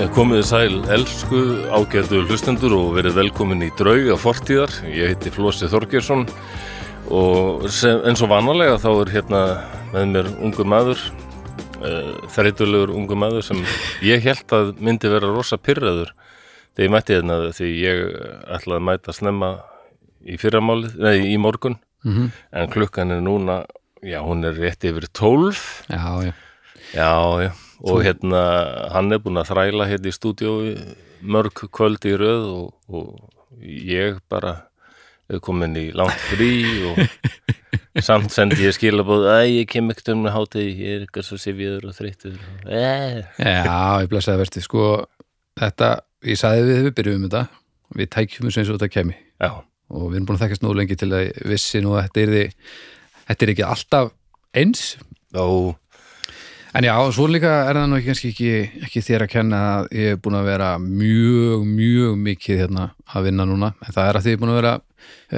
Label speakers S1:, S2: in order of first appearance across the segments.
S1: Já, komið þið sæl, elsku, ágætu hlustendur og verið velkomin í drauga fortíðar. Ég heiti Flósi Þorgjörsson og sem, eins og vanalega þá er hérna með mér ungur maður, uh, þreytulegur ungur maður sem ég held að myndi vera rosa pyrraður þegar ég mætti hérna því ég ætlaði að mæta snemma í fyrramálið, nei í morgun,
S2: Mhm.
S1: en klukkan er núna, já hún er rétt yfir tólf.
S2: Já, já,
S1: Já, já, og hérna hann er búin að þræla hérna í stúdíói mörg kvöld í röð og, og ég bara er komin í langt frí og samt sendi ég skilabóð að ég kem ekkert um hátíð, ég er eitthvað svo sifjöður og þreyttur og eh.
S2: já, ég blessaði verðið sko, þetta, ég sagði við þegar við byrjuðum þetta við tækjum þessu eins og þetta kemi
S1: Já,
S2: og við erum búin að þekkast nóg lengi til að ég vissi nú að þetta er, þetta er ekki alltaf eins,
S1: og
S2: en já, svo líka er það nú ekki, kannski ekki, ekki þér að kenna að ég er búin að vera mjög, mjög mikið hérna að vinna núna en það er að því ég er búin að vera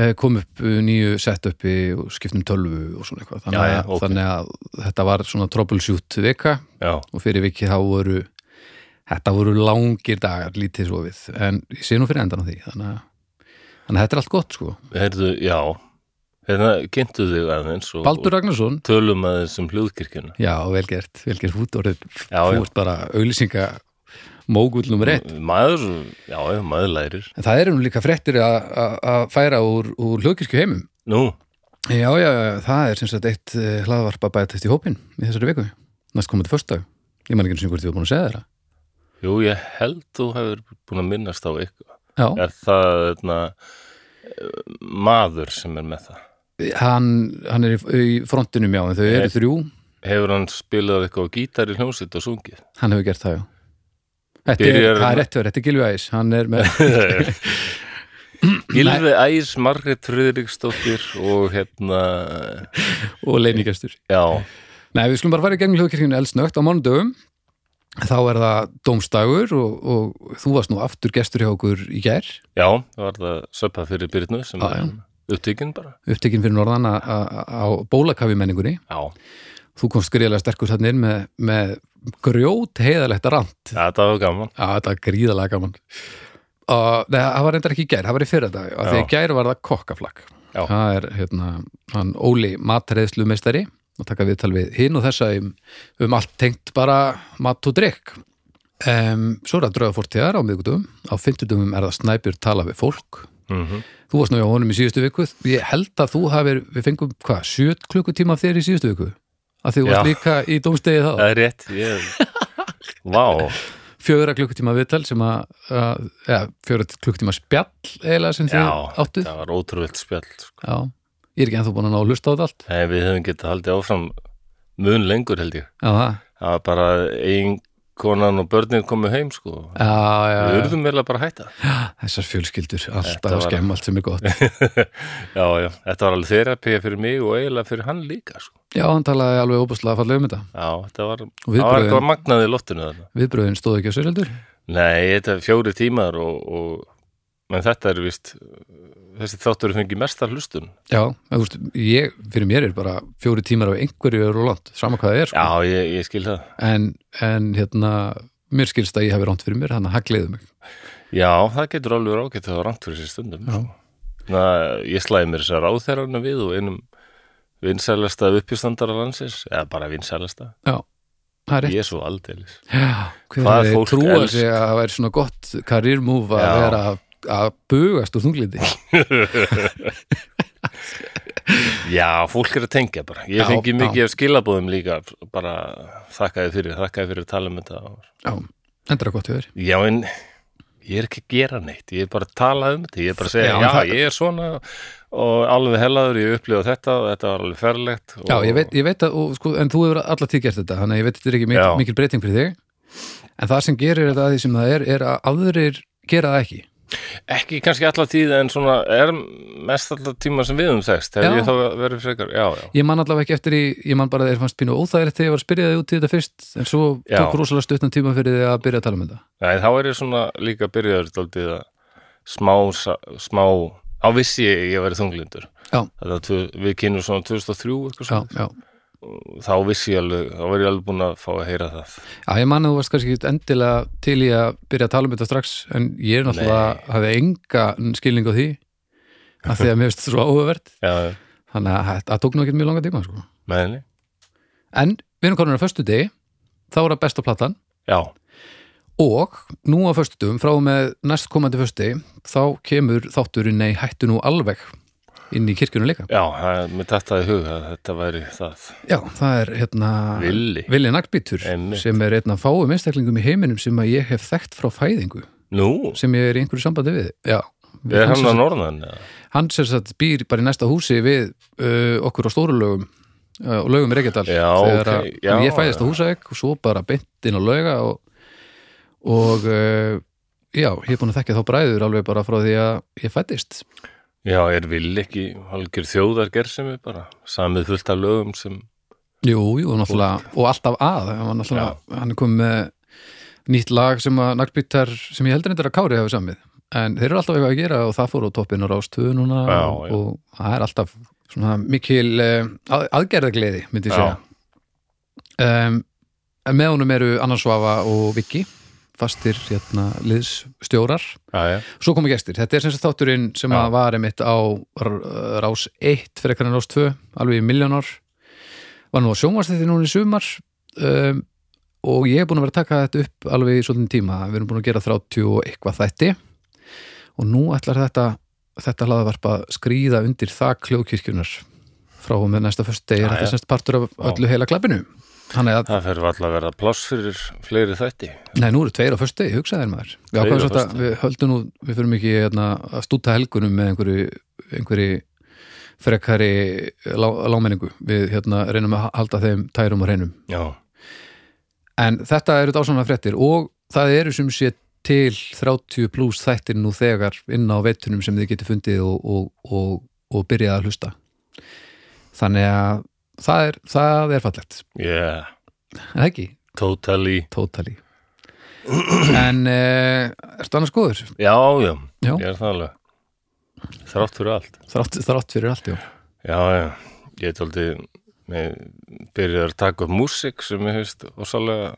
S2: eh, kom upp eh, nýju setupi og skiptum tölvu og svona eitthvað, þannig,
S1: Já, já,
S2: að-
S1: ok.
S2: þannig að þetta var svona troubleshoot vika
S1: já,
S2: og fyrir vikið þá voru þetta voru langir dagar, lítið svo við en ég sé nú fyrir endan á því þannig að, þannig að þetta er allt gott sko
S1: heyrðu, já, hérna kynntu þig aðeins og,
S2: Baldur Ragnarsson,
S1: og tölum aðeins um hljóðkirkjuna.
S2: já, vel gert vel gert hút orðið,
S1: Já, já.
S2: þú ert bara auglýsinga mógull nummer eitt
S1: Maður, já, já, maður lærir.
S2: en það eru nú líka fréttir að- að að færa úr, úr hljókirkju heimum
S1: Nú,
S2: já, já, já, það er sem sagt eitt eh, hlaðvarp að bætast í hópin í þessari viku, næst komandi föstudag ég man ekki einu sinni hvort ég var búin að segja þér það.
S1: jú, ég held þú hefur búin að minnast á eitthvað.
S2: já,
S1: er það eitna, maður sem er með það
S2: hann, hann er í, í frontinum já, en þau eru þrjú
S1: hefur hann spilað eitthvað á gítar í hljómsveit og sungið
S2: Hann hefur gert það, já. Þetta er,
S1: Byrjar-
S2: það er rétt verið, þetta er Gilvi Æs, hann er með,
S1: Gilvi Æs, Margrét Friðriksdóttir og hérna
S2: og leiningastur.
S1: já,
S2: Nei, við skulum bara fara í gegnum hljóðkirkjunni elsnögt á mánudöfum. Þá er það dómstagur og, og þú varst nú aftur gestur hjá okkur í gær,
S1: já, það var það söpa fyrir Byrnu sem
S2: Já, já.
S1: er upptökin bara
S2: upptekinn fyrir norðan a- a- á bólakafi menningunni.
S1: já,
S2: Þú komst gríðarlega sterkur þarna inn með, með grjót heiðalegt rand.
S1: þetta var gaman
S2: Já, þetta er gríðarlega gaman. Uh, nei, það var reyndar ekki í gær, það var í fyrra dag, af því
S1: Já.
S2: í gær var það kokkaflakk.
S1: Já.
S2: Það er, hérna, hann Óli matreðslumeistari og taka viðtal við hinn og þessa um, um allt tengt bara mat og drikk. Um, svo er það drauga fórtíðar á miðgutum, á fimmtudumum er það snæpjur tala við fólk.
S1: mm
S2: Þú varst nú hjá honum í síðustu viku, ég held að þú hafir, við fengum, hvað, sjö klukkutíma af þér í síðustu viku? Að því þú varst
S1: Já. Eh,
S2: líka í dómstegið þá.
S1: það er rétt ég... vá,
S2: fjögra klukkutíma viðtal sem að, að ja, fjögra klukkutíma spjall eiginlega sem þið
S1: já,
S2: áttu já.
S1: það var ótrúvilt spjall sko.
S2: ég er ekki ennþá búin að ná að hlusta á þetta allt
S1: Nei, við hefum getað haldið áfram mun lengur held ég
S2: já, það.
S1: það var bara ein konan og börnin komu heim sko
S2: já, já,
S1: Við
S2: já.
S1: urðum vel að bara hætta.
S2: þessar fjölskyldur,
S1: Þetta
S2: alltaf
S1: var-
S2: að skemma allt sem er gott
S1: Já, já, þetta var alveg þerapía fyrir mig og eiginlega fyrir hann líka, sko.
S2: já, hann talaði alveg óbúslega fallega um þetta
S1: Já, þetta var,
S2: Og
S1: það var eitthvað
S2: viðbrögðin,
S1: magnað í loftinu þarna.
S2: viðbröðin stóðu ekki á sér heldur
S1: Nei, þetta er fjóri tímar og, og menn þetta er vist, þessi þáttur fengi mesta hlustun.
S2: já, en þú veist, ég, fyrir mér er bara fjóri tímar á einhverju eru og land sama hvað það er,
S1: Já,
S2: sko.
S1: ég, ég skil það.
S2: en, en hérna mér skilst að ég hefði ránt fyrir mér, þannig að hagliðu mig
S1: Já, það getur alveg ágætt að það var rangt fyrir sér stundum.
S2: Já.
S1: sko. Na, ég slæði mér þessar áþærarna við og einum vinsælasta uppjöstandara landsins, eða bara vinsælasta.
S2: það er rétt
S1: Ég er svo aldeilis.
S2: Já,
S1: Hvað
S2: hvað
S1: fólk
S2: fólk trúa
S1: elst.
S2: sig að það væri svona gott karýrmúf að
S1: Já.
S2: vera að bugast úr þunglindi
S1: Já, fólk er að tengja bara. Ég
S2: Já,
S1: fengi
S2: já.
S1: mikið af skilabóðum líka, bara þakkaði fyrir, þakkaði fyrir að tala um þetta.
S2: Já, endur að gott hefur
S1: Já, en ég er ekki að gera neitt, ég er bara að tala um þetta, ég er bara að segja,
S2: Já,
S1: já,
S2: en það-
S1: ég er svona og alveg hellaður, ég upplifa þetta og þetta var alveg ferlegt. Og...
S2: Já, ég veit, ég veit að, og, sko, en þú hefur alla tíð gert þetta þannig að ég veit að þetta er ekki mikil,
S1: Já.
S2: mikil breyting fyrir þig en það sem gerir þetta að því sem það er er að aðrir gera það ekki
S1: Ekki kannski alla tíð, en svona er mest alla tíma sem við um þess,
S2: Já.
S1: þegar ég þá verið frekar, já, já.
S2: Ég man allavega ekki eftir í, ég man bara að þeir fannst pínu óþægilegt þegar ég var að spyrja þig út í þetta fyrst en svo
S1: Já.
S2: tók rosalega stuttan tíma fyrir þig að byrja að tala um þetta
S1: Nei, þá er ég svona líka byrjaður daldið að smá, sa- smá, á vissi ég, ég verið þunglindur.
S2: Já.
S1: Þetta, var tvö- við kynum svona 2003 eitthvað
S2: Já,
S1: svona.
S2: já,
S1: og þá vissi ég alveg, þá var ég alveg búin að fá að heyra það
S2: Já, ég man að þú varst kannski ekki endilega til í að byrja að tala um þetta strax en ég er náttúrulega, hafði enga skilning á því að því að mér finnst þetta svo áhugavert
S1: Já,
S2: þannig að þetta- það tók nú ekki mjög langa tíma sko.
S1: meðinni
S2: en við erum konur á föstu degi þá er það besta platan
S1: Já,
S2: og nú á föstu dögum frá og með næstkomandi föstu degi þá kemur þátturinn nei hættu nú alveg inn í kirkjunum líka
S1: já, það er mér þetta í hug að þetta væri það
S2: Já, það er hérna
S1: Villi.
S2: Villi Naglbítur
S1: Einmitt.
S2: sem er einn af fáum einstaklingum í heiminum sem að ég hef þekkt frá fæðingu
S1: Nú,
S2: sem ég er í einhverju sambandi við Já,
S1: er
S2: hann,
S1: hann að
S2: sem,
S1: norðan? eða?
S2: hann sem sagt býr bara í næsta húsi við uh, okkur á stóru lögum uh, og lögum í Reykjadal
S1: Já,
S2: þegar að
S1: ok, já.
S2: ég fæðist á húsæk og svo bara beint inn á löga og, og uh, já, ég er búin að þekka þá bræður alveg bara frá því að ég fættist
S1: Já, er vill ekki algjör þjóðargerð sem er bara samið fullt af lögum sem
S2: Jú, jú, náttúrulega, og alltaf að hann, var náttúrulega, hann kom með nýtt lag sem að naglbítar sem ég heldur þetta að Kári hafi samið en þeir eru alltaf eitthvað að gera og það fór á toppin og rástöðu núna
S1: Já,
S2: og,
S1: já.
S2: og það er alltaf svona mikil eh, að, aðgerðagleði myndi ég
S1: Já.
S2: segja um, en með honum eru Anna Svafa og Viki fastir hérna, liðsstjórar
S1: Já, já,
S2: Svo komu gestir, þetta er sem sagt þátturinn sem
S1: Já.
S2: að var einmitt á r- rás 1 fyrir ekkert en rás 2, alveg í miljónar var nú á sjónvarsþætti núna í sumar um, og ég er búin að vera að taka þetta upp alveg í svolítinn tíma við erum búin að gera 30 og eitthvað þætti og nú ætlar þetta þetta hlaðavarp að skríða undir þak kljókirkjunar frá og með næsta fyrst degi er
S1: Já,
S2: þetta
S1: já.
S2: sem sagt partur af öllu heila klappinu þannig að,
S1: það fer varla að vera pláss fyrir fleiri þætti
S2: nei nú eru tveir á fyrst degi, hugsaði þér maður við,
S1: Tveir
S2: ákváðum
S1: á
S2: samt að,
S1: föstudegi.
S2: við höldum nú, við förum ekki hérna, að stúta helgunum með einhverju, einhverju frekari lá, lámenningu við hérna, reynum að halda þeim tærum og reynum
S1: Já,
S2: En þetta eru dásanlega fréttir og það eru sem sé til 30 pluss þættir nú þegar inn á veitunum sem þið getur fundið og, og, og, og byrjað að hlusta. Þannig að það er, það er fallegt.
S1: yeah,
S2: En ekki,
S1: totally
S2: totally. En uh, ertu annars góður?
S1: Já, já,
S2: Já.
S1: ég er það alveg Þrátt fyrir allt
S2: Þrátt, þrátt fyrir allt, já.
S1: Já, já, ég tóldi byrjaði að taka upp músík sem ég hefist og sálega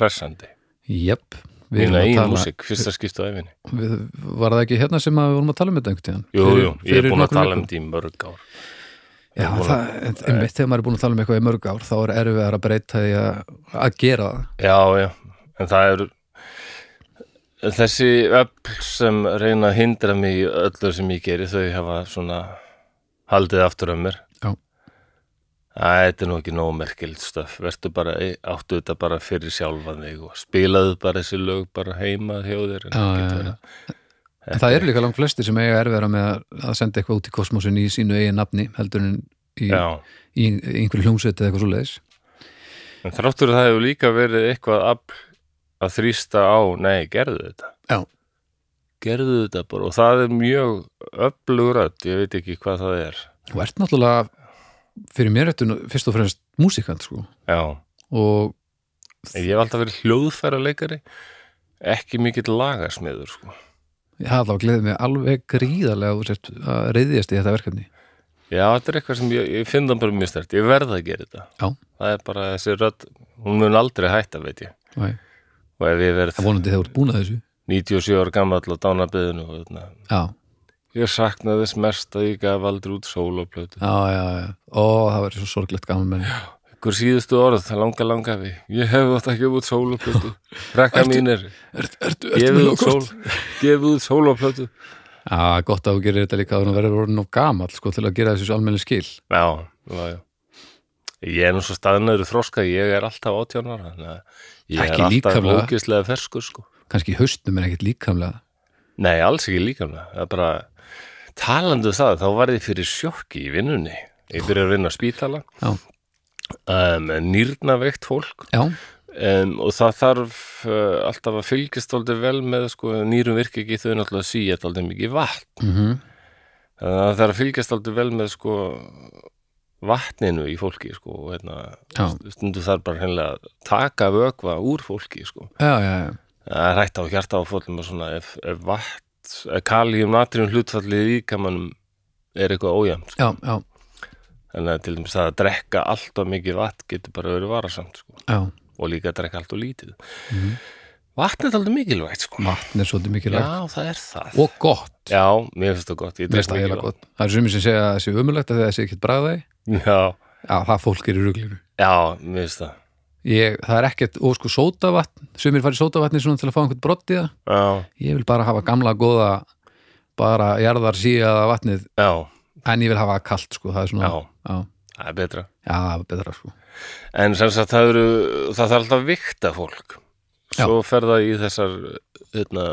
S1: hressandi
S2: Jöpp. Við erum
S1: Mína
S2: að
S1: eigin
S2: tala,
S1: músík, fyrsta skipta á efinni
S2: við, var það ekki hérna sem að við vorum að tala um þetta einhvern tíðan?
S1: Jú, jú, ég er búin að tala um þetta í mörg ár
S2: Já,
S1: Ég er búin
S2: það, en, en þegar maður er búin að tala um eitthvað í mörg ár, þá er erfiðar að breyta því að, að gera það.
S1: Já, já, en það eru þessi öll sem reyna að hindra mig í öllu sem ég geri, þau hafa svona haldið aftur af mér
S2: Já.
S1: Æ, þetta er nú ekki nóg merkild stöf, vertu bara áttu þetta bara fyrir sjálfan þig og spilaðu bara þessi lög bara heima hjá þér en
S2: Já,
S1: ekkert
S2: já,
S1: vera-
S2: En það eru líka langt flestir sem eiga erfiðara með að- að senda eitthvað út í kosmosin í sínu eigin nafni heldur en í,
S1: Já,
S2: í einhverju hljómsveit eða eitthvað svo leiðis.
S1: en þráttur að það hefur líka verið eitthvað afl að þrýsta á, nei, gerðu þetta
S2: Já.
S1: Gerðu þetta bara og það er mjög öflugrödd, ég veit ekki hvað það er
S2: Þú ert náttúrulega fyrir mér eftir fyrst og fremst músikant sko
S1: Já,
S2: og
S1: En Ég hef alltaf verið hljóðfæra leikari ekki mikill lagasmiður sko.
S2: ég hafði alveg gleðið mig alveg gríðarlega að þú sért að reyðjast í þetta verkefni.
S1: Já, þetta er eitthvað sem ég, ég finn það bara mjög stert ég verð að gera þetta
S2: Já.
S1: það er bara þessi rödd, hún mun aldrei hætta veit ég,
S2: Æ,
S1: og ef ég
S2: Það
S1: verð
S2: vonandi þegar þú ert búin að þessu.
S1: 97 ára gammal á dánabiðinu og þarna,
S2: Já,
S1: ég saknaði þess mest að ég gaf aldrei út sóloplötu
S2: já, já, já. Ó, það verður svo sorglegt gaman menn.
S1: ykkur síðustu orð, langa langa við ég hef átt að gefa út sóloplötu rekka
S2: Ertu-
S1: mínir,
S2: Ertu, ertu,
S1: gefa út sól gefa út sóloplötu
S2: Já, gott að þú gerir þetta líka að þú verður orðin og gamall sko til að gera þessu almenni skil.
S1: Já, já, já. Ég er nú svo staðnæður þroska, ég er alltaf átjónara, þannig að ég
S2: Ekki
S1: er
S2: líkamlega.
S1: alltaf ógislega ferskur, sko.
S2: Kannski í haustnum er ekkit líkamlega.
S1: Nei, alls ekki líkamlega, það er bara, talandu það, þá var ég fyrir sjokki í vinnunni. Ég byrja að vinna á spítala,
S2: Já.
S1: um, nýrnaveikt fólk
S2: Já,
S1: um, og það þarf uh, alltaf að fylgjast aldrei vel með, sko, nýrum virki ekki þau náttúrulega síja aldrei mikið vatn.
S2: mm
S1: Þannig að það er að fylgjast aldrei vel með sko vatninu í fólki sko og hérna,
S2: Já.
S1: stundu þar bara hennilega að taka vökva úr fólki sko
S2: já, já, já.
S1: það er hægt á hjarta á fólum og svona ef, ef vatn, ef kalíum natrium hlutfallið í líkamanum er eitthvað ójæmt sko.
S2: já, já,
S1: Þannig að til dæmis það að drekka allt og mikið vatn getur bara verið varasamt sko.
S2: já,
S1: og líka að drekka allt og lítið. Vatn er alveg mikilvægt sko.
S2: vatn er svolítið mikilvægt
S1: Já, það er það.
S2: og gott,
S1: Já, mér finnst það gott.
S2: Mér
S1: Ég drekk
S2: finnst það
S1: mikið
S2: eiginlega gott það er sumir sem segja að það sé ömulegt að það sé ekkert bragðaði
S1: vatn. Já,
S2: já, það fólk er í ruglinu
S1: já, mér finnst það.
S2: ég, það er ekkert, og sko sótavatn sumir farið sótavatni svona til að fá einhvern brott í það
S1: Já,
S2: ég vil bara hafa gamla góða bara jarðar síðaða vatnið
S1: já,
S2: en ég vil hafa það kalt sko, það er svona
S1: já,
S2: já,
S1: það er betra.
S2: já það er betra sko
S1: En sem sagt, það, eru, það þarf alltaf að vikta fólk. Svo fer það í þessar hérna,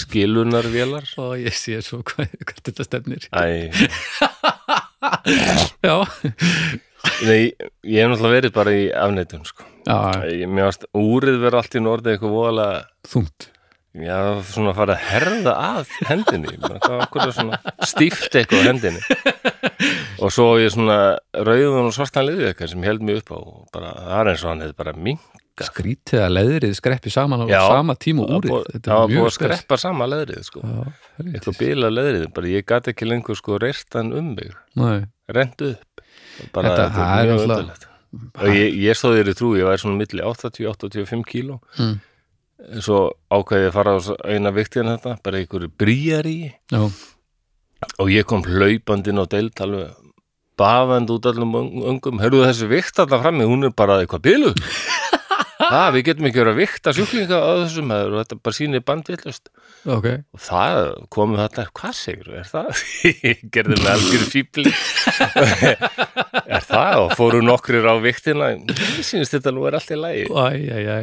S1: skilunarvélar.
S2: og ég sé svo hvað, hvað þetta stefnir
S1: Æ,
S2: já,
S1: nei, ég hef náttúrulega verið bara í afneitun, sko.
S2: já
S1: Æ, Mér varst úrið verið allt í norðið eitthvað voðalega,
S2: þungt
S1: já, svona farið að herða að hendinni. Bara, Það var okkur svona stíft eitthvað á hendinni. Og svo ég svona rauðun og svartan liðið eitthvað sem held mig upp á. og Bara, það er eins og hann hefði bara minga.
S2: skrítið að leðrið skreppi saman á
S1: Já.
S2: sama tíma og úrið
S1: Það var búið að skreppa sama leðrið, sko.
S2: skreppi
S1: eitthvað bila leðrið, bara ég gat ekki lengur sko reyrtan um mig, rend upp bara
S2: Þetta- það er
S1: mjög
S2: náttúrulega-
S1: undarlegt. og ég, ég stóð þér í trú, ég væri svona milli 80-85 kíló
S2: Mm.
S1: en svo ákvæði ég að fara á s- eina viktiðan þetta, bara einhverju brýjar í
S2: Já,
S1: og ég kom hlaupandinn á deild alveg bafand út allum öng- öngum heyrðu þessi vikt alltaf frammi, hún er bara eitthvað bilu það, við getum ekki verið að vikta sjúklinga á þessum maður og þetta bara sýnir bandvillust
S2: ok
S1: og það komið þarna hvað segur, er það? ég gerði með algjör fíbli er það? og fóru nokkrir á viktina ég sínist þetta nú er allt í lagi
S2: Æ, æ, æ.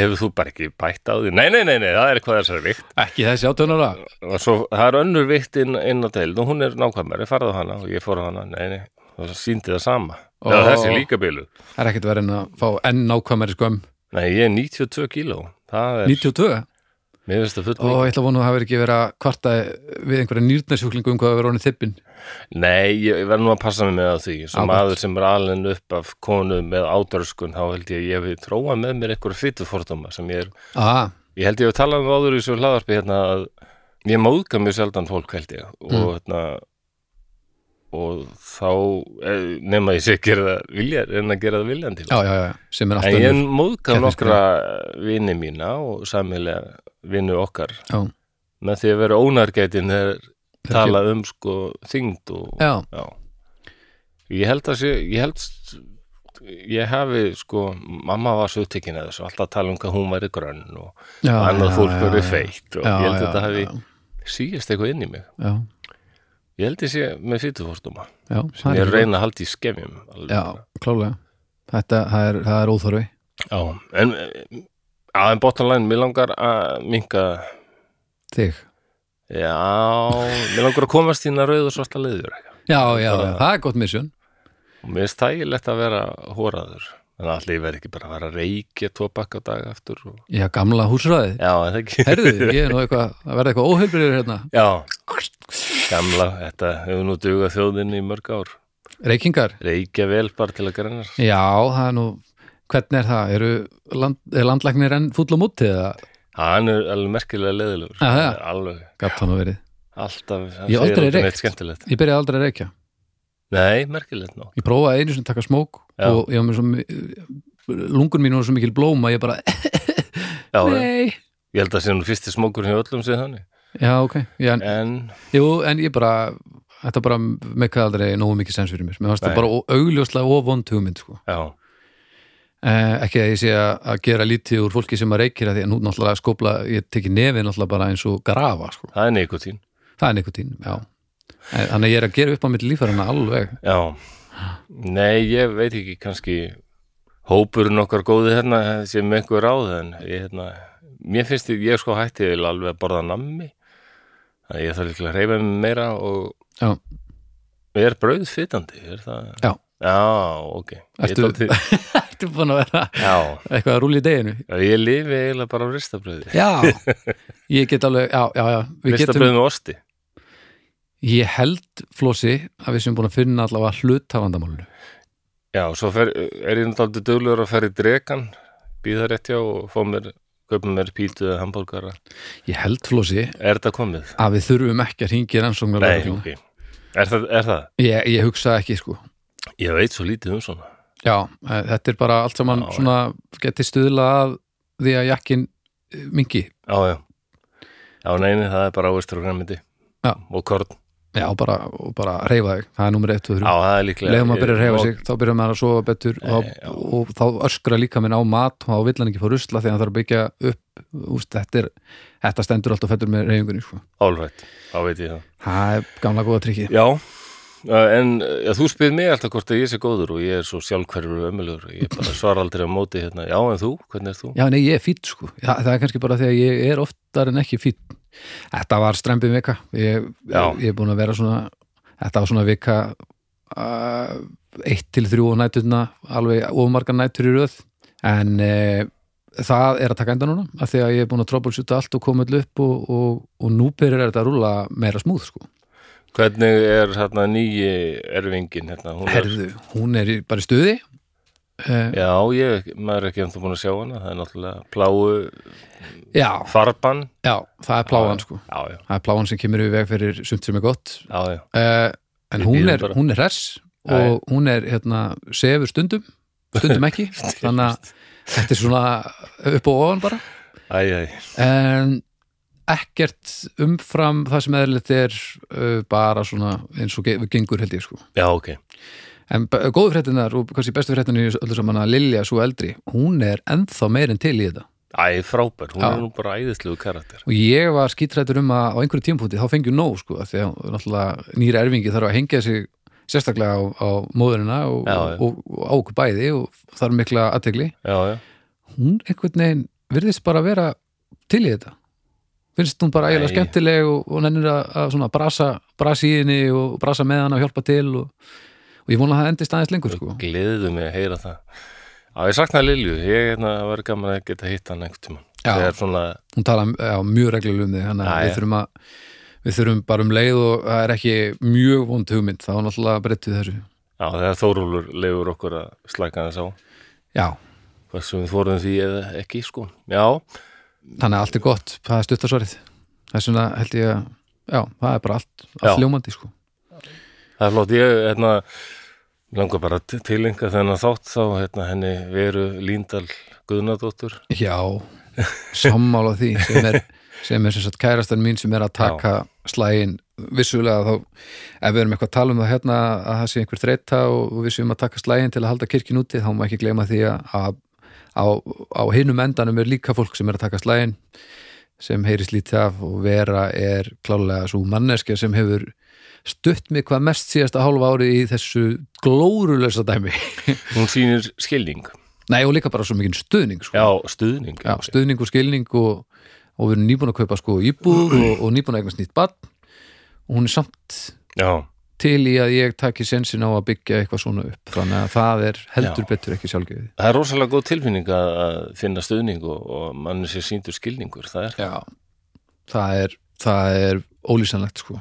S1: hefur þú bara ekki bætt á því? nei, nei, nei, nei, það er hvað þessar vikt
S2: Ekki þessi átönulega
S1: og svo, það er önnur vikt inn, inn á deild og hún er nákvæmari, farðu á hana og ég fór á hana, nei, nei, og það síndi það sama
S2: Ó.
S1: oh. þessi er líka bílu
S2: Það er ekkert verið en að fá enn nákvæmari skömm
S1: nei, ég er 92 kíló það er,
S2: 92?
S1: mér finnst það fullt
S2: Ó, ég ætla að vona að það verið ekki verið að kvarta við einhverja nýrnarsjúklingu um hvað að vera honum þippin
S1: Nei, ég, ég verð nú að passa mig með á því sem
S2: Ágætt.
S1: maður sem er alveg upp af konu með ádörskun, þá held ég að ég hef tróað með mér einhverja fytufordóma sem ég er
S2: ah,
S1: ég held ég hef talað um áður í þessu hlaðarpi hérna að ég móðga mjög sjaldan fólk held ég og
S2: Mm.
S1: hérna og þá eh, nema ég sé að gera það vilja en að gera það viljandi
S2: Já, já, já, sem er
S1: en
S2: alltaf
S1: ég
S2: önnur.
S1: móðga
S2: keppnisgrein.
S1: nokkra vini mína og samilega vini okkar
S2: Já.
S1: með því að vera ónargætin þegar
S2: Þegar
S1: tala um sko þyngd og
S2: Já,
S1: Já. Ég held að sé, ég held ég hafi sko mamma var svo upptekin að þessu, alltaf að tala um hvað hún væri grönn og
S2: já
S1: annað
S2: já,
S1: fólk
S2: já,
S1: væri
S2: já.
S1: feitt
S2: Já,
S1: og ég held að
S2: já,
S1: þetta hafi
S2: já,
S1: síðast eitthvað inn í mig.
S2: Já,
S1: Ég held ég sé með fytufórstuma
S2: já
S1: sem ég reyna að halda í skefjum. alveg.
S2: Já, klálega Þetta, það er, það er óþorfi
S1: Já. En að en bottom line, mér langar að minka,
S2: Þig
S1: já, mér langar að komast þína rauð og svarta leiður eitthvað.
S2: Já, já, já,
S1: Bara-
S2: það er gott misjón
S1: Og mér finnst þægilegt að vera hóraður. En allir verð ekki bara að vera að reykja tvo bakka dag aftur og
S2: Já, gamla húsræði
S1: Já, er það ekki
S2: Herðu, ég er nú eitthvað að verða eitthvað óheilbriður hérna
S1: Já, gamla, þetta hefur nú dugað þjóðinni í mörg ár
S2: Reykingar?
S1: Reykja vel bara til að grænast
S2: Já, það er nú Hvernig er það? Eru land, er landlæknir enn fúll á móti eða
S1: Hann er alveg merkilega leðilegur
S2: Já, já.
S1: Alveg,
S2: gatt hann að verið?
S1: alltaf hann
S2: Ég
S1: segir
S2: aldrei
S1: aldrei
S2: reykt.
S1: neitt skemmtilegt
S2: Ég byrjaði aldrei að reykja
S1: Nei, merkilegt ná
S2: Ég prófaði einu sinni að taka smók
S1: Já.
S2: og ég var með svo mi- lungun mín var svo mikil blóma ég bara,
S1: Já,
S2: nei
S1: ég held að sé nú fyrsti smókur hjá öllum sér þannig
S2: Já, ok, já, en,
S1: En,
S2: jú, en ég bara þetta bara mekkaði aldrei nógu mikið sens fyrir mér mér fannst það
S1: Nei.
S2: bara ó- augljóslega ofond hugmynd sko.
S1: já,
S2: eh, ekki að ég sé að, að gera lítið úr fólki sem að reykir að því að nú náttúrulega skópla ég teki nefið náttúrulega bara eins og grafa sko.
S1: það er nikotín
S2: það er nikotín, já En- þannig að ég er að gera upp á mitt lífærinna alveg
S1: Já, nei, ég veit ekki kannski hópurinn okkar góði hérna sem einhver ráð en ég, hérna, mér finnst ég, ég sko hætti eiginlega alveg að borða nammi þannig að ég þarf líklega að reyfa mig meira og
S2: Já.
S1: er brauð fytandi, er það?
S2: Já.
S1: ok.
S2: Ertu-
S1: Ég, dálítið-
S2: Ertu búin að vera
S1: já,
S2: eitthvað að rúli í deginu?
S1: ég lifi eiginlega bara á ristabrauði.
S2: Já, ég get alveg já, já, já, við getum
S1: Ristabrauði með osti.
S2: Ég held, Flósi, að við sem búin að finna allavega hlutavandamálinu.
S1: Já, svo fer, er ég náttúrulega duglegur að fara í dregan, býða rétt hjá og fá mér, kaupa mér pítu eða hambúrgara.
S2: Ég held, Flósi,
S1: Er þetta komið?
S2: að við þurfum ekki að ringi rannsóknar
S1: Nei, ok. Er það, er það?
S2: Ég, ég hugsa ekki, sko.
S1: Ég veit svo lítið um svona.
S2: Já, eh, þetta er bara allt saman
S1: Já, já.
S2: svona getið stuðla að því að eh, jakkin mingi.
S1: Já, já. Já, neini, það er bara ávestur og græmiti.
S2: Já.
S1: Og korn.
S2: Já, og bara, og bara reyfa þig. Það er nummer 1 og 3.
S1: Já, það er líklega.
S2: Leðum að byrja að reyfa sig, þá byrja maður að sofa betur og,
S1: Nei, já.
S2: og þá öskra líka minn á mat og þá vill hann ekki fá rusla þegar hann þarf að byggja upp úst, þetta, er, þetta stendur alltaf fættur með reyfingunni sko.
S1: Álrætt, þá veit ég það.
S2: Það er gamla góða trikki
S1: Já, eh, en já, þú spyrir mig alltaf hvort að ég sé góður og ég er svo sjálfhverfur og ömulur. Ég bara svara aldrei á móti hérna. Já, en þú? Hvernig er þú?
S2: Já, nei, ég er fýtt sko. Það, það er kannski bara þegar ég er oftar en ekki fýtt Þetta var strempið vika ég,
S1: Já.
S2: ég er búin að vera svona Þetta var svona vika uh, eitt til þrjú á næturna alveg ofumargar nætur í röð en uh, það er að taka enda núna af því að ég er búin að troubleshoota allt og koma öll upp og, og, og nú byrjar þetta að rúla meira smúð sko.
S1: Hvernig er hérna nýji erfingin hérna? Hún er,
S2: Herðu, hún er í, bara í stuði uh,
S1: já, ég, maður er ekki ennþá búin að sjá hana. Það er náttúrulega pláu
S2: Já,
S1: farban.
S2: já, það er pláan sko.
S1: Já, já,
S2: Það er pláan sem kemur í veg fyrir sumt sem er gott
S1: já, já.
S2: uh, en
S1: Við
S2: hún
S1: bíðum
S2: er,
S1: bara.
S2: hún er hress
S1: Já, já.
S2: og hún er hérna sefur stundum stundum ekki, þannig að þetta er svona upp og ofan bara
S1: Æ, æ,
S2: en ekkert umfram það sem eðlilegt er uh, bara svona eins og ge- gengur held ég sko
S1: já, ok.
S2: en b- góðu fréttinar og kannski bestu fréttinar í þessu öllu saman að Lilja svo eldri hún er ennþá meirinn til í þetta
S1: Æ, frábær, hún
S2: Já.
S1: er nú bara æðislegu karakter
S2: og ég var skítrættur um að á einhverju tímpúti þá fengjum nóg sko af því að náttúrulega nýra erfingi þarf að hengja sig sérstaklega á, á móðurina og,
S1: Já, já.
S2: og, og á okkur bæði og þarf mikla aðtegli
S1: Já, já,
S2: hún einhvern veginn virðist bara vera til í þetta finnst hún bara ægilega
S1: Nei.
S2: skemmtileg og, og nennir að, að svona brasa, brasa í henni og brasa með hann og hjálpa til og, og ég vona að það endist aðeins lengur sko
S1: gleðu mig að heyra það Já, ég saknaði Lilju, ég hérna, var gaman að geta hitt hann einhvern tímann
S2: Já.
S1: Þegar svona,
S2: hún tala já, mjög reglulega um þig þannig
S1: Já,
S2: að við
S1: já.
S2: þurfum að við þurfum bara um leið og það er ekki mjög vond hugmynd, þá er náttúrulega breyttið þessu
S1: já, þegar Þórólfur lefur okkur að slæka þess á
S2: Já,
S1: Hvað sem við fórum því eða ekki, sko Já,
S2: þannig að allt er gott, það er stuttarsvarið þess vegna held ég að já, það er bara allt,
S1: Já.
S2: allt ljómandi sko.
S1: það er flott, ég hérna langar bara að tilinka þennan þátt þá hérna henni veru Líndal Guðnadóttur
S2: Já, sammála því sem er, sem er sem sagt kærastan mín sem er að taka slægin vissulega þá, ef við erum eitthvað að tala um það hérna að það sé einhver þreyta og, og við séum að taka slægin til að halda kirkjun úti þá má ekki gleyma því að að á, á hinum endanum er líka fólk sem er að taka slægin sem heyrist lítið af og vera er klálega svo manneskja sem hefur stutt mig hvað mest síðasta hálfa árið í þessu glórulösa dæmi
S1: Hún sýnir skilning
S2: Nei og líka bara svo mikinn stuðning sko.
S1: Já, stuðning
S2: Já, stuðning og skilning og, og við erum nýbúin að kaupa sko íbúð og, og nýbúin að eignast nýtt barn og hún er samt
S1: já.
S2: til í að ég taki sensin á að byggja eitthvað svona upp þannig að það er heldur
S1: Já.
S2: betur ekki sjálfgefið
S1: Það er rosalega góð tilfinning að að finna stuðning og, og mann sér sýndur skilningur, það er
S2: Já, það er, það er ólýsanlegt sko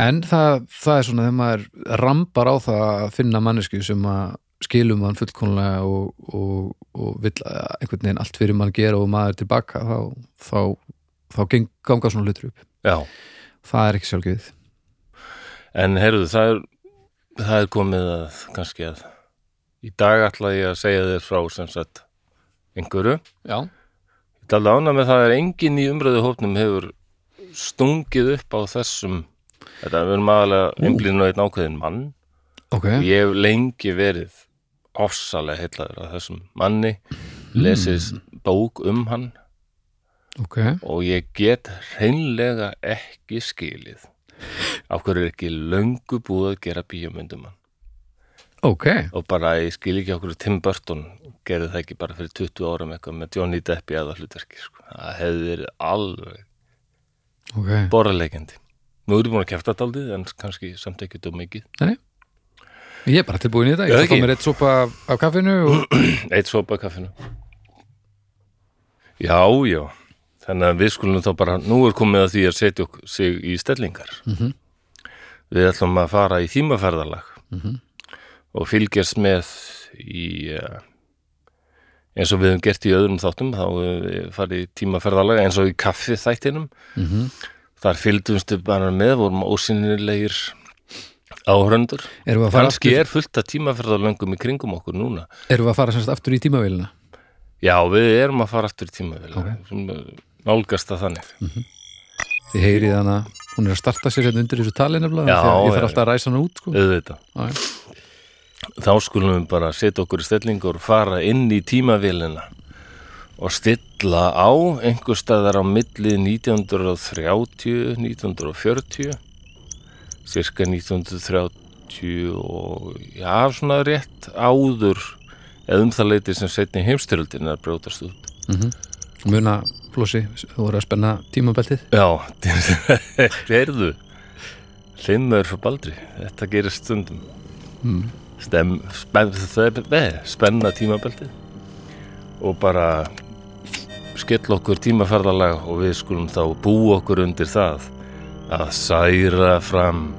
S2: en það, það er svona þegar maður rambar á það að finna mannesku sem að skilum hann fullkomlega og, og, og vill að einhvern veginn allt fyrir mann gera og maður er tilbaka þá, þá, þá geng, ganga svona hlutur upp
S1: Já,
S2: það er ekki sjálfgefið
S1: En heyrðu, það er, það er komið að kannski að í dag ætla ég að segja þér frá sem sagt einhverju.
S2: Já,
S1: Ég ætla að lána með það er enginn í umröðu hópnum hefur stungið upp á þessum þetta við erum aðalega einblíðin á einn ákveðin mann
S2: ok
S1: ég hef lengi verið ofsalega heillaður af þessum manni lesið bók um hann
S2: Ok,
S1: og ég get hreinlega ekki skilið af hverju er ekki löngu búið að gera bíómyndum hann
S2: ok,
S1: og bara ég skil ekki okkur Tim Burton gerði það ekki bara fyrir 20 árum eitthvað með Johnny Depp í aða hlutverki sko. það hefði verið alveg
S2: ok
S1: borðarleikandi nú erum við búin að kæfta þetta aldrei en kannski samt ekki þú mikið
S2: Nei. Ég er bara tilbúin í þetta,
S1: Já,
S2: ég ætla
S1: ekki.
S2: að fá mér eitt sopa af, af kaffinu og...
S1: eitt sopa af kaffinu já, já þannig að við skulum þá bara nú er komið að því að setja okkur sig í stellingar
S2: Mhm.
S1: við ætlum að fara í þýmaferðalag
S2: Mhm.
S1: og fylgjast með í eh, eins og við höfum gert í öðrum þáttum þá höfum við farið í tímaferðalag eins og í kaffi þættinum
S2: mm
S1: þar fylgdumstu bara með vorum ósynilegir áhörundur.
S2: Erum við að fara,
S1: Kanski
S2: aftur,
S1: er fullt af tímaferðalöngum í kringum okkur núna.
S2: erum við að fara semst aftur í tímavélina?
S1: Já, við erum að fara aftur í tímavel. Okay. Nálgast það þannig.
S2: Þið heyrið hana, hún er að starta sér hérna undir þessu tali nefnilega, því
S1: Já,
S2: að ég
S1: já,
S2: þarf alltaf að ræsa hana út sko.
S1: Auðvitað.
S2: Já, já.
S1: Þá skulum við bara setja okkur í stellingur, fara inn í tímavélina og stilla á einhver staðar á milli 1930, 1940, cirka 1930 og já, svona rétt áður eða um það leiti sem setni heimstyröldin er að brjótast út.
S2: Muna, Flossi, þú voru að spenna tímabeltið
S1: Já, heyrðu Hlimmur frá Baldri Þetta gerir stundum Stem, spen, spen, Spenna tímabeltið Og bara skella okkur tímaferðalag og við skulum þá búa okkur undir það að særa fram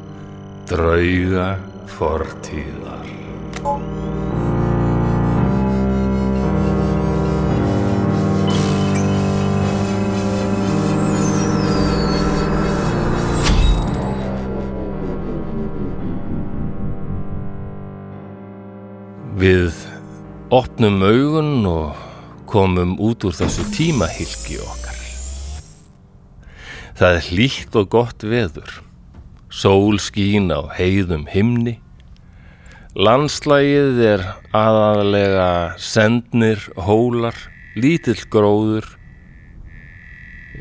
S1: drauga fortíðar Við opnum augun og komum út úr þessu tímahylki okkar. Það er hlýtt og gott veður. Sól skín á heiðum himni. Landslægið er aðalega sendnir, hólar, lítill gróður.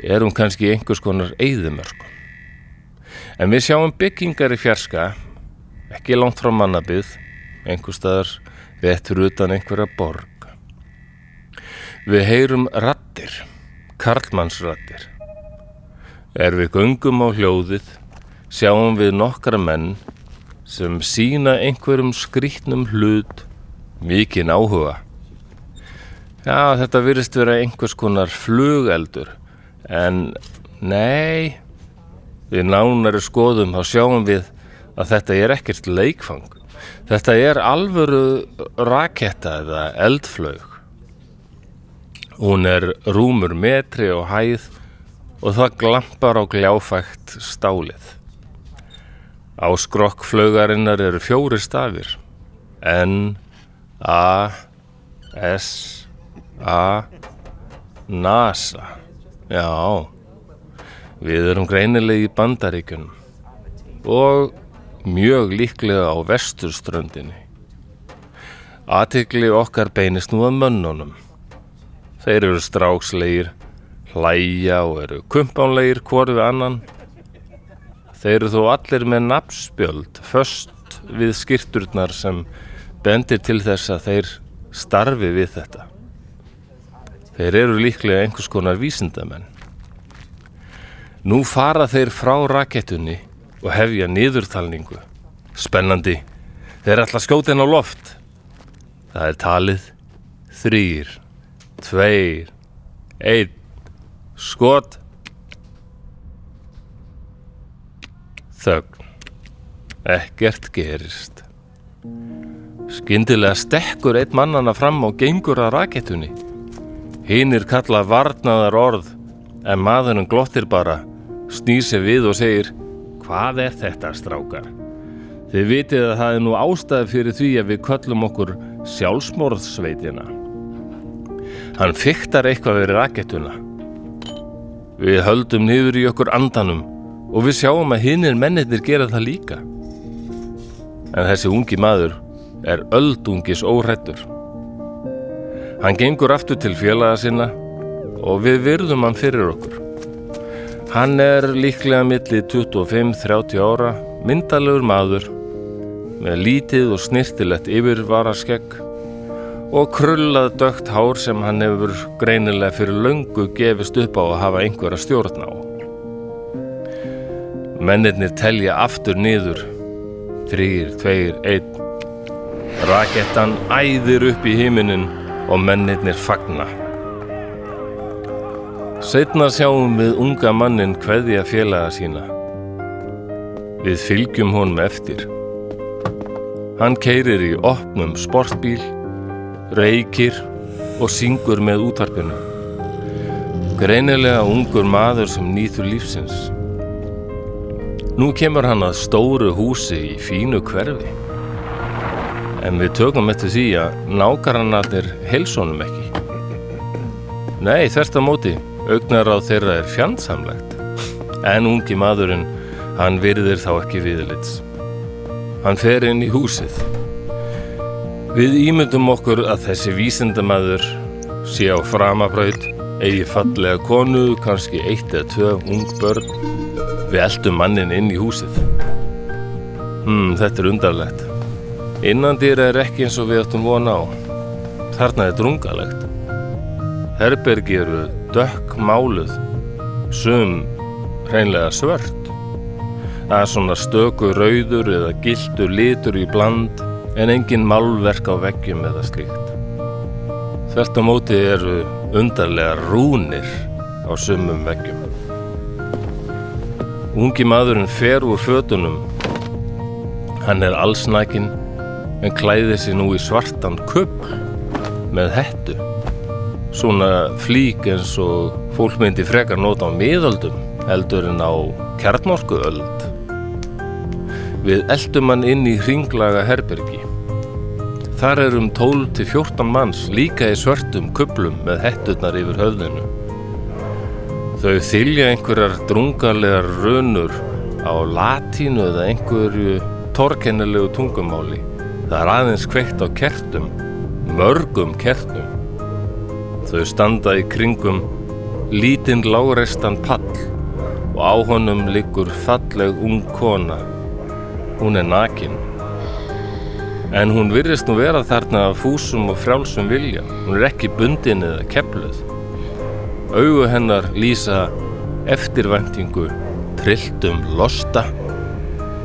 S1: Erum kannski í einhvers konar eyðumörkum. En við sjáum byggingar í fjarska, ekki langt frá mannabið, einhver staðar réttur utan einhverja borg. Við heyrum rattir, karlmannsrattir. Er við göngum á hljóðið, sjáum við nokkra menn sem sína einhverjum skrýtnum hlut mikinn áhuga. Já, þetta virðist vera einhvers konar flugeldur, en nei, við nánari skoðum þá sjáum við að þetta er ekkert leikfang. Þetta er alvöru raketta eða eldflaug. Hún er rúmur metri og hæð og það glampar á gljáfægt stálið. Á skrokkflaugarinnar eru fjóri stafir. N, A, S, A, NASA. Já, Við erum greinilegi í bandaríkunum og mjög líklega á vesturströndinni. Athygli okkar beinist nú að mönnunum. Þeir eru strákslegir, hlæja og eru kumpánlegir hvort við annan. Þeir eru þó allir með nafnspjöld, föst við skýrturnar sem bendir til þess að þeir starfi við þetta. Þeir eru líklega einhvers konar vísindamenn. Nú fara þeir frá rakettunni og hefja niðurtalningu. Spennandi. Þeir ætla að skjóta henn á loft. Það er talið. Þrýr, tveir, einn, skot. Þögn. Ekkert gerist. Skyndilega stekkur einn mannana fram og gengur að rakettunni. Hinnir kalla varnaðar orð en maðurinn glottir bara, snýr sér við og segir Hvað er þetta, strákar? Þið vitið að það er nú ástæði fyrir því að við köllum okkur sjálfsmorðsveitina. Hann fiktar eitthvað við rakettuna. Við höldum niður í okkur andanum og við sjáum að hinnir mennirnir gera það líka. En þessi ungi maður er öldungis óhrættur. Hann gengur aftur til félaga sinna og við virðum hann fyrir okkur. Hann er líklega milli 25-30 ára, myndalegur maður, með lítið og snirtilegt yfirvaraskegg og krullað dögt hár sem hann hefur greinilega fyrir löngu gefist upp á að hafa einhverja stjórn á. Mennirnir telja aftur niður, þrýr, tveir, einn. Rakettan æðir upp í himinin og mennirnir fagna. Setna sjáum við unga mannin kveðja félaga sína. Við fylgjum honum eftir. Hann keirir í opnum sportbíl, reykir og syngur með útvarpinu. Greinilega ungur maður sem nýtur lífsins. Nú kemur hann að stóru húsi í fínu hverfi. En við tökum eftir því að nágrannarnir heilsónum ekki. Nei, þvert á móti, augnar á þeirra er fjandsamlegt. En ungi maðurinn, hann virðir þá ekki viðlits. Hann fer inn í húsið. Við ímyndum okkur að þessi vísindamaður sé á framabraut, eigi fallega konu, kannski eitt eða tvö ung börn Við eldum mannin inn í húsið. Hmm, þetta er undarlegt. Innandýra er ekki eins og við áttum vona á. Þarna er drungalegt. Herbergi eru dökk máluð, sum hreinlega svört. Það er svona stöku rauður eða gildur litur í bland en engin málverk á veggjum eða slíkt. Þvert á móti eru undarlega rúnir á sumum veggjum. Ungi maðurinn fer úr fötunum. Hann er allsnakinn en klæðir sig nú í svartan köpl með hettu. Svona flík eins og fólk myndi frekar nota á miðöldum heldur en á kjarnorkuöld. Við eldum hann inn í hringlaga herbergi. Þar er um 12-14 manns líka í svörtum köplum með hetturnar yfir höfðinu. Þau þylja einhverjar drungalegar runur á latínu eða einhverju torkennilegu tungumáli. Það er aðeins kveikt á kertum, mörgum kertum. Þau standa í kringum lítinn lágrestan pall og á honum liggur falleg ung kona. Hún er nakin. En hún virðist nú vera þarna af fúsum og frjálsum vilja. Hún er ekki bundin eða kepluð. Augu hennar lýsa eftirvæntingu trilltum losta.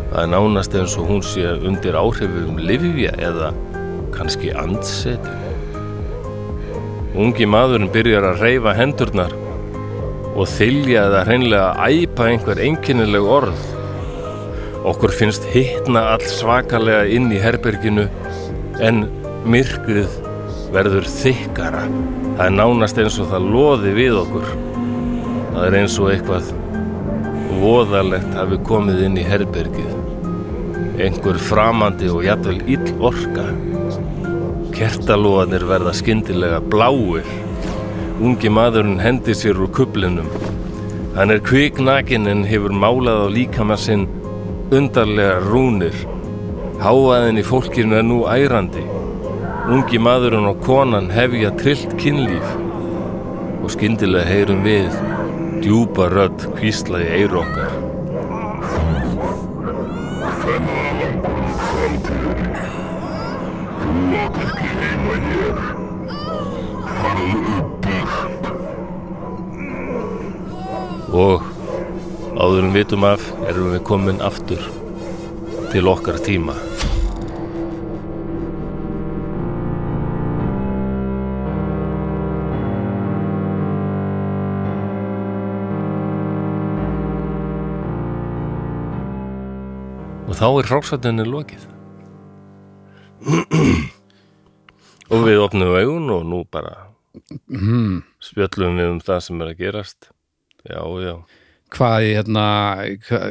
S1: Það er nánast eins og hún sé undir áhrifum livja eða kannski andseti. Ungi maðurinn byrjar að reyfa hendurnar og þylja eða hreinlega æpa einhver einkennileg orð. Okkur finnst hittna all svakalega inn í herberginu en myrkrið verður þykkara. Það er nánast eins og það loði við okkur. Það er eins og eitthvað voðalegt hafi komið inn í herbergið. Einhver framandi og jafnvel ill orka. Kertalóðanir verða skyndilega bláir. Ungi maðurinn hendi sér úr kublinum. Hann er kviknakin en hefur málað á líkama sinn undarlega rúnir. Háaðin í fólkinu er nú ærandi. Ungi maðurinn og konan hefja trillt kynlíf og skyndilega heyrum við djúpa rödd hvísla í eyru okkar. Og áður en vitum af erum við komin aftur til okkar tíma. Og þá er frásættinni lokið. og við opnum augun og nú bara spjöllum við um það sem er að gerast. Já, já.
S2: Hvað, hérna, hvað,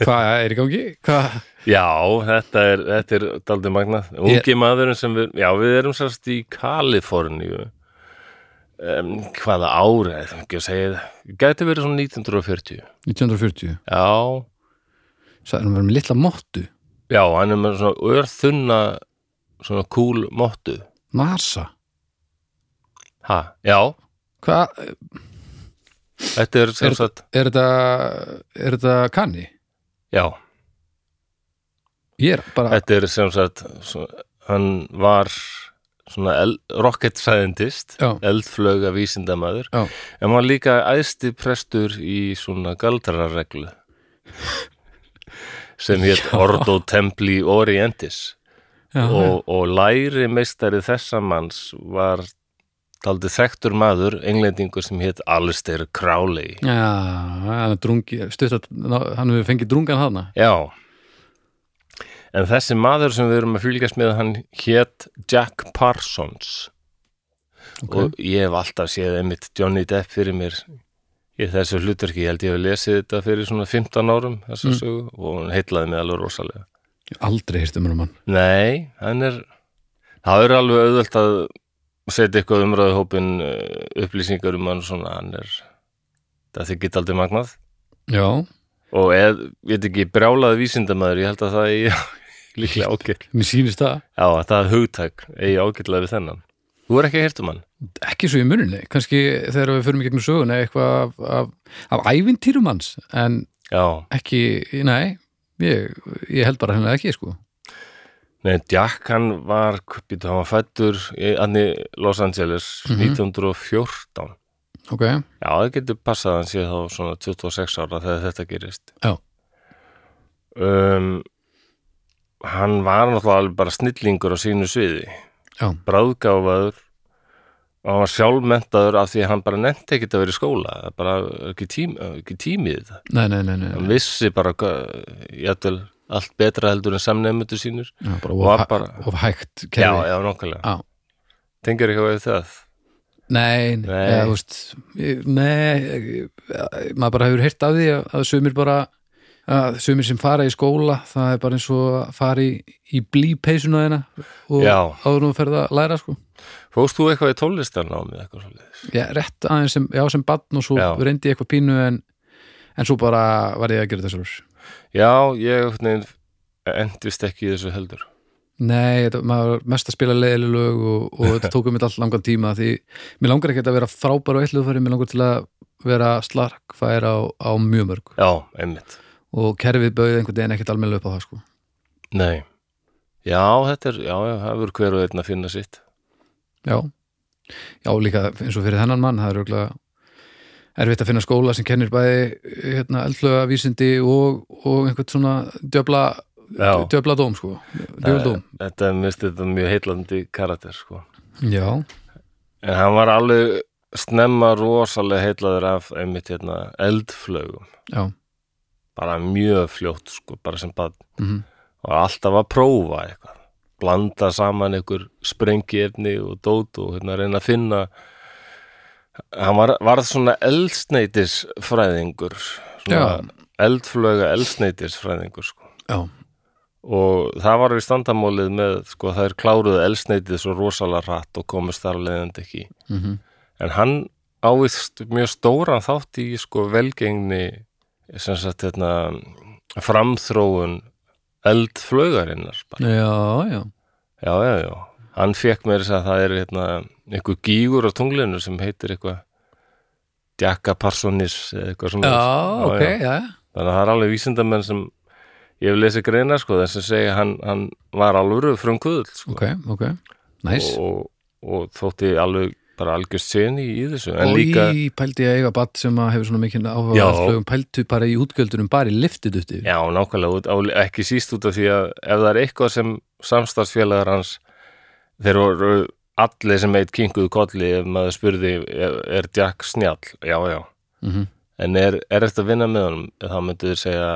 S2: hvað er í gangi? Hvað?
S1: Já, þetta er, þetta er daldið magnað. Ungi maðurinn sem við, já, við erum sérst í Kaliforníu. Um, hvaða ára, ég þarf ekki að segja það. Gæti verið svona 1940.
S2: 1940.
S1: Já,
S2: Svo erum við með litla móttu.
S1: já, hann er með svona örþunna, svona kúl mottu.
S2: NASA.
S1: Ha, já,
S2: Hvað,
S1: þetta er
S2: er,
S1: sem sagt,
S2: er þetta, er þetta kanni?
S1: já.
S2: Ég er bara,
S1: Þetta er sem sagt svo, hann var svona el, rocket scientist
S2: Já.
S1: eldflöga vísindamaður
S2: Já.
S1: en hann var líka æðsti prestur í svona galdrarreglu sem hétt Ordo Templi Orientis
S2: já,
S1: og, og læri meistari þessa manns var taldi þekktur maður, englendingur sem hétt Alistair Crowley
S2: já, hann er drungi, stuttat, hann hefur fengið drungan hana.
S1: Já En þessi maður sem við erum að fylgjast með hann hét Jack Parsons
S2: Ok.
S1: og ég hef alltaf séð einmitt Johnny Depp fyrir mér í þessu hlutverki, ég held ég hef lesið þetta fyrir svona 15 árum þessa sögu og hún heitlaði mig alveg rosalega
S2: Aldrei hirtum um hann
S1: Nei, hann er það er alveg auðvelt að setja eitthvað umræðuhópin upplýsingar um hann svona, hann er það þið geta aldrei magnað
S2: Já,
S1: og eð, ég veit ekki, brjálaði vísindamæður ég held að það eigi líklega ágætt
S2: mér sýnist það
S1: Já, að það er hugtak, eigi ágætlega við þennan Þú er ekki að hirtum hann?
S2: ekki svo í muninni, kannski þegar við förum í gegnum söguna eitthvað af, af, af ævintýrum hans, en
S1: Já,
S2: ekki, nei ég, ég held bara hennilega ekki, sko
S1: Nei, Jack hann var, býtu, hann var fættur í anni Los Angeles
S2: Mhm.
S1: 1914.
S2: ok,
S1: Já, það getur passað að hann sé þá svona 26 ára þegar þetta gerist.
S2: Já.
S1: Um, hann var náttúrulega alveg bara snillingur á sínu sviði.
S2: Já.
S1: Bráðgáfaður og hann var sjálfmentaður af því að hann bara nefndi ekkert að vera í skóla. Það Bara ekki, tím, ekki tímið það.
S2: nei, nei, nei, nei,
S1: Hann
S2: nei.
S1: vissi bara, jætvel, allt betra heldur en samnefndu sínur.
S2: Já, bara
S1: var
S2: of,
S1: bara-
S2: hæ- of hægt
S1: Já,
S2: kerfi
S1: já, nokkulega.
S2: Já.
S1: Tengur ekki á við það?
S2: nei, nei,
S1: Nei.
S2: eða, þú veist, ég- nei ég- maður bara hefur heyrt af því að, að sumir bara að sumir sem fara í skóla það er bara eins og að fara í, í blípeisuna þeina og
S1: Já.
S2: áður nú ferð að læra sko
S1: Fóst þú eitthvað í tónlistan á mig eitthvað svolítið?
S2: já, rétt aðeins sem, já, sem badn og svo
S1: Já.
S2: reyndi ég eitthvað pínu en, en svo bara var ég að gera þetta sjálfur
S1: Já, ég neginn, endist ekki í þessu heldur.
S2: Nei, þetta, maður var mest að spila leiðileg lög og, og þetta tók um þetta allt langan tíma því mér langar ekki að vera frábær og eittlöðfæri mér langar til að vera slarkfæra á, á mjög mörg
S1: Já, einmitt.
S2: og kerfið bauði einhvern veginn ekkert almennilega upp á það sko.
S1: Nei. Já, þetta er, já, já, það verður hver og einn að finna sitt.
S2: Já, já líka eins og fyrir þennan mann, það er örgulega erfitt að finna skóla sem kennir bæði hérna, eldflöga vísindi og, og einhvern svona djöbla
S1: Já.
S2: djöbla dóm sko, djöbla dóm
S1: Þetta er mist þetta mjög heitlandi karakter, sko.
S2: Já,
S1: En hann var alveg snemma rosalega heitlaður af einmitt hérna eldflögum.
S2: já,
S1: Bara mjög fljótt, sko, bara sem bara
S2: mm
S1: og alltaf að prófa eitthvað blanda saman einhver sprengiefni og dót og hérna reyna að finna hann var, varð svona eldsneitisfræðingur svona eldflöga eldsneitisfræðingur sko.
S2: já,
S1: og það var í standamólið með sko þær kláruðu eldsneitið svo rosalega rætt og komist þar af leiðandi ekki
S2: mm
S1: en hann ávist mjög stóran þátt í sko velgengni sem sagt hérna framþróun eldflögarinnar bara.
S2: já, já,
S1: Já, já, já. Hann fekk mér þess að það er hérna, einhver gígur á tunglinu sem heitir eitthvað Djaka Parsonis eða eitthvað svona.
S2: já, ok, já, já.
S1: Þannig að það er alveg vísindamenn sem ég hef lesið greina sko þess að segja hann, hann var alvöru frumkuðl sko.
S2: ok, ok, næs
S1: og, og, og þótti alveg bara algjörst seni í þessu. En
S2: og
S1: líka,
S2: í pældi ég að eiga batt sem að hefur svona mikinn áhuga
S1: Já.
S2: á flugum pældu bara í útgjöldunum bara í liftidutti
S1: já, nákvæmlega, út- á- ekki síst út af því að ef það er eitthvað sem samstarfsfélagar hans þeir voru allir sem eitt kinguðu kolli ef maður spurði er, er Jack snjall? Já, já.
S2: mm -hmm.
S1: En er, er eftir að vinna með honum? Þá myndu þér segja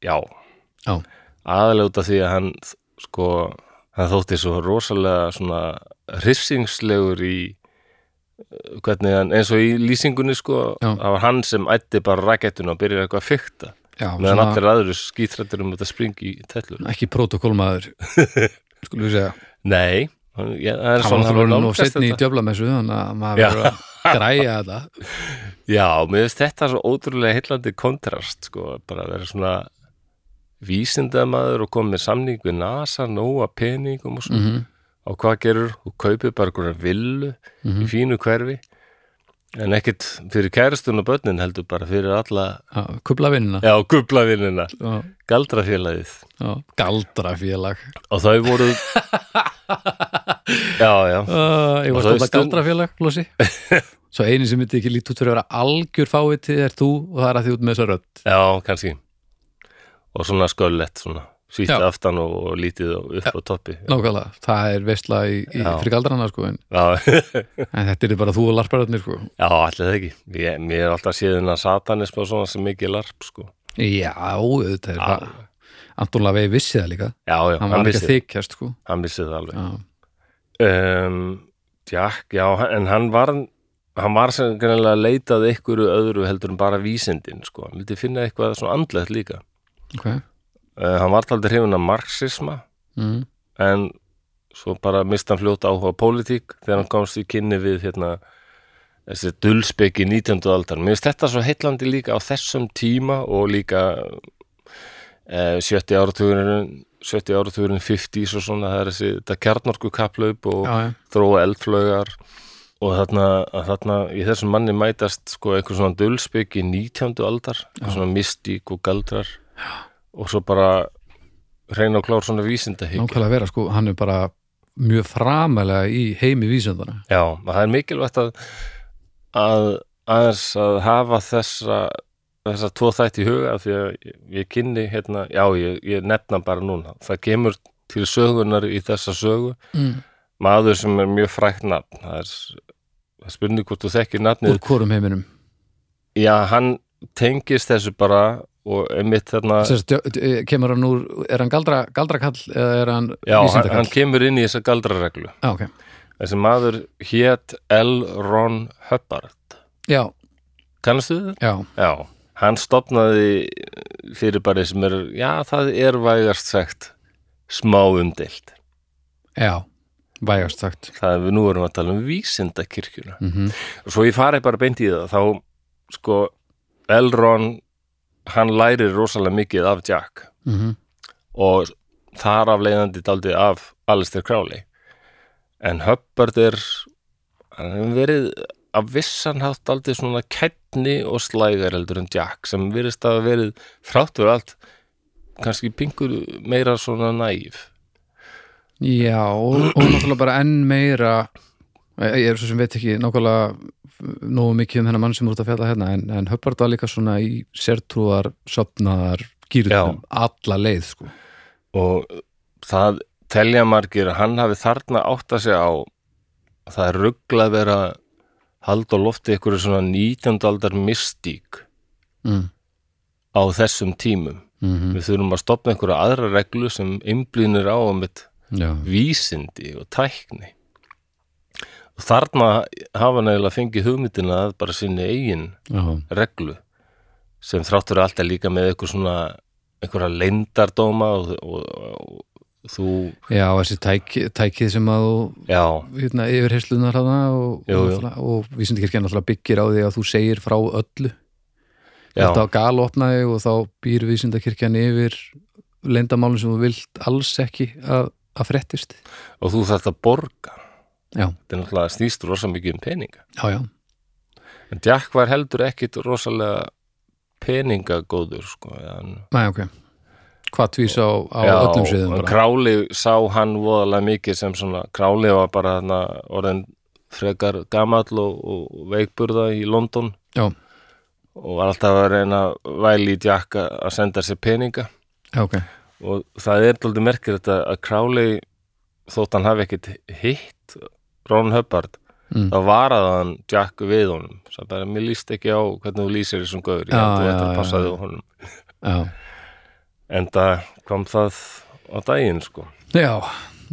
S1: já.
S2: Já.
S1: Aðalega út af því að hann sko, hann þótti svo rosalega svona hrissingslegur í eh, hvernig hann, eins og í lýsingunni sko,
S2: Já.
S1: það var hann sem ætti bara rakettuna og byrjaði eitthvað að fykta
S2: já,
S1: meðan
S2: svona,
S1: allir aðrir skítrættir um þetta springi í tellur.
S2: ekki protokólmaður skulum við segja,
S1: Nei, hann, ég, það er
S2: hann var
S1: svona
S2: alveg nú
S1: nálgast
S2: setni í
S1: þetta.
S2: djöflamessu þannig að maður
S1: Já.
S2: verður að græja þetta
S1: Já, mér finnst þetta svo ótrúlega heillandi kontrast, sko, bara að vera svona vísindamaður og koma með samning við NASA, nóa peningum og svona,
S2: mm
S1: og hvað gerur og kaupir bara einhverja villu í
S2: Mhm.
S1: fínu hverfi en ekkit fyrir kæristun og börnin heldur bara fyrir alla,
S2: -hmm. kubla vinnina
S1: já, gublavinnina
S2: já,
S1: galdrafélagið
S2: já, galdra félag
S1: og þau voru já, já,
S2: uh, ég var
S1: Og það er
S2: stóðlega
S1: stund-
S2: galdra félag, Lósi svo eini sem myndi ekki lítið út fyrir að vera algjör fáviti er þú og það er að því út með þessa rödd
S1: já, kannski og svona sköllett svona, sýtt
S2: Já.
S1: aftan og, og lítið og upp á toppi
S2: nákvæmlega, það er veistla í, í,
S1: Já.
S2: fyrir galdrana sko en,
S1: já,
S2: en þetta er bara þú og larparöðnir sko
S1: Já, allir það ekki. Ég, mér er alltaf séðin að satanism og svona sem mikið larp, sko. Ah,
S2: Já, auðvitað er það Anton Lavey vissi það líka
S1: Já, já,
S2: Hann var ekki
S1: vissi,
S2: að þykjast sko
S1: hann vissi það alveg.
S2: Já,
S1: Um, Jack, já, en hann var, hann var sem greinlega að leitað einhverju öðru heldur en bara vísindin sko. hann vildi finna eitthvað svona andlegt líka
S2: ok
S1: uh, hann var aldrei hrifin af marxisma
S2: mm.
S1: en svo bara mista hann fljóta áhuga á pólitík þegar hann komst í kynni við hérna þessi dullspeki 19. aldar mér finnst þetta svo heitlandi líka á þessum tíma og líka eh, 70 áratugurinn 70 áratugurinn 50s og svona það er þessi, þetta kjarnorku kaplaup og
S2: já, já,
S1: þróa eldflögar og þarna, að þarna í þessum manni mætast sko einhver svona dulspeki 19. aldar, svona mystík og galdrar og svo bara reyna og klár svona vísindahyggja
S2: nákvæmlega vera sko, hann er bara mjög framalega í heimi vísundana
S1: Já, og það er mikilvægt að, að aðeins að hafa þessa þessa tvo þætt í huga af því að ég, ég kynni hérna, já ég, ég nefna bara núna, það kemur til sögunar í þessa sögu
S2: mm.
S1: maður sem er mjög frækt nafn það er, það er spurning hvort þú þekkir nafnið
S2: úr hvorum heiminum
S1: já, hann tengist þessu bara og einmitt þarna
S2: Sérst, eh, kemur hann úr, er hann galdra, galdrakall eða er hann
S1: já, hann, hann
S2: vísindakall
S1: kemur inn í þessa galdrareglu
S2: já, ok,
S1: þessi maður hét L. Ron Hubbard
S2: já,
S1: kannastu þið?
S2: já
S1: Já, hann stopnaði fyrir bara sem er, já það er vægast sagt smá umdeilt.
S2: já, vægast sagt
S1: Það er við nú erum að tala um vísindakirkjuna.
S2: mm
S1: Svo ég farið bara beint í það, þá sko Elrond, hann lærir rosalega mikið af Jack
S2: mhm.
S1: og þar af leiðandi daldið af Alistair Crowley. En Hubbard er, hann hefur verið að vissan haft aldrei svona kætni og slægar heldur en Jack sem virðist að hafa verið þráttur allt kannski pingur meira svona næf
S2: já, og, og náttúrulega bara enn meira eh, ég ég er svo sem veit ekki nákvæmlega eh, nógu mikið um hennar mann sem er út að fjalla hérna en, en höpart var líka svona í sértrúar sopnaðar gýrðum alla leið sko
S1: og það telja margir að hann hafi þarna átt að segja á að það er ruggla að vera hald og lofti ykkur svona 19. aldar mystík
S2: mm.
S1: á þessum tímum
S2: Mm
S1: við þurfum að stopna einhverja aðra reglu sem einblýnir á um eitt
S2: já,
S1: vísindi og tækni og þarna hafa hann eiginlega fengið hugmyndina að bara sinni eigin
S2: já,
S1: reglu sem þráttur allt er líka með eitthvað svona einhverja leyndardóma og, og, og þú,
S2: já, þessi tæki, tækið sem að þú
S1: já,
S2: hérna, yfirheyslunar hana og,
S1: Jú,
S2: og,
S1: jú.
S2: náttúrulega- og vísindikirkjan náttúrulega byggir á því að þú segir frá öllu
S1: Já.
S2: þetta á gal opnaði og þá býr vísindakirkjan yfir leyndamálum sem þú vilt alls ekki að, að frettist
S1: og þú þarft að borga
S2: Já.
S1: þetta er náttúrulega snýst rosa mikið um peninga
S2: já, já,
S1: en Jack var heldur ekkit rosalega peningagóður sko, hann,
S2: næ, ok hvað tvís á, á
S1: já,
S2: öllum sviðum
S1: og
S2: bara.
S1: Králi sá hann voðalega mikið sem svona Králi var bara þarna orðin frekar gamall og, og veikburða í London
S2: já,
S1: og var alltaf að reyna að væli í Jack að að senda sér peninga
S2: já, ok
S1: og það er aldrei merkir þetta að Crowley þótt hann hafi ekkit hitt Ron Hubbard
S2: Mm.
S1: þá varaði hann Jack við honum það bara, mér líst ekki á hvernig þú lýsir þessum gauður, ég
S2: Já,
S1: held þú
S2: já,
S1: ættir
S2: já,
S1: að passa
S2: já.
S1: þig á honum
S2: já,
S1: en það kom það á daginn sko
S2: já og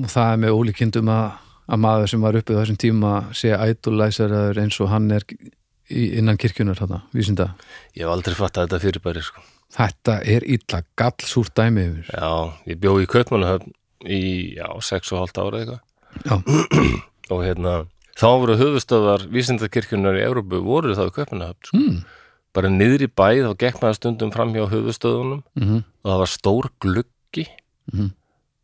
S2: það er með ólíkindum að, að maður sem var uppið þessum tíma sé idolizer eins og hann er í- innan kirkjunar þarna, vísinda
S1: ég hef aldrei fatt að þetta fyrirbæri sko
S2: Þetta er illa gallsúrt dæmi yfir.
S1: já, ég bjó í Kaupmannahöfn í, já, 6,5 ára eitthvað og hérna þá voru höfustöðar vísindakirkjunar í Evrópu voru þá í Kaupmannahöfn sko.
S2: Mm.
S1: bara niður í bæð og gekk maður stundum fram hjá höfustöðunum
S2: Mm
S1: og það var stór gluggi
S2: Mhm.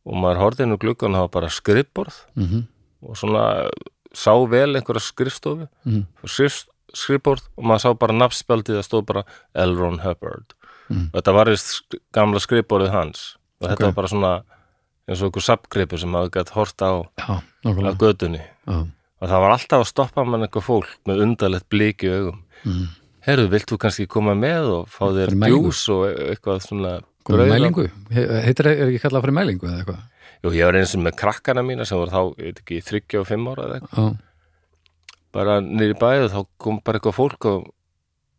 S1: og maður horfði inn úr gluggan og það var bara skrifborð
S2: -hmm.
S1: og svona sá vel einhverja skrifstofu
S2: Mhm.
S1: og skrif, skrifborð og maður sá bara nafnspjaldið það stóð bara L. Ron Hubbard
S2: Mhm.
S1: og þetta var vist sk- gamla skrifborðið hans og þetta
S2: Ok.
S1: var bara svona eins og einhver sapgripu sem maður gætt hort á
S2: Já,
S1: af
S2: nákvæmlega
S1: götunni
S2: Já.
S1: og það var alltaf að stoppa mann eitthvað fólk með undarlegt bliki í augum
S2: Mhm.
S1: Herru, vilt þú kannski koma með og fá þér
S2: Fyrir mælingu?
S1: djús og e- eitthvað svona
S2: Komum
S1: brauð á-
S2: mælingu? He- Heitir er ekki kallað fyrir mælingu eða eitthvað?
S1: Jú, ég var eins og með krakkana mína sem voru þá, ég veit ekki, 35 ára eða eitthvað,
S2: Já,
S1: bara niður í bæðu þá kom bara eitthvað fólk og,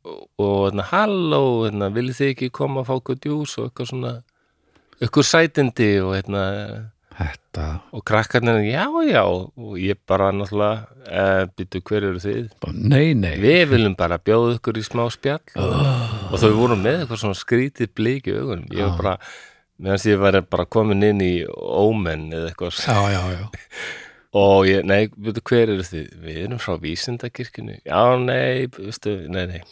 S1: og, og hérna, halló, hérna, viljið þið ekki koma að fá okkur djús og eitthvað svona, eitthvað sætindi og hérna,
S2: Þetta,
S1: og krakkarnir, já, já og ég bara náttúrulega e, byttu hver eru þið
S2: bara, nei, nei
S1: við viljum bara bjóða ykkur í smá spjall og þau voru með eitthvað svona skrítið bleiki augun ég var bara, meðan ég væri bara komin inn í ómenn eða eitthvað
S2: Já, já, já
S1: og ég, nei, veitu hver eru þið við erum frá vísindakirkjunni já, nei, veistu, nei, nei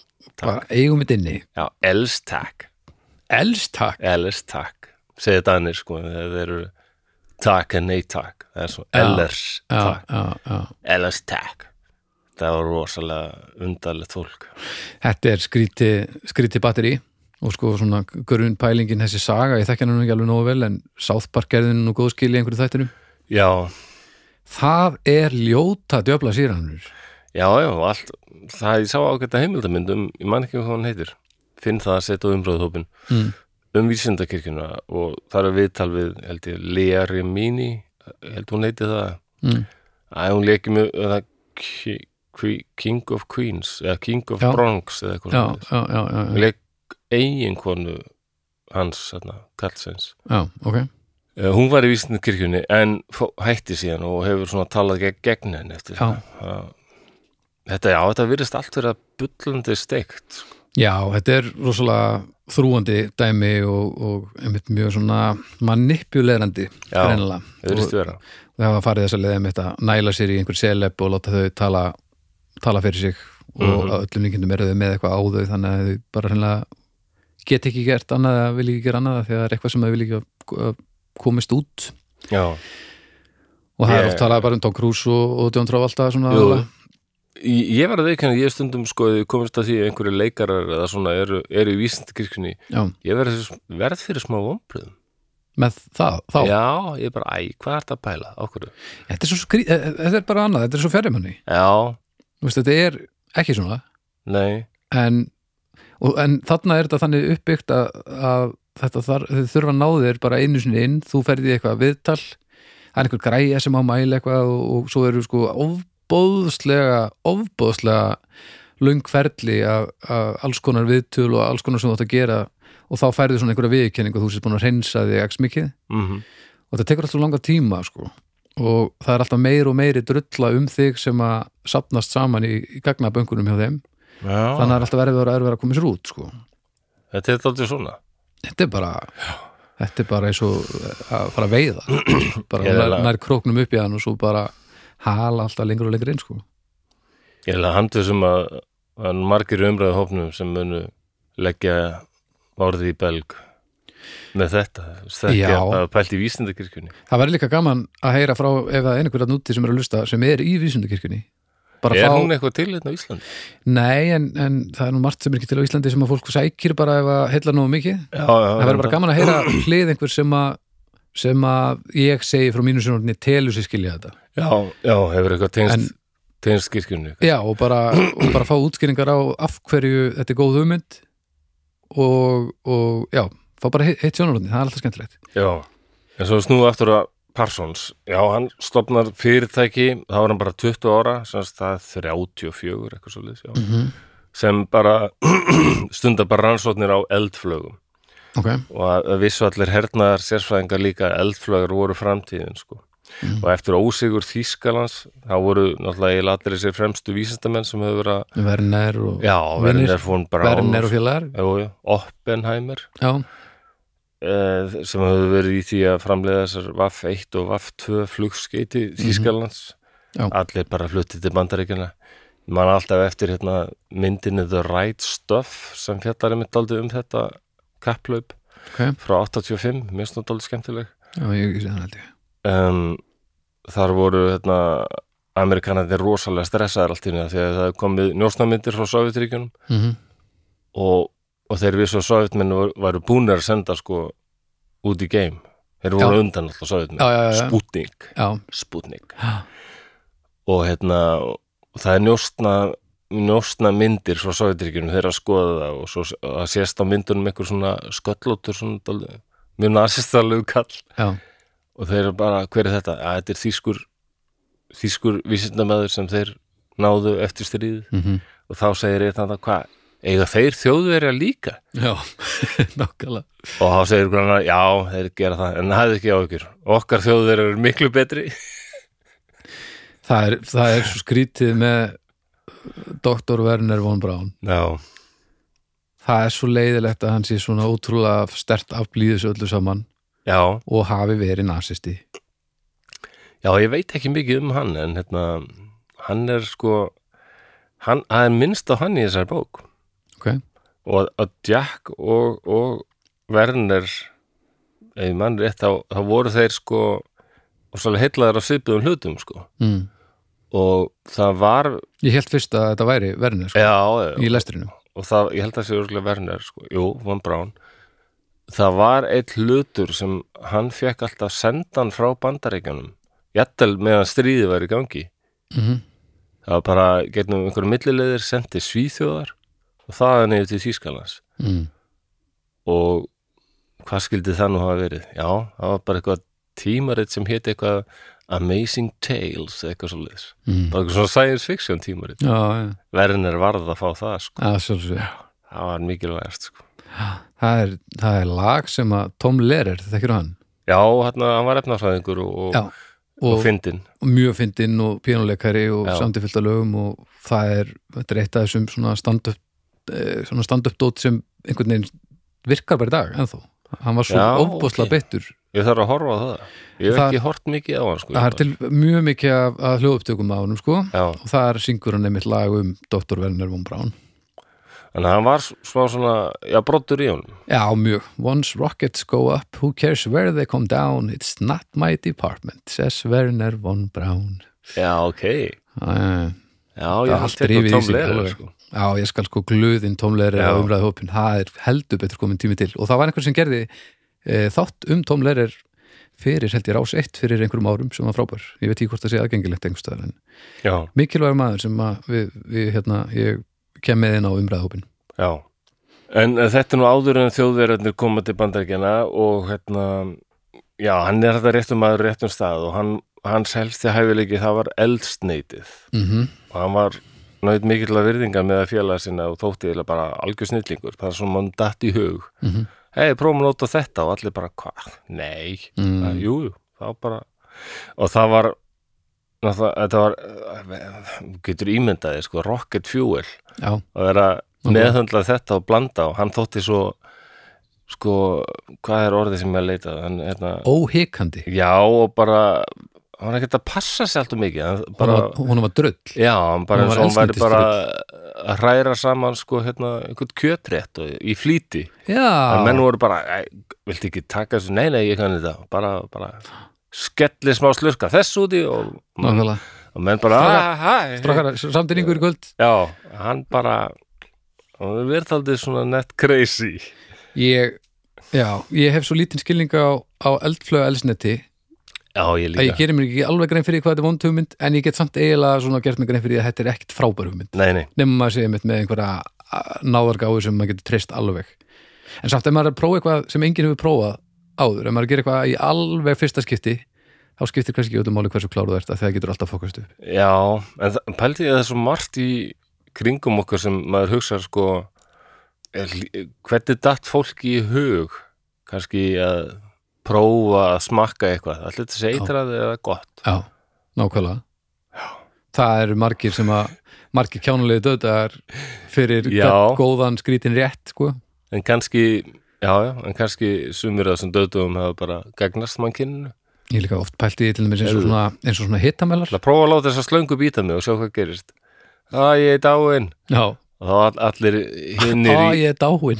S2: Bara eigum við inni
S1: já, els takk,
S2: Elst takk
S1: els takk segja danir sko, þeir eru takk en nei takk það er svo,
S2: Já,
S1: ellers
S2: já,
S1: takk
S2: já, já.
S1: els takk það var rosalega undarlegt fólk
S2: Þetta er skríti, skríti batteri og sko svona grunn pælingin þessi saga, ég þekki hann nú ekki alveg nógu vel en South Park gerði nú góðskil í einhverju þættinu
S1: já,
S2: Það er ljóta djöfla síranur
S1: Já, já, allt, það ég sá ágæta heimildamyndum, ég man ekki hvað hann heitir finn það að setja á umröðhópin
S2: Mm.
S1: um vísindakirkjuna og það er viðtal við, held ég, Lea Remini held hún heiti það
S2: mm.
S1: Æ, hún leiki með eða, Ki- Qui- King of Queens eða King of
S2: Já.
S1: Bronx eða eitthvað
S2: Já,
S1: svoleiðis.
S2: já, já,
S1: hún
S2: já,
S1: leik eiginkonu hans, þarna, Karlsens
S2: já, ok
S1: Eh, Hún var í vísindakirkjunni en fó- hætti síðan og hefur svona talað gegn, gegn henni eftir
S2: Já.
S1: það. Þetta, já, þetta virðist allt vera bullandi steikt.
S2: Já, þetta er rosalega þrúandi dæmi og, og einmitt mjög svona manipulerandi
S1: Já,
S2: greinilega.
S1: Það virðist
S2: og
S1: vera.
S2: það var farið þess að leiða mitt að næla sér í einhver seleb og láta þau tala, tala fyrir sig og mm
S1: Mhm.
S2: öllum líkindum eru þau með eitthvað á þau þannig að þau bara hreinlega get ekki gert annað að vilja ekki gera annað þegar það er eitthvað sem þau vilja ekki að- að komist út
S1: Já.
S2: og það er
S1: Ég-
S2: oft talað bara um Tom Cruise og, og John Travolta svona
S1: Jú.
S2: alveg.
S1: Ég ég var að veikana, ég stundum sko ef ég komist að því að einhverju leikarar eða svona eru, eru í vísindakirkjunni,
S2: Já,
S1: ég verð, fyrir- verð fyrir smá vombriðum.
S2: með það, þá
S1: Já, ég bara, æ, hvað er þetta að pæla? Ákvörðu.
S2: Þetta er svo skrí, eh, eh, þetta er bara annað, þetta er svo fjarri manni
S1: Já,
S2: Þú veist, Þetta er ekki svona
S1: nei,
S2: en, og, en þarna er þetta þannig uppbyggt að, að þetta þar, þau þurfa að náðu þér bara einu sinni inn þú ferði eitthvað viðtal það er einhver græja sem á mæli eitthvað og, og svo eru sko ofbóðslega ofbóðslega lungferli af, af alls konar viðtöl og alls konar sem þú átt að gera og þá færðu svona einhverja viðkenningu þú sést búin að reynsa þig x mikið
S1: mm
S2: og þetta tekur alltaf langa tíma sko og það er alltaf meir og meiri drulla um þig sem að sapnast saman í, í gagnaböngunum hjá þeim
S1: já,
S2: þannig að það er alltaf verið að vera að koma sér út sko.
S1: þetta er þáttir svona.
S2: þetta er bara þetta er bara eins og eh, að fara að veiða bara
S1: Ég er
S2: nær,
S1: alveg-
S2: nær króknum upp í hann og svo bara hala alltaf lengur og lengur inn sko.
S1: Ég held að handu sem að, að margir umræðu hópnum sem munu leggja orðið í belg með þetta,
S2: Já.
S1: þetta að pælt í vísindakirkjunni.
S2: það væri líka gaman að heyra frá ef það er einhverja núti sem er að lusta sem er í vísundakirkjunni bara
S1: Er
S2: fá,
S1: hún eitthvað til hérna á Íslandi?
S2: nei en, en það er nú margt sem er ekki til á Íslandi sem að fólk sækir bara ef að heilla nógu mikið
S1: Já, já,
S2: það væri bara gaman að heyra hlið einhver sem að sem að ég segi frá mínu sinni telur sér skilja þetta
S1: Já, já, hefur eitthvað tengst,
S2: En-
S1: tengst kirkjunni. eitthvað.
S2: Já, og bara, og bara fá útskýringar á af hverju þetta er góð hugmynd og, og já, fá bara heitt sjónarhóðni, það er alltaf skemmtilegt.
S1: Já, en svo snúið aftur að Parsons, já, hann stopnar fyrirtæki, þá er hann bara 20 ára, sem sagt það er 34, eitthvað svo já,
S2: -hmm.
S1: sem bara stundar bara rannsóknir á eldflögum.
S2: Ok,
S1: og að að vissu allir hernaðar sérfræðingar líka að eldflögar voru framtíðin sko. og eftir ósigur Þýskalands þá voru náttúrulega eiginlega allir þessir fremstu vísindamenn sem hefur verið að
S2: Werner og
S1: já,
S2: Vinir.
S1: Werner von Braun
S2: Werner og félagar
S1: jú, jú, Oppenheimer
S2: Já,
S1: eh, sem hefur verið í því að framleiða þessar VAF 1 og VAF 2 flugskeiti Þýskalands
S2: Mhm. Já.
S1: allir bara fluttið til bandaríkjana mann alltaf eftir hérna, myndinni The Right Stuff sem fjallar einmitt aldrei um þetta kapplaup
S2: ok,
S1: frá 85, mér stóð aldrei skemmtileg
S2: já, ég ekki sé það held ég
S1: um, þar voru hérna, amerikanarnir rosalega stressaðir allt í neða því að það komið njósnamyndir frá Sovjetríkjunum
S2: mm -hmm.
S1: og, og þeir vissu að Sovjetmenn voru, varu búnir að senda sko út í geim þeir voru
S2: Já.
S1: undan alltaf Sovjetmenn
S2: Já, já, já, já.
S1: Sputnik,
S2: Já,
S1: Sputnik
S2: já,
S1: og hérna og það er njósna njósna myndir frá Sovjetríkjunum þeir að skoða það og svo að sést á myndunum einhver svona sköllóttur svona dálítið- mjög nasistalegu kall
S2: já,
S1: og þeir eru bara, hver er þetta? Að þetta er þýskur þýskur vísindamæður sem þeir náðu eftir stríð
S2: mm
S1: og þá segir ég þetta, hvað eiga þeir þjóðverja líka
S2: já, nákvæmlega
S1: og þá segir ykkur annar, já, þeir gera það en hafði ekki á ykkur, okkar þjóðverjar er miklu betri
S2: það er, það er svo skrítið með Dr. Werner von Braun
S1: já,
S2: það er svo leiðilegt að hann sé svona ótrúlega stert afblíðis öllu saman
S1: já,
S2: og hafi verið nasisti
S1: já, ég veit ekki mikið um hann en hérna, hann er sko hann, það er minnst á hann í þessari bók
S2: ok,
S1: og að Jack og, og Werner ef mann rétt þá, þá voru þeir sko og svolítið heitlaðar af svipuðum hlutum sko
S2: mm.
S1: og það var
S2: ég held fyrst að þetta væri Werner sko,
S1: já,
S2: í lestrinu
S1: og það, ég held að það sé örgulega Werner sko, jú, von Braun það var eitt hlutur sem hann fekk alltaf sendan frá bandaríkjanum jættel meðan stríði var í gangi
S2: mm
S1: það var bara, getnum einhverjum millilegðir sendi svíþjóðar og það er neyðu til Þýskalands
S2: mm.
S1: og hvað skildi það nú hafa verið? Já, það var bara eitthvað tímarit sem héti eitthvað Amazing Tales, eitthvað svo liðs
S2: Mm.
S1: bara eitthvað svona science fiction tímarit
S2: já, já,
S1: verðin er varð að fá það, sko
S2: að sjálfsög
S1: það var mikilvægast, sko
S2: það er, það er lag sem að Tom Lehrer, þekkir hann
S1: Já, hann, hann var efnafræðingur og, og,
S2: Já,
S1: og,
S2: og,
S1: fyndinn
S2: mjög fyndinn og pínuleikari og
S1: Já.
S2: samdi fullt af lögum og það er, þetta er eitt af þessum svona stand-up eh, svona stand-up dót sem einhvern veginn virkar bara í dag ennþá, hann var svo
S1: Já,
S2: ofbúslega
S1: ok.
S2: beittur,
S1: Ég þarf að horfa á það Ég hef
S2: Það-
S1: ekki hort mikið á hann, sko
S2: það er til mjög mikið af, af hljóðupptökum á honum sko
S1: Já,
S2: og þar syngur hann einmitt lag um Dr. Werner von Braun
S1: en hann var s- smá svona, já, brottur í honum
S2: Já, mjög. Once rockets go up, who cares where they come down, it's not my department, says Werner von Braun. Ah,
S1: Já, ok
S2: Já, já, já.
S1: Já,
S2: Það
S1: ég
S2: er
S1: hef
S2: allt
S1: tekið
S2: drifið í sig,
S1: tómlega,
S2: alveg.
S1: sko
S2: Já, ég skal sko glöðin tómleiri
S1: Já.
S2: á umræðu hópin, það er heldur betur komin tími til og það var einhver sem gerði e, þátt um tómleirir fyrir held ég rás eitt fyrir einhverjum árum sem var frábær ég veit ekki hvort það sé aðgengilegt einhverstaðar en
S1: Já,
S2: mikilvægur maður sem að við, við hérna, ég kem með inn á umræðu hópin
S1: Já, en eh, þetta er nú áður en þjóðverðarnir koma til bandaríkjana og hérna, já, hann er þetta réttum maður á réttum stað og hann, hans helsti hæfileiki það var eldsneitið
S2: mm
S1: og hann var nátt mikill að virðinga með að félaga sinna og þótti eiginlega bara algjör snillingur, það er svona mann datt í hug.
S2: Mhm.
S1: Hei, prófum að nota þetta og allir bara, hvað? Nei,
S2: Mm.
S1: það, jú, jú, það var bara, og það var, náttúrulega- þetta var, eh, getur ímyndaði, sko, rocket fuel
S2: Já,
S1: að vera
S2: Ok.
S1: meðhöndla þetta og blanda og hann þótti svo sko, hvað er orðið sem ég er að leita að? hann, hérna,
S2: óhikandi
S1: já og bara hann var ekkert að passa sér allt og mikið hann bara,
S2: hún var drull
S1: já, hann bara
S2: Honum
S1: eins
S2: var
S1: og hann væri bara
S2: eldsneytisdrull.
S1: að hræra saman sko, hérna, einhvern kjötrétt og, í flýti,
S2: Já,
S1: en menn voru bara "Æ, viltu ekki taka þessu, nei, nei, ég kann þetta bara, bara skelli smá slurka þess úti og,
S2: nákvæmlega
S1: og menn bara,
S2: Strákar-
S1: "Ah, hæ, hæ."
S2: Strákar, samtýringur í kvöld
S1: Já, hann bara hann er verðaldið svona net crazy
S2: Ég, já, ég hef svo lítinn skilning á, á eldflöga elsneti
S1: Já,
S2: að ég
S1: ég líka
S2: gerir mér ekki alveg grein fyrir hvað þetta er vond hugmynd en ég get samt eiginlega svona gert mér grein fyrir því að þetta er ekkit frábær hugmynd
S1: Nei, nei,
S2: nema maður segja mitt með einhverja a- náðargáfu sem maður getur treyst alveg en samt ef maður er að prófa eitthvað sem enginn hefur prófað áður, ef maður gerir eitthvað í alveg fyrsta skipti þá skiptir kannski ekki út um máli hversu kláru þú ert að það getur alltaf fókast upp
S1: já en það- pældi ég að það er svo margt í kringum okkar sem maður hugsa sko er, lí- hvernig datt fólki í hug kannski að prófa að smakka eitthvað, allir þetta sé eitrað eða gott
S2: Já, nákvæmlega Það eru margir sem að margir kjánulegu döðdagar fyrir
S1: Já.
S2: hvern góðan skrítin rétt sko.
S1: en kannski, já, já, en kannski sumir að þessum döðdum hafa bara gagnast mannkyninu,
S2: Ég líka oft pælti í til dæmis eins og
S1: Heyrðu.
S2: svona, eins og svona hittamelar
S1: að prófa að láta þess að slöngu býta mig og sjá hvað gerist Æ, ég er dáin
S2: Já,
S1: og þá all- allir hinnir
S2: á ég
S1: í
S2: er dáin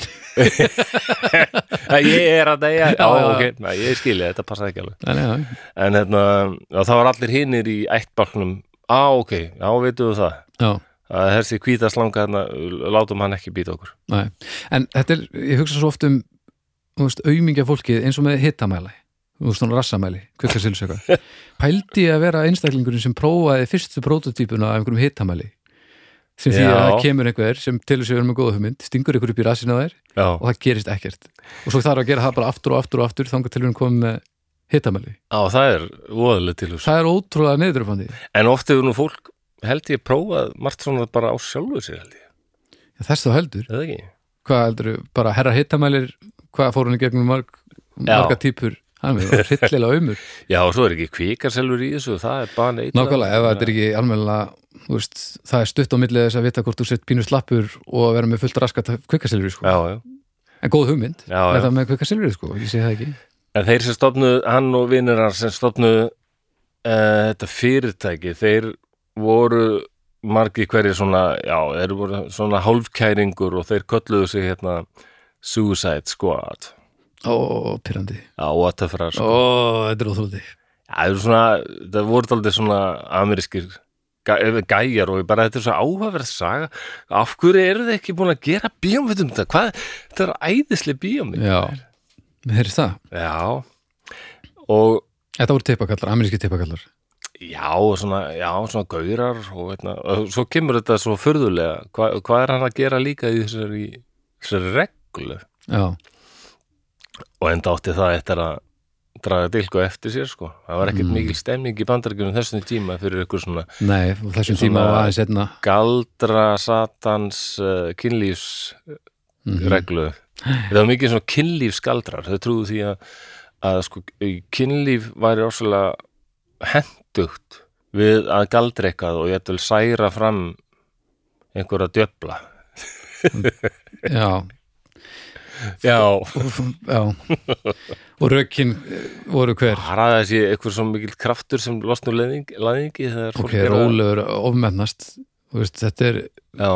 S1: Æ, ég er að deyja, já,
S2: Já, já.
S1: ok, Nei, ég skilja, þetta passaði ekki alveg
S2: Nei, nei,
S1: en hérna, já, það var allir hinnir í ættbálknum, á, ok, já, veitum við það
S2: Já,
S1: að þessi hvíta slanga hérna, látum hann ekki býta okkur
S2: nei En þetta er, ég hugsa svo oft um þú veist, aumingja fólkið eins og með hittamæli þú veist, svona rassamæli, kvikasilsu eitthvað Pældi ég að vera einstaklingurinn sem prófaði fyrstu prototípuna af einhverjum hittamæli sem því að
S1: Já.
S2: það kemur einhver sem telur sér verið með góða hugmynd, stingur einhver upp í rassinu á þær
S1: já,
S2: og það gerist ekkert og svo þarf að gera það bara aftur og aftur og aftur þangar til hún komið með hitamæli
S1: á, það er voðalega til hús
S2: það er ótrúlega neðurfandi
S1: en oft hefur nú fólk, held ég, prófað margt svona bara á sjálfu sér held ég
S2: Já, Þess þá heldur,
S1: eða ekki?
S2: hvað heldur bara herra hittamælir, hvað fór hann í gegnum marg,
S1: Já.
S2: marga típur hann er hryllilega umur
S1: Já, og svo er ekki kvikarselfur í þessu, það er bara neitt
S2: Nákvæmlega, ef þetta er ekki almennilega þú veist, það er stutt á millið þess að vita hvort þú sett pínu slappur og að vera með fullt raskat kvikasilfri sko.
S1: Já, já
S2: en góð hugmynd,
S1: Já, já.
S2: þetta með kvikasilfri sko. ég sé það ekki
S1: En þeir sem stofnuðu, hann og vinnir hans sem stofnuðu uh, þetta fyrirtæki, þeir voru margi hverju svona, já, þeir voru svona hálfkæringur og þeir kölluðu sig hérna Suicide Squad
S2: Ó, pyrrandi,
S1: á Atafra,
S2: ó,
S1: sko.
S2: þetta er óþóldi
S1: Já, þeir eru svona, það voru aldrei svona amerískir gæ- eða gæjar og ég bara þetta er svo áhugaverð saga af hverju eru þið ekki búin að gera bíómynd um þetta, hvað, þetta er æðislega bíómynd
S2: Já, heyrðist það
S1: já og
S2: Þetta voru teipakallar, ameríski teipakallar
S1: Já, og svona, já, svona gaurar og veitna, og svo kemur þetta svo furðulega, Hva, hvað er hann að gera líka í þessari, þessari reglu
S2: Já,
S1: og enda átti það eftir að draga dilku eftir sér sko, það var ekkert mikil stemning í bandaríkjunum þessum tíma fyrir ykkur svona
S2: nei, og þessum
S1: Svona-
S2: tíma var aðeins hérna. einna
S1: galdra satans uh, kynlífs
S2: Mhm.
S1: reglu það var mikið svona kynlífsgaldrar þau trúðu því að, að sko, kynlíf væri orsalega hendugt við að galdra eitthvað og ég ætla særa fram einhverja djöfla
S2: Já,
S1: já,
S2: já Og rökin eh, voru hver
S1: hraða þessi eitthvað svo mikill kraftur sem losnur leðing, leðingi þegar
S2: Ok,
S1: fólk er að
S2: rólegur, ofmennast Þú veist, þetta er,
S1: já,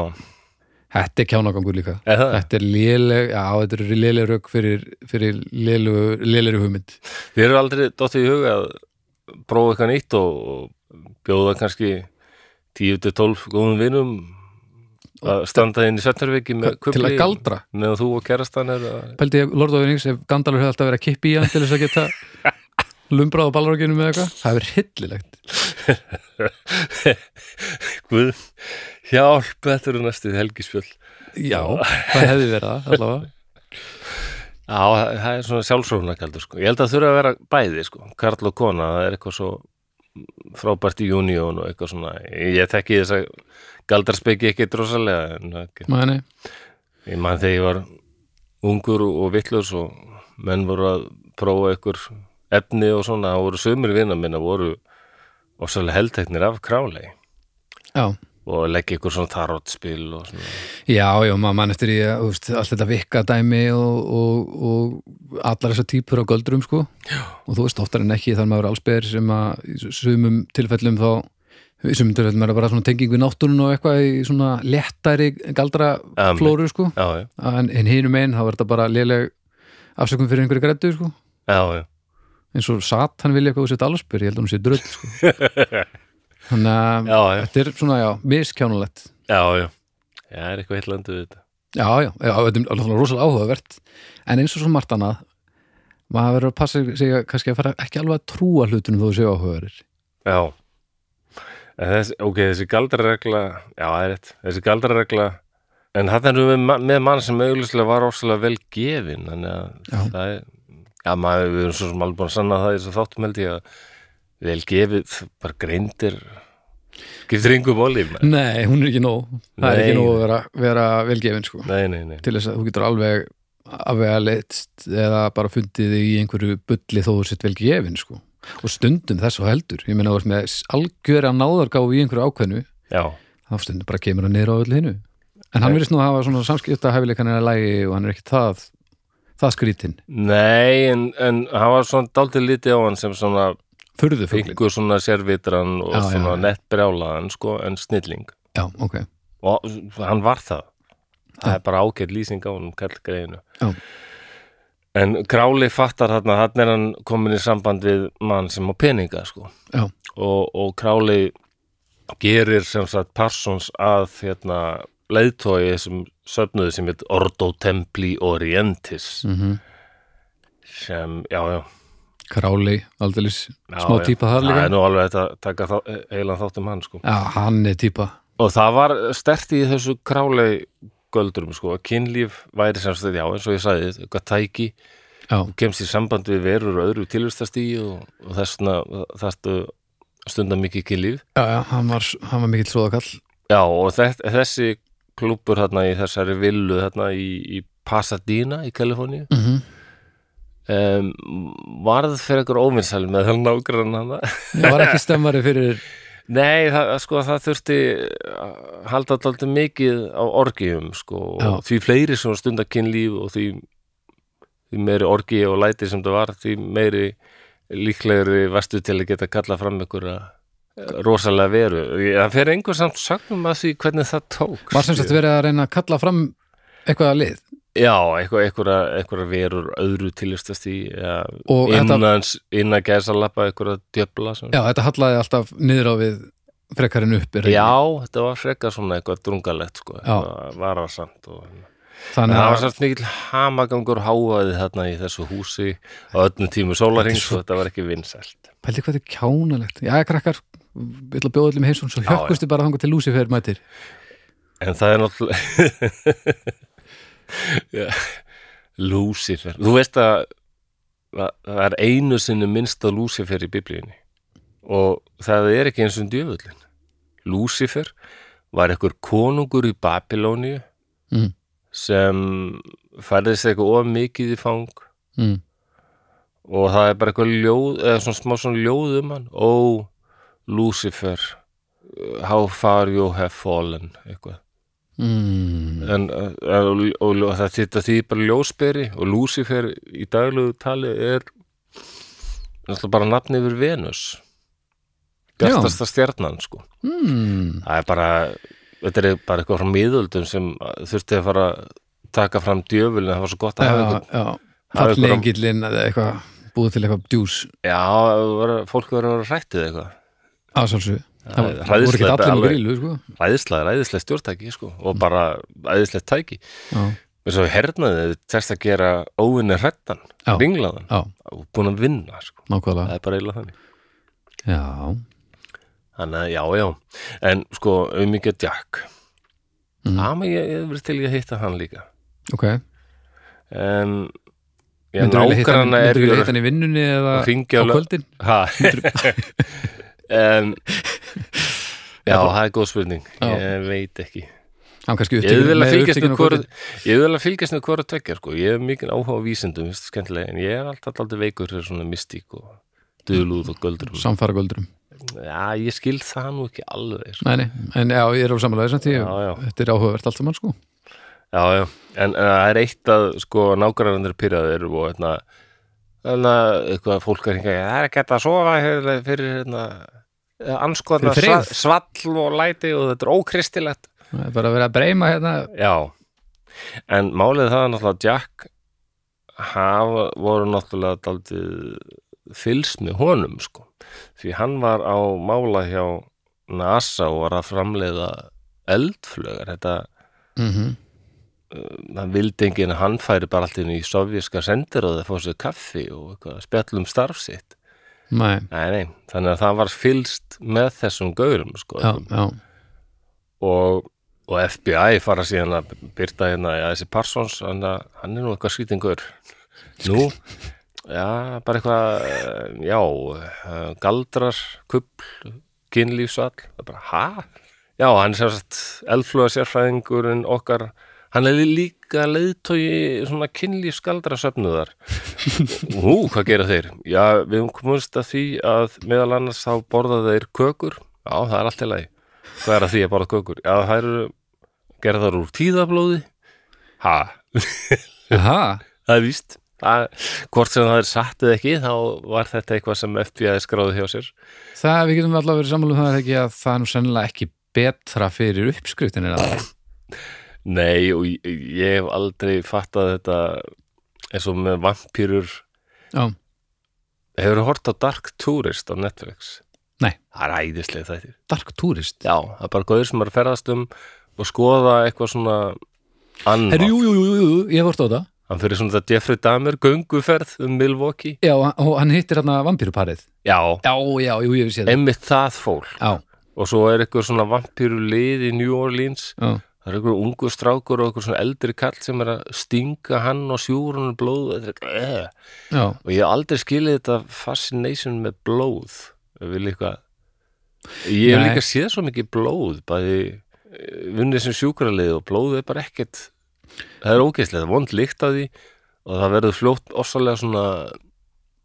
S2: þetta er kjánagangur líka
S1: eða,
S2: Þetta er léleg, já, þetta er léleg rök fyrir, fyrir lélegu, lélegri hugmynd.
S1: þið eru aldrei dottið í huga að prófa eitthvað nýtt og, og bjóða kannski 10-12 góðum vinum að standa inn í Sveitarviki með
S2: Til að
S1: kufli-
S2: galdra.
S1: meðan þú og kærastan er að
S2: Pældi ég, Lord of the Rings, ef Gandalur hefði alltaf verið að kippa í hann til þess að geta lumbrað á ballarokinu með eitthvað, það hefur hillilegt.
S1: Guð, hjálp, þetta eru næstu helgispjöld
S2: Já, það hefði verið það, allavega.
S1: Já, það það er svona sjálfsrófnakaldur sko. Ég held að þurfa að vera bæði sko. Karl og kona, það er eitthvað svo frábært í Union og eitthvað svona ég tekki þess að galdarspeki ekki drosalega en ekki.
S2: Mæni,
S1: ég man þegar ég var ungur og vitlaus og menn voru að prófa einhver efni og svona, það voru sömur vinna minna voru ofsalega heldteknir af králei
S2: já.
S1: og leggja ykkur svona tarotspil og svona
S2: Já, já, maður mann eftir í að, úst, allt þetta vikka dæmi og, og, og allar þessar típur á göldrum, sko. Já. Og þú veist, oftar en ekki þar maður allsbyr sem að í sumum tilfellum þá, í sumum tilfellum er það bara svona tenging við náttúrun og eitthvað í svona léttari
S1: Amen.
S2: galdraflóru, sko.
S1: Um, Já, já,
S2: en, en hinum einn þá er þetta bara léleg afsökum fyrir einhverju grættu sko.
S1: já, já
S2: eins og Satan vilja eitthvað úr sitt allspyr ég held að hún sé dröð sko. þannig að
S1: Já, já,
S2: þetta er svona já, miskjánulegt
S1: já, já Það er eitthvað heillandi við þetta
S2: já, já, já, þetta er alveg rosalega áhugavert en eins og svo margt annað maður verður að passa sig að, kannski að fara ekki alveg að trúa hlutunum þó þú séu áhugaverir
S1: Já En þess, Ok, þessi galdraregla Já, það er rétt, þessi galdraregla En það erum við ma- með mann sem auðvitað var óslega vel gefin Þannig að
S2: Já.
S1: það er Já, maður við erum svo sem alveg búin að sanna það í þessu þáttum held ég að vel gefið bara greindir giftir yngur bóli Nei,
S2: nei, hún er ekki nóg það er ekki
S1: Nei.
S2: nóg að vera, vera velgefin sko.
S1: nei, nei
S2: til þess að þú getur alveg alveg að letst eða bara fundið þig í einhverju bulli þó þú sitt vel gefin sko. og stundum þess og heldur ég meina þú veist með algjöra náðargáfu í einhverju ákveðnu
S1: Já,
S2: þá stundum bara kemur hann niður á öllu hinu en hann verðist nú að hafa svona samskipta hæfileikan er að lægi og hann er ekki það það skrýtin,
S1: nei en, en hann var svona dálítið litið á hann sem svona
S2: furðu fuglin
S1: yngur svona sérvitran og
S2: Já, já,
S1: svona
S2: já.
S1: nettbrjálaðan sko, en snilling
S2: já, ok,
S1: og hann var það það er bara ágætt lýsing á honum kallgreinu
S2: Já.
S1: en Králi fattar þarna hann er hann komin í samband við mann sem á peninga sko
S2: Já.
S1: og, og Králi gerir sem sagt Parsons að hérna leiðtói þessum söfnuði sem heit Ordo Templi Orientis
S2: mm
S1: sem, já, já,
S2: králi aldeilis,
S1: já
S2: smá
S1: já.
S2: típa þar
S1: það er
S2: líka
S1: nú alveg þetta taka þá, heilan þátt um hann sko
S2: já, hann er típa
S1: Og það var stert í þessu králei göldrum, sko, að kynlíf væri samstæði, já, eins og ég sagði, eitthvað tæki
S2: já,
S1: kemst í samband við verur og öðru tilvistastíi og, og þessna þarstu stundar mikið kynlíf
S2: já, já, hann var, hann var mikill tróðakall
S1: Já, og þess, þessi klúpur þarna í þessari villu þarna í, í Pasadena í Kaliforníu
S2: mm -hmm.
S1: um, varð fyrir ykkur óvinnsæl með þann nágrann hann
S2: Ég var ekki stemmari fyrir
S1: Nei, það, sko, það þurfti að halda alltaf mikið á orgiðum sko, og því fleiri sem stundar kynlíf og því, því meiri orgið og læti sem það var því meiri líklegri vestu til að geta kalla fram ykkur rosalega veru Ég- það fer einhver samt sagnum að því hvernig það tók
S2: var sem sagt verið að reyna að kalla fram eitthvað að lið
S1: Já, eitthvað, einhverja, einhverja verur öðru tilistast í ja,
S2: Og þetta-
S1: innans, innan gæsa lappa einhverja djöfla sem
S2: Já, þetta hallaði alltaf niður á við frekarinn upp er það ekki?
S1: Já, þetta var frekar svona eitthvað drungalegt sko,
S2: Já.
S1: eitthvað vararsamt og en
S2: Þannig
S1: það
S2: að
S1: var sérst mikill hamagangur háaði þarna í þessu húsi á öllum tímu sólarings og þetta var ekki vinsælt.
S2: Pældi hvað þetta er kjánalegt Já, krakkar, við ætla að bjóða öllum heimsum svo
S1: Já,
S2: hjökkustu bara þangað til Lucifer mætir
S1: En það er náttúrulega Já, Lúsifer. Þú veist að að það er einu sinni minnst á Lúsifer í biblíunni og það er ekki eins og djöfullin. Lúsifer var einhver konungur í Babilóníu Mhm.
S2: mm,
S1: sem færðist eitthvað of mikið í fang
S2: mm.
S1: og það er bara eitthvað ljóð eða svona smá svona ljóð um hann ó, Lucifer how far you have fallen eitthvað
S2: Mm.
S1: en, uh, og, og, og það þetta því bara ljósberi og Lucifer í daglegu tali er náttúrulega bara nafni yfir Venus bjartasta stjarnan sko
S2: Mm.
S1: það er bara, þetta er bara eitthvað frá miðöldum sem þurfti að fara að taka fram djöfulin, það var svo gott að hafa
S2: Já,
S1: einhvern-
S2: já,
S1: það er einhver-
S2: fallengillin eða eitthvað, búið til eitthvað djús
S1: já, það var- fólk verður að vera hrættið eitthvað
S2: ásálsug Það
S1: er
S2: voru ekki
S1: hræðislegt
S2: allir með
S1: alveg.
S2: grílu, sko
S1: æðislega, æðislega stjórntæki sko, og bara æðislegt tæki
S2: Já,
S1: og svo hernaðið þess að gera óvinni hrættan,
S2: Já.
S1: ringlaðan
S2: já
S1: og búin að vinna, sko. það
S2: nákvæmlega
S1: er bara eiginlega þannig
S2: Já,
S1: þannig að já, já, en sko um ekki að Jack
S2: Mm.
S1: mm. ama ég hef verið til í að hitta hann líka
S2: ok
S1: en já,
S2: Myndur við hitta hann myndirðu
S1: nágrana er
S2: vilja hitta hann í vinnunni eða
S1: að
S2: á
S1: ringja
S2: kvöldin?
S1: um, já, það er góð spurning
S2: Já.
S1: ég veit ekki
S2: Hann kannski
S1: Ég vil vel að
S2: með
S1: fylgjast
S2: upptekinn
S1: með
S2: á
S1: hvora
S2: kvöldin.
S1: Ég vil að fylgjast með hvora tvekja sko. Ég hef mikið áhuga á vísindum veist, skemmtilega, en ég er alltaf alltaf veikur fyrir svona mystík og dulúð og göldur
S2: Samfara göldurum
S1: Já, ég skil það nú ekki alveg sko.
S2: Nei, nei, en já, ég er á samanlega samt því
S1: Já, já.
S2: Þetta er áhugavert allt saman, sko
S1: Já, já, en en það er eitt að sko nágræðanir pyrraðir og hérna hérna, eitthvað fólk er hingað það er ekki hægt að sofa hérna, fyrir hérna anskoðna
S2: Fyrir frið.
S1: svall og læti og þetta er ókristilegt
S2: Það er bara að vera að breyma hérna
S1: Já, en málið það er náttúrulega að Jack hafa, voru náttúrulega daldið fylst með honum sko, því hann var á mála hjá NASA og var að framleiða eldflögar, þetta
S2: mm
S1: hann vildi enginn að hann færi bara allt inn í sovjíska sendir og það fór sér kaffi og eitthvað, spjallum starf sitt
S2: Nei,
S1: nei, nei, þannig að það var fylst með þessum gaurum sko,
S2: já, já,
S1: og, og FBI fara síðan að byrta hérna að þessi Parsons, hann, að- hann er nú eitthvað skýtingur nú, já, bara eitthvað eh, já, eh, galdrar kubl, kynlífsall það er bara, hæ? Já, hann er sem sagt eldfluga sérfræðingurinn okkar hann er líka leiðtói svona kynlífsgaldra söfnuðar Hú, hvað gera þeir? Já, við höfum komumst að því að meðal annars þá borða þeir kökur Já, það er allt í lagi Hvað er að því að borða kökur? Já, það eru gerðar úr tíðablóði Ha,
S2: Aha,
S1: það er víst það, Hvort sem það er satt eða ekki þá var þetta eitthvað sem FBI skráði hjá sér
S2: það við getum allavega verið sammála um það er ekki að það er nú sennilega ekki betra fyrir uppskriftin en að
S1: Nei, og ég, ég hef aldrei fattað þetta eins og með vampýrur
S2: Já,
S1: Hefur þú hort á Dark Tourist á Netflix?
S2: Nei.
S1: Það er æðislega þetta
S2: Dark Tourist
S1: Já, það er bara góður sem er að ferðast um og skoða eitthvað svona annað.
S2: Herri, jú, jú, jú, jú, jú, ég hef vort á það
S1: Hann fyrir svona þetta Jeffrey Dahmer gönguferð um Milwaukee.
S2: Já, og hann- og hann hittir hann að vampíruparið
S1: Já,
S2: Já, já, jú, ég hef séð það
S1: emmitt það fólk.
S2: Já,
S1: Og svo er eitthvað svona vampíru lið í New Orleans.
S2: já,
S1: Það er eitthvað ungu strákur og eitthvað svona eldri kall sem er að stinga hann og sjúra hann blóð. Þetta er eitthvað, eh.
S2: já
S1: Og ég hef aldrei skilið þetta fascination með blóð. Ég vil eitthvað... Ég hef
S2: Nei.
S1: líka séð svo mikið blóð, bæði eh, vunnið sem sjúkralið og blóðið er bara ekkert það er ógeðslega, vond líkt að því og það verður fljótt ossalega svona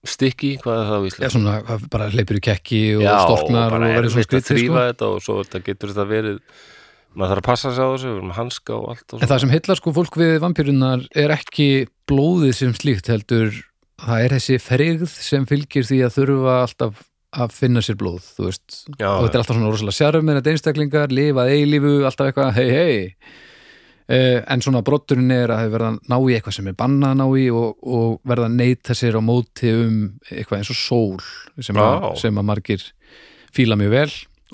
S1: stikki, hvað er það á
S2: Já,
S1: Ísland?
S2: svona, það bara hleypir í kekki og storknar og verður svona skrítið
S1: þrýfa
S2: sko.
S1: þetta og svo þetta getur þetta verið maður þarf að passa sig á þessu, við erum með hanska og allt og
S2: En það sem heillar sko fólk við vampírunar er ekki blóðið sem slíkt heldur það er þessi frigð sem fylgir því að þurfa alltaf að finna sér blóð, þú veist
S1: Já,
S2: og þetta er alltaf svona rosalega sjarmir að einstaklingar, lifað eilífu, alltaf eitthvað hei hei uh, en svona brotturinn er að þau verða að ná í eitthvað sem er bannað að ná í og, og verða að neyta sér á móti um eitthvað eins og sól sem að,
S1: Já.
S2: sem að margir fíla mjög vel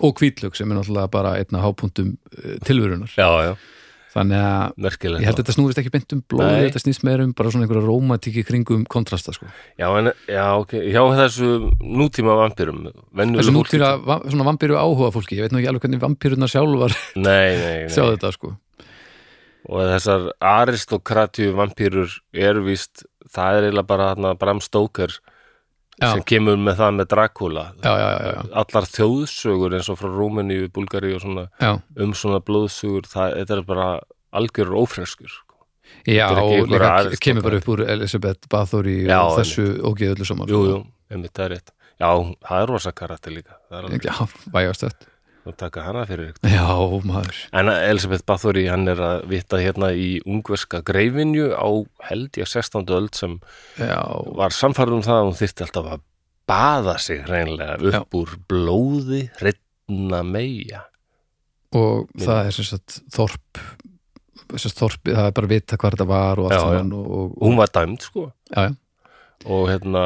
S2: og kvítlug sem er náttúrulega bara einna hápunktum uh, tilverunar
S1: já, já,
S2: þannig að
S1: merkilegt
S2: Ég held að þetta snúrist ekki beint um blóði,
S1: Nei.
S2: þetta snýst meira um bara svona einhverja rómatíki kringum kontrasta sko.
S1: Já, en, já, ok, hjá þessu nútíma vampýrum
S2: Þessu nútýra, svona vampiru áhuga fólki, ég veit nú ekki alveg hvernig vampirunar sjálfar
S1: Nei, nei, nei
S2: sjá þetta sko.
S1: og þessar aristokratíu vampýrur eru víst það er eiginlega bara hana, Bram Stoker
S2: Já.
S1: sem kemur með það með Dracula
S2: Já, já, já, já,
S1: allar þjóðsögur eins og frá Rúmeníu, Búlgari og svona
S2: já,
S1: um svona blóðsögur, það, þetta er bara algjör ófreskur sko.
S2: já
S1: Þetta er ekki
S2: og
S1: einhverja
S2: líka
S1: aðeins
S2: kemur
S1: tóka.
S2: bara upp úr Elisabeth Bathory
S1: Já,
S2: og þessu ógeðu öllu saman.
S1: Jú, jú, einmitt það er rétt Já, það er rosa karakter líka það er alveg
S2: Já, vægast þetta.
S1: að taka hana fyrir ykkur
S2: Já, maður.
S1: En Elisabeth Bathory, hann er að vita hérna í ungverska greifinju á held ég 16. öld sem
S2: Já,
S1: var samfærð um það að hún þyrfti alltaf að baða sig hreinlega upp úr blóði hreitna meia.
S2: og það er sem sagt þorp, sem sagt þorp, það er bara að vita hvað þetta var og
S1: Já,
S2: allt
S1: já.
S2: saman og, og,
S1: Hún var dæmd sko
S2: já, já,
S1: og hérna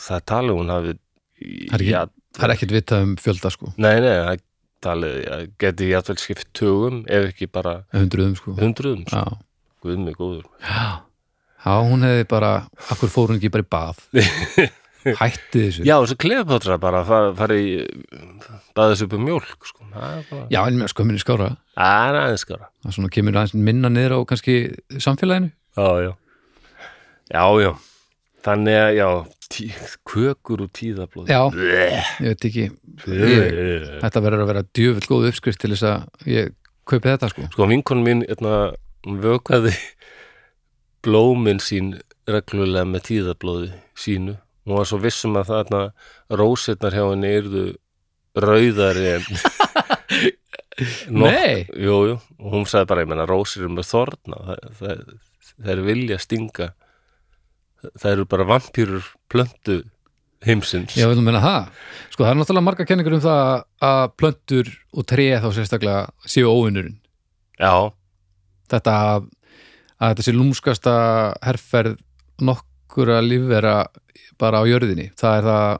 S1: það talið hún hafi
S2: Það er ekki-
S1: ja,
S2: það er ekkert vitað um fjölda sko,
S1: nei, nei, það talið ja, geti ég allveg skipt tugum ef ekki bara
S2: hundruðum sko.
S1: hundruðum sko.
S2: Já.
S1: Guð mig góður.
S2: Já, já hún hefði bara akkur fór hún ekki bara í bað hætti þessu
S1: Já, þessi kleðpátra bara fara, fara í baðis upp um mjólk sko. Það er bara-
S2: já en mér sko minni skára
S1: Það er aðeins skara.
S2: það svona kemur aðeins minna niður á kannski samfélaginu
S1: Já, já. Já, já. Þannig að, já, tí, kökur og tíðablóð.
S2: já, ég veit ekki ég, þetta verður að vera djöfull góð uppskrift til þess að ég kaupi þetta sko
S1: Sko, vinkon mín, hérna, hún vökaði blómin sín reglulega með tíðablóði sínu. Hún var svo vissum að það, hérna, rósirnar hjá henni yrðu rauðari en... Nokk-
S2: nei,
S1: Jú, jú, og hún sagði bara, ég menna, rósir eru með þorna, það, það, það er vilja stinga, það eru bara vampýrur plöntu heimsins.
S2: ég vil nú minna það sko það er náttúrulega marga kenningur um það að plöntur og treð þá sérstaklega séu óvinnurinn
S1: Já,
S2: þetta að að þetta sé lúmskasta herferð nokkura lífvera bara á jörðinni það er það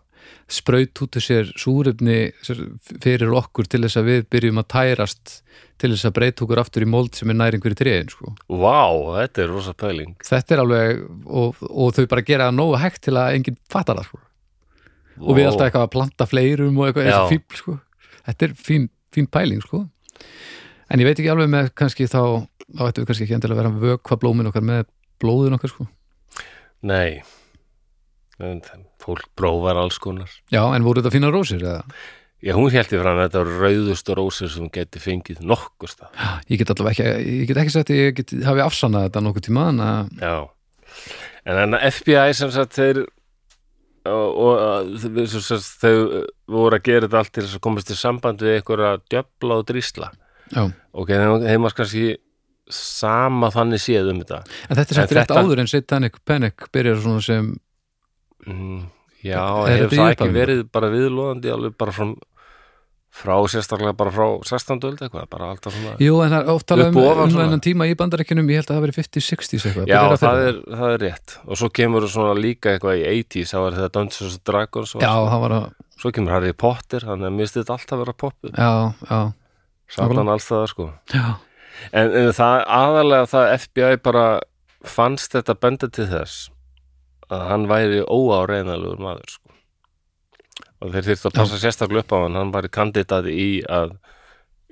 S2: spraut út úr sér súrefni sér- fyrir okkur til þess að við byrjum að tærast til þess að breyta okkur aftur í mold sem er næringur í treðin sko.
S1: vá, þetta er rosa pæling.
S2: þetta er alveg og, og þau bara gera það nógu hægt til að enginn fattar það sko. og við alltaf eitthvað að planta fleirum og eitthvað eins og
S1: Já.
S2: fíbl sko. þetta er fín, fín pæling sko. en ég veit ekki alveg með kannski þá þá ættum við kannski ekki endilega að vera að vökva blómin okkar með blóðin okkar sko.
S1: Nei, en það, fólk prófar alls konar.
S2: já, en voru þetta fína rósir eða?
S1: Já, hún held ég fram að þetta var rauðustu rósir sem hún geti fengið nokkust af.
S2: ég get allavega ekki, ég get ekki sagt að ég get, hafi afsannað þetta nokkuð tíma en að,
S1: Já, en þannig að FBI sem sagt þeir og, og að- sem sagt, þau voru að gera þetta allt til þess að komast í samband við einhverja djöfla og drísla.
S2: já.
S1: Ok, þeim þeim var kannski sama þannig séð um þetta.
S2: en þetta er
S1: En
S2: samt rétt
S1: þetta-
S2: áður en Satanic Panic byrjar svona sem
S1: Mm, já,
S2: Er
S1: hefur
S2: þetta í
S1: það ekki
S2: upphafinu?
S1: verið bara viðlóðandi alveg bara frá, frá sérstaklega bara frá 16. öld eitthvað, bara alltaf svona.
S2: jú, en það er oft
S1: Upp
S2: talað um,
S1: og ofan
S2: um
S1: svona.
S2: þennan tíma í bandarækjunum ég held að það hafi verið 50-60 eitthvað
S1: Já,
S2: byrjar að
S1: það
S2: fyrra.
S1: er, það er rétt. Og svo kemur svona líka eitthvað í 80s, þá er þetta Dungeons and Dragons og
S2: já, það var að,
S1: svo kemur Harry Potter, þannig að mér stið alltaf vera poppuð.
S2: já, já,
S1: Satan alls það, sko.
S2: já
S1: En, en það aðalega það FBI bara fannst þetta benda til þess að hann væri óáreinalegur maður sko. og þeir þyrftu að passa sérstaklega upp á hann hann væri kandidat í að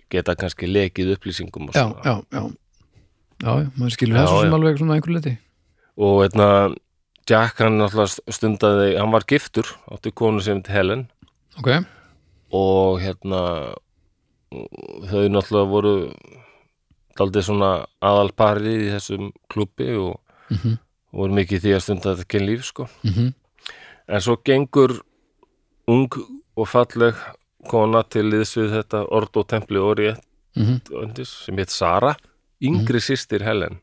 S1: geta kannski lekið upplýsingum og,
S2: já,
S1: svona.
S2: já, já já, já, maður skilur
S1: Já,
S2: það svo
S1: já.
S2: sem alveg svona einhver leti
S1: og einna, Jack hann náttúrulega stundaði hann var giftur, átti konu sem heit Helen
S2: ok,
S1: og hérna þau náttúrulega voru daldið svona aðalparið í þessum klubbi og
S2: mm
S1: Mhm,
S2: -hmm.
S1: voru mikið í því að stunda þetta kynlíf sko. En svo gengur ung og falleg kona til liðs við þetta orð og templi orðið mhm. sem heit Sara, yngri systir Helen.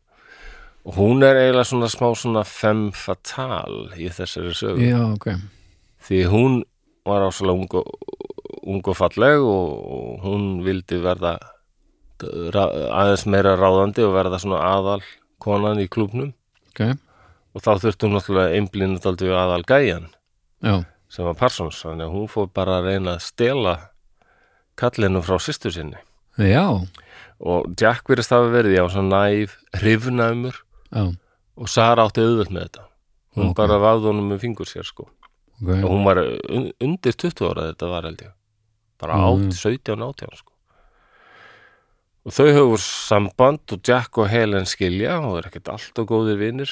S1: Og hún er eiginlega svona smá svona femme fatale í þessari sögu.
S2: Mhm. Já, ok
S1: því hún var ásalega ung og, ung og falleg og og hún vildi verða ra- aðeins meira ráðandi og verða svona aðal konan í klubnum
S2: Ok,
S1: og þá þurfti hún náttúrulega einblínu daldi við aðal gæjan
S2: já,
S1: sem var Parsons þannig að hún fór bara að reyna að stela kallinu frá systur sinni
S2: já,
S1: og Jack virðist hafa verið já, svona næf, hrifnæmur
S2: já
S1: og Sara átti auðvöld með þetta hún
S2: Ok.
S1: bara vafði honum með fingur sér sko og
S2: ok,
S1: hún var un undir 20 ára þetta var held ég bara
S2: Já,
S1: átt, 17, 18 sko. og þau höfur samband og Jack og Helen skilja og er ekkert alltaf góðir vinnir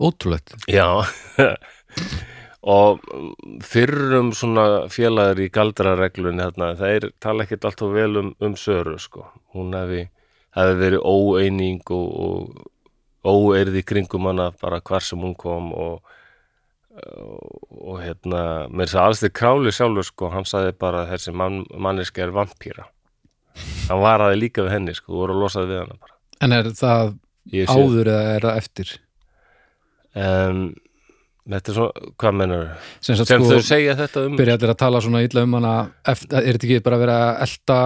S2: ótrúlegt
S1: já og fyrrum svona félagar í galdrareglunni þarna, þeir tala ekkert alltaf vel um, um Söru sko, hún hefði hefði verið óeining og, og óeirði kringum hana bara hvar sem hún kom og, og, og hérna mér sagði alls þið králi sjálfur sko hann sagði bara að þessi mann, manneski er vampíra hann varaði líka við henni sko, voru að losaði við hana bara
S2: En er það
S1: Ég sé-
S2: áður eða er það eftir?
S1: Em, þetta er svona, hvað menur
S2: Sem, sagt,
S1: sem
S2: sko,
S1: þau segja þetta um
S2: byrja allir að tala svona illa um hana eftir, er þetta ekki bara að vera að elta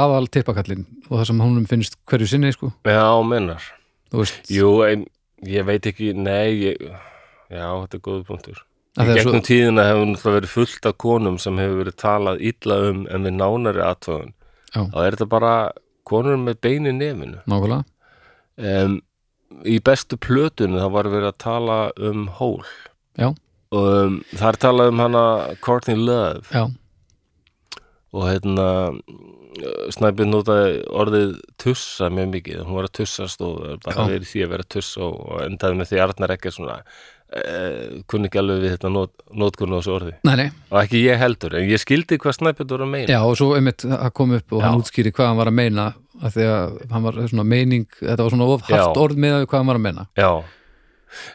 S2: aðal tippakallin og það sem honum finnst hverju sinni sko
S1: Já, mennar.
S2: þú veist,
S1: Jú, ein, ég veit ekki, nei, ég, já, þetta er góður punktur.
S2: Að
S1: Í
S2: það er svo-
S1: gegnum tíðina hefur náttúrulega verið fullt af konum sem hefur verið talað illa um en við nánari aðtöðun.
S2: Já.
S1: Þá er þetta bara konur með beini nefinu.
S2: nákvæmlega
S1: Um, í bestu plötunni þá var verið að tala um hól.
S2: Já.
S1: Um, þar talaði um hana Courtney Love
S2: já,
S1: og hérna snæpið notaði orðið tussa mjög mikið, hún var að tussast og bara
S2: Já.
S1: verið því að vera tussa og og endaði með því Arnar ekki svona eh, kunni ekki alveg við þetta not, notkunn á þessu orði
S2: nei nei,
S1: og ekki ég heldur, en ég skildi hvað snæpið voru að meina
S2: já og svo einmitt að kom upp og hann
S1: Já.
S2: útskýri hvað hann var að meina að því að hann var svona meining þetta var svona of hart
S1: Já.
S2: orð með hvað hann var að meina
S1: Já.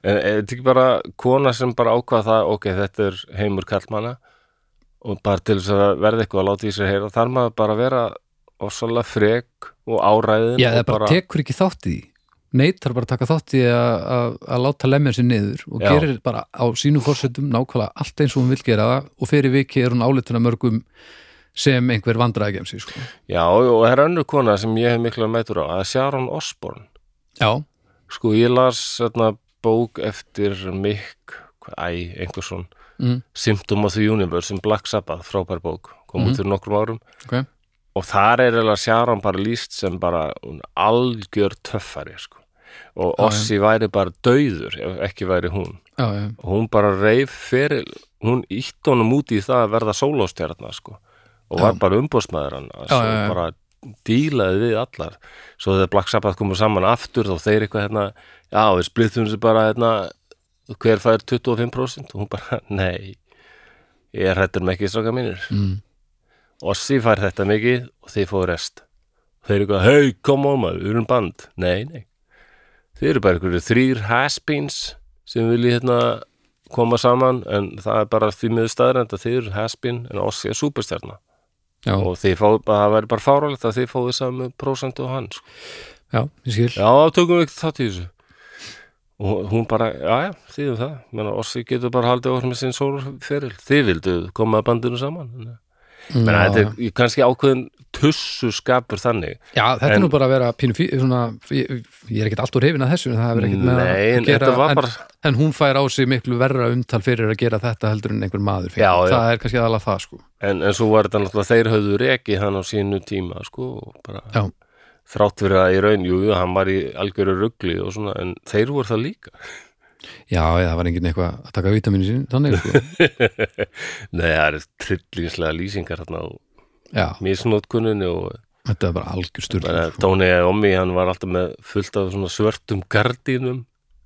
S1: en er þetta ekki bara kona sem bara ákvað það, ok, þetta er heimur kallmanna og bara til þess að verða eitthvað að láta í sér heyra þar maður bara að vera ofsalega frek og áræðin
S2: já,
S1: og
S2: það bara tekur ekki þátt í því neitar bara að taka þátt í því að, að, að láta lemja sér niður og
S1: Já.
S2: gerir bara á sínu fórsöndum nákvæmlega allt eins og hún vil gera það og fyrir viki er hún álituna mörgum sem einhver vandræði gemsi sko.
S1: Já, og það er önnur kona sem ég hef mikla meitur á, það er Sharon Osborn.
S2: já,
S1: Sko, ég las þarna bók eftir Mick, hvað- æ, einhversson,
S2: mm,
S1: Symptom of the Universe sem Black Sabbath, frábær bók, kom
S2: Mhm.
S1: út fyrir nokkrum árum.
S2: ok
S1: Og þar er eiginlega Sharon bara líst sem bara hún algjör töffari, sko. Og
S2: Já, já.
S1: Ossi væri bara dauður ef ekki væri hún.
S2: já, já,
S1: og hún bara reif fyrir hún ítt honum út í það að verða sólóstjarnar sko og var bara umbóðsmaður hann
S2: Já,
S1: svo
S2: já, já.
S1: bara dílaði við allar svo þegar Black Sabbath komur saman aftur þá þeir eitthvað hérna já við splittum þessu bara hérna hver fær 25% og hún bara nei ég hrættur með ekki stráka mínir
S2: mm.
S1: Ossi fær þetta mikið og þið fóðu rest þeir eru eitthvað, hei, kom á maður, við erum band nei, nei þeir eru bara einhverju þrýr has-beens sem vilji hérna koma saman en það er bara því miður staðrænd að þið eru has-been en Ossi er superstjarna
S2: já,
S1: og þið fáðu, það væri bara fárálegt að þið fáðu samu prósentu og hann sko.
S2: já, ég skil
S1: já, þá tökum við ekki þátt í þessu og hún bara, já, já, þið um það Menna, Ossi getur bara haldið okkur með sinn sólferil þið vildu koma að bandinu saman nei.
S2: já,
S1: Menna,
S2: já.
S1: þetta er kannski ákveðin tussu skapur þannig
S2: já, þetta er
S1: en-
S2: nú bara að vera pínu fí, svona, ég, ég er ekkert alltaf reyfin að þessu en það er ekkert með
S1: Nei, en
S2: að gera
S1: þetta var
S2: en,
S1: bara-
S2: en hún fær á sig miklu verra umtal fyrir að gera þetta heldur en einhver maður fengi.
S1: Já, já.
S2: það er kannski aðalega það sko
S1: en, en svo var þetta náttúrulega þeir höfðu reki hann á sínu tíma sko, og bara,
S2: já,
S1: þrátt fyrir að í raun, jú, jú, hann var í algjöru ruggli og svona, en þeir voru það líka
S2: já, já, það var enginn eitthvað að taka vítaminu sín þannig sko,
S1: Nei, það eru trillingslega lýsingar þarna á
S2: já,
S1: misnótkunninni og
S2: þetta er bara algjör sturl
S1: bara,
S2: sko.
S1: Tony Iommi, hann var alltaf með fullt af svona svörtum gardínum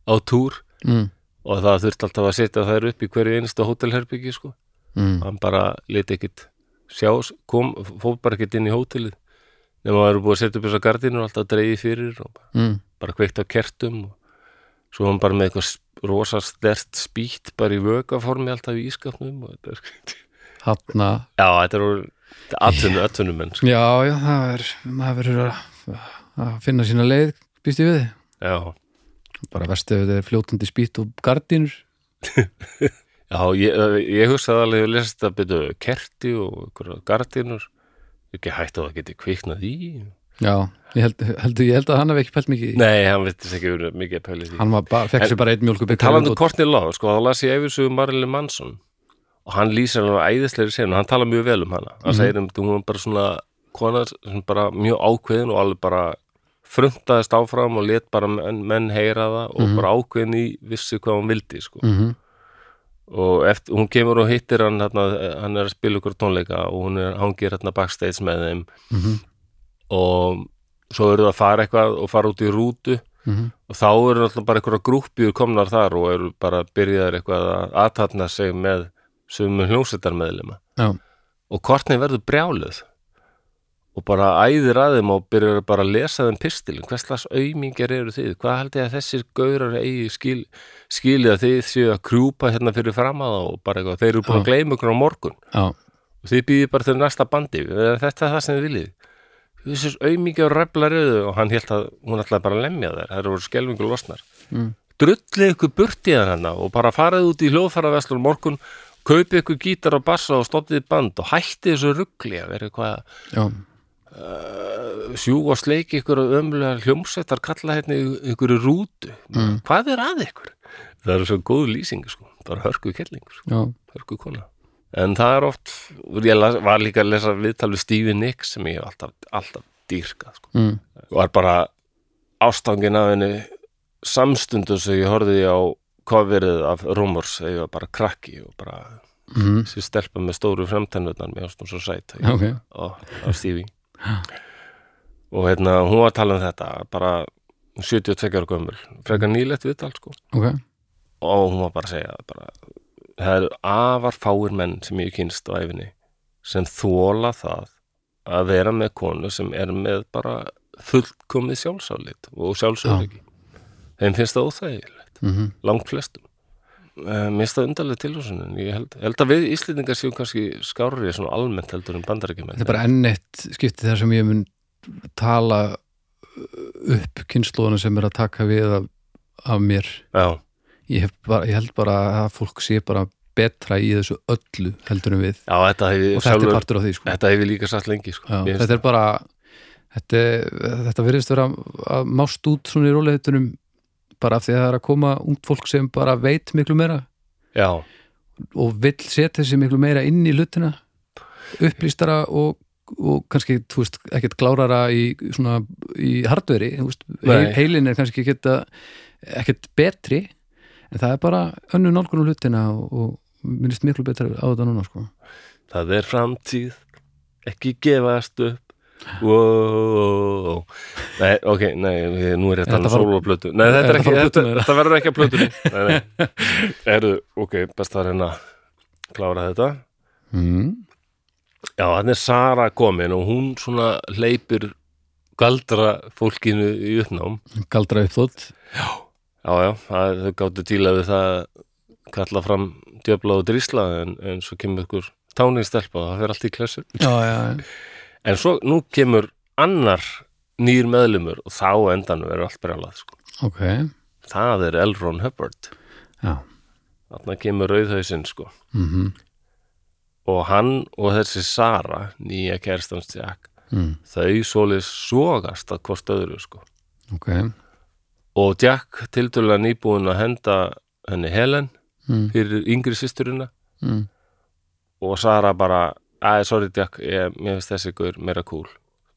S1: á túr
S2: mm,
S1: og það þurfti alltaf að setja þær upp í hverju einasta hótelherbyggi sko,
S2: mm,
S1: hann bara liti ekkit sjá, kom, fór bara ekkert inn í hótelið nema það eru búið að setja upp þessa gardinu og alltaf dreigið fyrir og bara,
S2: mm.
S1: bara kveikt á kertum og svo var hann bara með eitthvað sp- rosa stert spýtt bara í vökaformi alltaf í ískapnum og þetta er skrítið.
S2: Hanna,
S1: Já, þetta er aðtunum, aðtunum menn sko.
S2: já, já, það er, maður verður að, að finna sína leið, býst ég við þið.
S1: Já,
S2: Bara verstu ef þetta er fljótandi spýtt og gardínur.
S1: já ég, eh, ég hugsaði alveg að lesa þetta byrju kerti og einhverja gardinur ekki hætt á að það geti kviknað í
S2: Já, ég held, held, ég held að hann hafi ekki pælt mikið í.
S1: Nei, hann veitist ekki verið mikið að pæli því
S2: Hann var bara, fekk
S1: En-
S2: sér bara einn mjölkubið.
S1: talandi um Courtney Love, sko, þá las ég yfirsögu Marilyn Manson og hann lýsir hann á æðislegri senu, hann tala mjög vel um hana hann segir um, hún var bara svona kona sem bara mjög ákveðin og alveg bara frumtaðist áfram og let bara menn, menn heyra það og bara ákveðin í vissi hvað hún vildi, sko
S2: Mhm,
S1: og eftir, hún kemur og hittir hann hérna, hann er að spila ykkur tónleika og hún er, hangir hérna backstage með þeim
S2: Mhm.
S1: og svo eru það að fara eitthvað og fara út í rútu
S2: mhm.
S1: og þá eru náttúrulega bara einhverja grúppjur komnar þar og eru bara byrjaðar eitthvað að aðtatna sig með sömu hljómsveitarmeðlima
S2: Já,
S1: og kortni verður brjáluð og bara æðir að þeim og byrjar bara að lesa þeim pistilin hvers slags aumingar eru þið, hvað held ég að þessir gaurar eigi skil, skilið að þið séu að krjúpa hérna fyrir fram að það og bara eitthvað, þeir eru búin að gleyma ykkur á morgun
S2: já,
S1: og þið býðið bara til næsta bandi eða þetta er það sem þið viljið þessir auðmikið og ræflar auðu og hann held að hún ætlaði bara að lemja þær þær voru skelfingu losnar
S2: Mm.
S1: drullið ykkur burt í hann hérna og bara farið út í hljóðfæraverslun morgun kaupið ykkur gítar og bassa og stoppið band og hættið þessu ruggli að vera eitthvað
S2: já,
S1: að sjú og sleiki ykkur og ömlega hljómsettar kalla hérna í- ykkur í rútu
S2: Mm.
S1: hvað er að ykkur? það eru svo góð lýsing sko, bara hörku kelling sko
S2: já.
S1: hörku kona en það er oft, ég las, var líka að lesa viðtal við Stevie Nicks sem ég hef alltaf, alltaf dýrkað sko.
S2: Mm.
S1: var bara ástangin af henni samstundu sem ég horfði á coverið af Rumors þegar ég var bara krakki og bara
S2: Mm.
S1: þessi stelpa með stóru fremtennutnar mér ástum svo sæt
S2: Já, ok.
S1: og, af Stevie og hérna hún var að tala um þetta bara 72 ára gömul frekar nýlegt viðtal sko
S2: Ok,
S1: og hún var bara að segja það bara, það eru afar fáir menn sem ég hef kynst á æfinni sem þóla það að vera með konu sem er með bara fullkomið sjálfsálit og sjálfsöryggi þeim finnst það óþægilegt,
S2: mm
S1: langt flestum Eh, mér finnst það undarlega tilhjóðsunin ég held, held að við Íslendingar séum kannski skárið svona almennt heldur en bandarækjumenn
S2: þetta er bara enn eitt skipti þar sem ég mun tala uh, upp kynnslóðuna sem er að taka við af, af mér
S1: já,
S2: ég, hef bara, ég held bara að fólk sé bara betra í þessu öllu heldur en við
S1: já, þetta
S2: og
S1: hef ég
S2: þetta er
S1: sjálfur
S2: partur á því sko.
S1: þetta hef ég líka satt lengi sko.
S2: Já,
S1: Mér finnst-
S2: þetta er bara þetta, þetta virðist vera að mást út svona í róleitunum bara af því að það er að koma ungt fólk sem bara veit miklu meira
S1: já,
S2: og vill setja sig miklu meira inn í hlutina upplýstara og, og kannski, þú veist, ekkert glárara í, svona, í hardveri þú veist,
S1: Nei.
S2: heil, heilin er kannski geta ekkert betri en það er bara önnu nálgunum hlutina og, og minnist miklu betra á þetta núna sko.
S1: Það er framtíð, ekki gefast upp Wow. Nei, ok, nei, nú er ég að tala
S2: Þetta
S1: um
S2: var-
S1: sóloplötu Nei, þetta,
S2: Þetta
S1: er
S2: var
S1: ekki,
S2: á
S1: þetta,
S2: plötunni þeirra.
S1: þetta verður ekki að plötunni Nei, nei, eru, ok, best að reyna að klára þetta
S2: mm.
S1: Já, hann er Sara komin og hún svona hleypir galdra fólkinu í uppnám
S2: galdra upp þótt
S1: Já, já, það, þau gáttu díla við það að kalla fram djöfla og drísla en, en svo kemur ykkur táningstelpa og það fer allt í klessu
S2: já, já, já.
S1: En svo nú kemur annar nýr meðlumur og þá á endanum er allt brjálað sko.
S2: ok
S1: Það er Elron Hubbard.
S2: já.
S1: Þarna kemur rauðhausinn sko.
S2: Mm
S1: Og hann og þessi Sara, nýja kærstans Jack,
S2: mm.
S1: þau svoleið sogast að hvort öðru sko.
S2: ok
S1: Og Jack tildulega nýbúin að henda henni Helen
S2: mm.
S1: fyrir yngri systurina
S2: Mm.
S1: og Sara bara, æ, sorry Jack, ég, mér finnst þessi ykkur meira cool.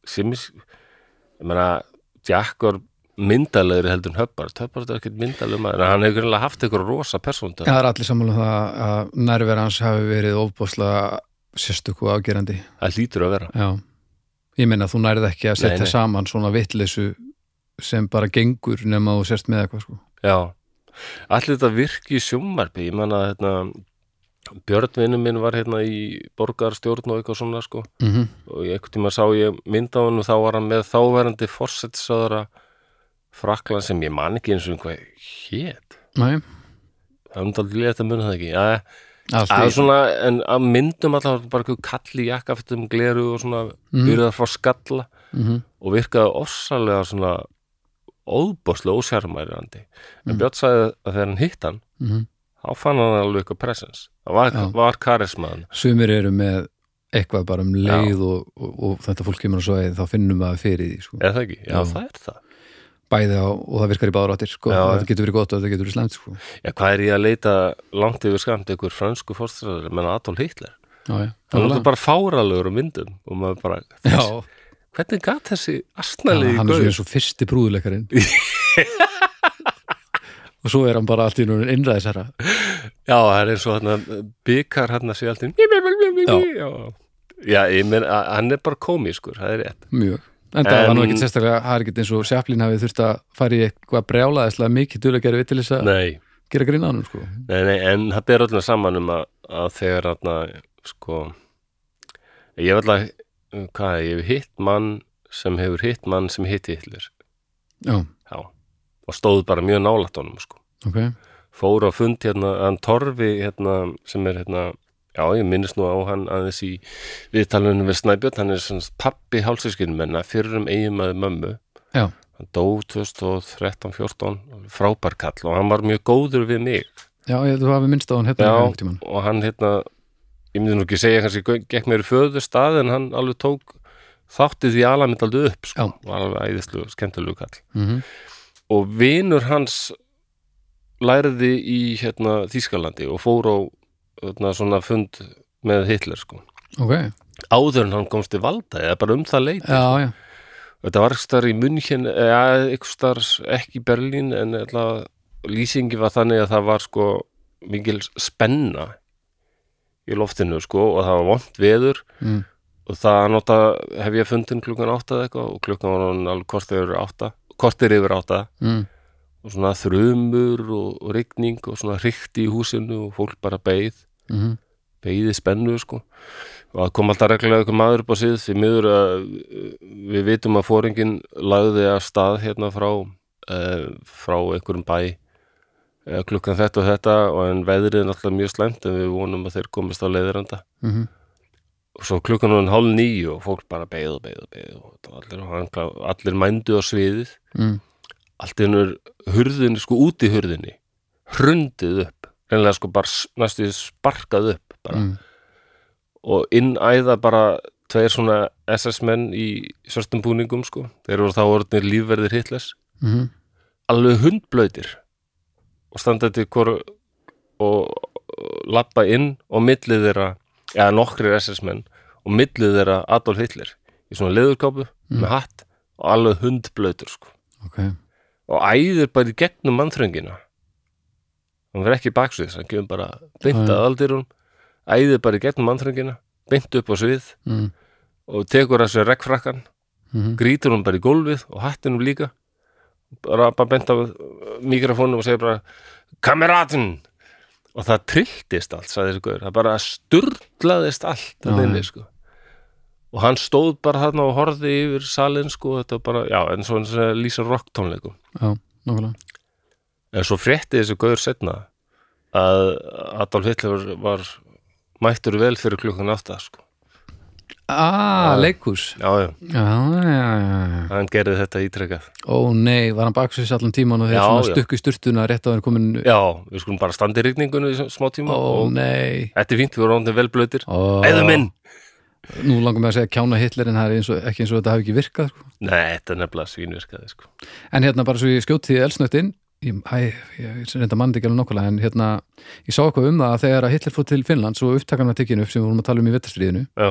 S1: Sem, ég meina, Jack var myndalegur heldur en Hubbard. Hubbard er ekkert myndalegur maður, en hann hefur greinlega haft ykkur rosa persónda.
S2: það er allir sammála um það að nærvera hans hafi verið ofbóðslega sérstök og afgerandi
S1: Það hlýtur að vera.
S2: Já, ég meina þú nærið ekki að
S1: Nei,
S2: setja
S1: nei.
S2: saman svona vittleysu sem bara gengur nema þú sérst með eitthvað sko.
S1: Já. Allir þetta virki í sjómarpi, ég meina, hérna, Björn vinnum minn var hérna í borgarstjórn og eitthvað svona sko
S2: mm
S1: og í einhvern tíma sá ég mynd á hann og þá var hann með þáverandi fórsetsaðara frakla sem ég man ekki eins og hvað hét
S2: Nei,
S1: það er um daldið létt að muna það ekki að,
S2: allt
S1: að
S2: í
S1: svona, en að myndum alltaf bara eitthvað kall í jakkafettum gleru og svona
S2: Mm.
S1: byrðar frá skalla
S2: Mhm.
S1: og virkaði ofsalega svona óbáslega ósjarmærandi en
S2: Mm.
S1: Björn sagði að þegar hann hitt hann
S2: Mhm.
S1: þá fann hann alveg eitthvað presence það var,
S2: Já.
S1: var karismaðan
S2: Sumir eru með eitthvað bara um leið og, og, og þetta fólk kemur og svo þá finnum við að fyrir því sko.
S1: er það ekki? Já,
S2: Já.
S1: það er það
S2: bæði á, og það virkar í báður áttir sko.
S1: Já, já.
S2: þetta getur verið gott og þetta getur verið slæmt sko.
S1: Já, hvað er ég að leita langt yfir skamt ykkur fransku fórstræður menn Adolf Hitler?
S2: já, já,
S1: Hann er
S2: nákvæmlega.
S1: náttúrulega bara fáralegur á myndum og maður bara,
S2: já,
S1: hvernig gat þessi astnalegi
S2: hann er
S1: gaur?
S2: svona eins og fyrsti brúðuleikarinn og svo er hann bara allt í núna innræðisherra
S1: Já, það er eins og eh, hann byggar hann að sé allt í Já, Já ég menn, hann er bara komískur, það er rétt
S2: mjög en það var nú
S1: En-
S2: ekkit sérstaklega, það er ekkit eins og Sjöflín hafið þurft að fara í eitthvað brjálaðislega mikið duðleikari við til þess að
S1: Nei,
S2: gera grín á hann sko.
S1: nei, nei, en það ber öllum saman um að, að þegar hann sko, ég hef alltaf hvað, ég hef hitt mann sem hefur hitt mann sem hitt Hitler
S2: já,
S1: Já, og stóð bara mjög nálætt honum, sko
S2: ok
S1: fór á fund hérna, hann Torfi hérna, sem er hérna, já ég minnist nú á hann aðeins í viðtalunum við Snæbjörn, hann er svona pappi hálsískinum menna, fyrir um eigum að mömmu
S2: Já.
S1: hann dó 2013-14 frábær kall og hann var mjög góður við mig
S2: já, ég, þú hafið minnst á hann hérna
S1: Já.
S2: einhvern tímann.
S1: og hann hérna, ég myndi nú ekki segja kannski gau- gekk mér í föðu stað en hann alveg tók þáttið í alamindaldu upp
S2: Já.
S1: sko, var alveg æðislu, skemmtilegu kall
S2: Mhm.
S1: og vinur hans læriði í hérna, Þýskalandi og fór á hérna, svona fund með Hitler sko.
S2: ok,
S1: áður en hann komst til valda eða bara um það leiti
S2: já, já
S1: þetta var eitthvað í München eða eitthvað starf ekki í Berlín en ætla, lýsingi var þannig að það var sko mikil spenna í loftinu sko og það var vont veður
S2: Mm.
S1: og það nota hef ég fundin klukkan átta eða eitthvað og klukkan var hann alveg kortir yfir átta kortir yfir átta
S2: mm.
S1: og svona þrumur og, og rigning og svona hrykti í húsinu og fólk bara beið,
S2: Mm
S1: beiði spennu sko og það kom alltaf reglulega ykkur maður upp á síð því miður að uh, við vitum að fóringin lagði að stað hérna frá uh, frá einhverjum bæ uh, klukkan þetta og þetta og en veðrið er náttúrulega mjög slæmt en við vonum að þeir komist á leiðiranda
S2: -hmm.
S1: og svo klukkan var hann hálf nýju og fólk bara beið og beið og beið og þetta var allir, og hann- allir mændu á sviðið
S2: Mm.
S1: allt einnur hurðinni, sko út í hurðinni hrundið upp reynilega sko bara s- næstu því sparkað upp bara.
S2: Mm.
S1: og innæða bara tveir svona SS-menn í svörstum búningum sko, þeir voru þá orðnir lífverðir hitles,
S2: Mm.
S1: alveg hundblöytir og standa til hvort og og labba inn og millið þeirra eða nokkrir SS-menn og millið þeirra Adolf Hitler í svona leðurkápu
S2: Mm.
S1: með hatt og alveg hundblöytur sko
S2: ok,
S1: og æðir bara í gegnum mannþröngina hann verð ekki baksvið hann kemur bara beint
S2: Já, já.
S1: að aldýrum æðir bara í gegnum mannþröngina beint upp á svið
S2: mm.
S1: og tekur þessu rekkfrakkan
S2: Mm.
S1: grítur hún bara í gólfið og hattinum líka bara, bara beint á mikrofónum og segir bara kameratin og það trilltist allt, sagði þessi guður það bara sturlaðist allt
S2: Já,
S1: að inni
S2: já.
S1: sko og hann stóð bara þarna og horfði yfir salin sko, þetta var bara, já, en svo hann lýsa rocktónleikum
S2: já, nákvæmlega
S1: En svo frétti þessi gauður setna að Adolf Hitler var mættur vel fyrir klukkan átta sko.
S2: ah, leikús
S1: Já, já,
S2: já, já, já, já.
S1: hann gerði þetta ítrekkað.
S2: ó nei, var hann baksins allan tíman og þeir
S1: Já,
S2: svona
S1: já.
S2: stukku í sturtuna rétt á hann komin
S1: Já, við skulum bara standa í rigningunni í smá tíma
S2: ó
S1: og
S2: nei
S1: þetta er fínt, við vorum vel blöytir.
S2: Ó.
S1: Æðum inn!
S2: nú langar mig að segja kjána Hitler en það er eins og, ekki eins og þetta hafi ekki virkað sko.
S1: Nei, þetta er nefnilega svínvirkaði sko.
S2: en hérna bara svo ég skjóti því elsnögt inn ég, æ, ég, ég reynda mann ekki alveg nokkulega en hérna, ég sá eitthvað um það að þegar að Hitler fór til Finnland svo upptakan var tekinu upp sem við vorum að tala um í vettastriðinu
S1: Já,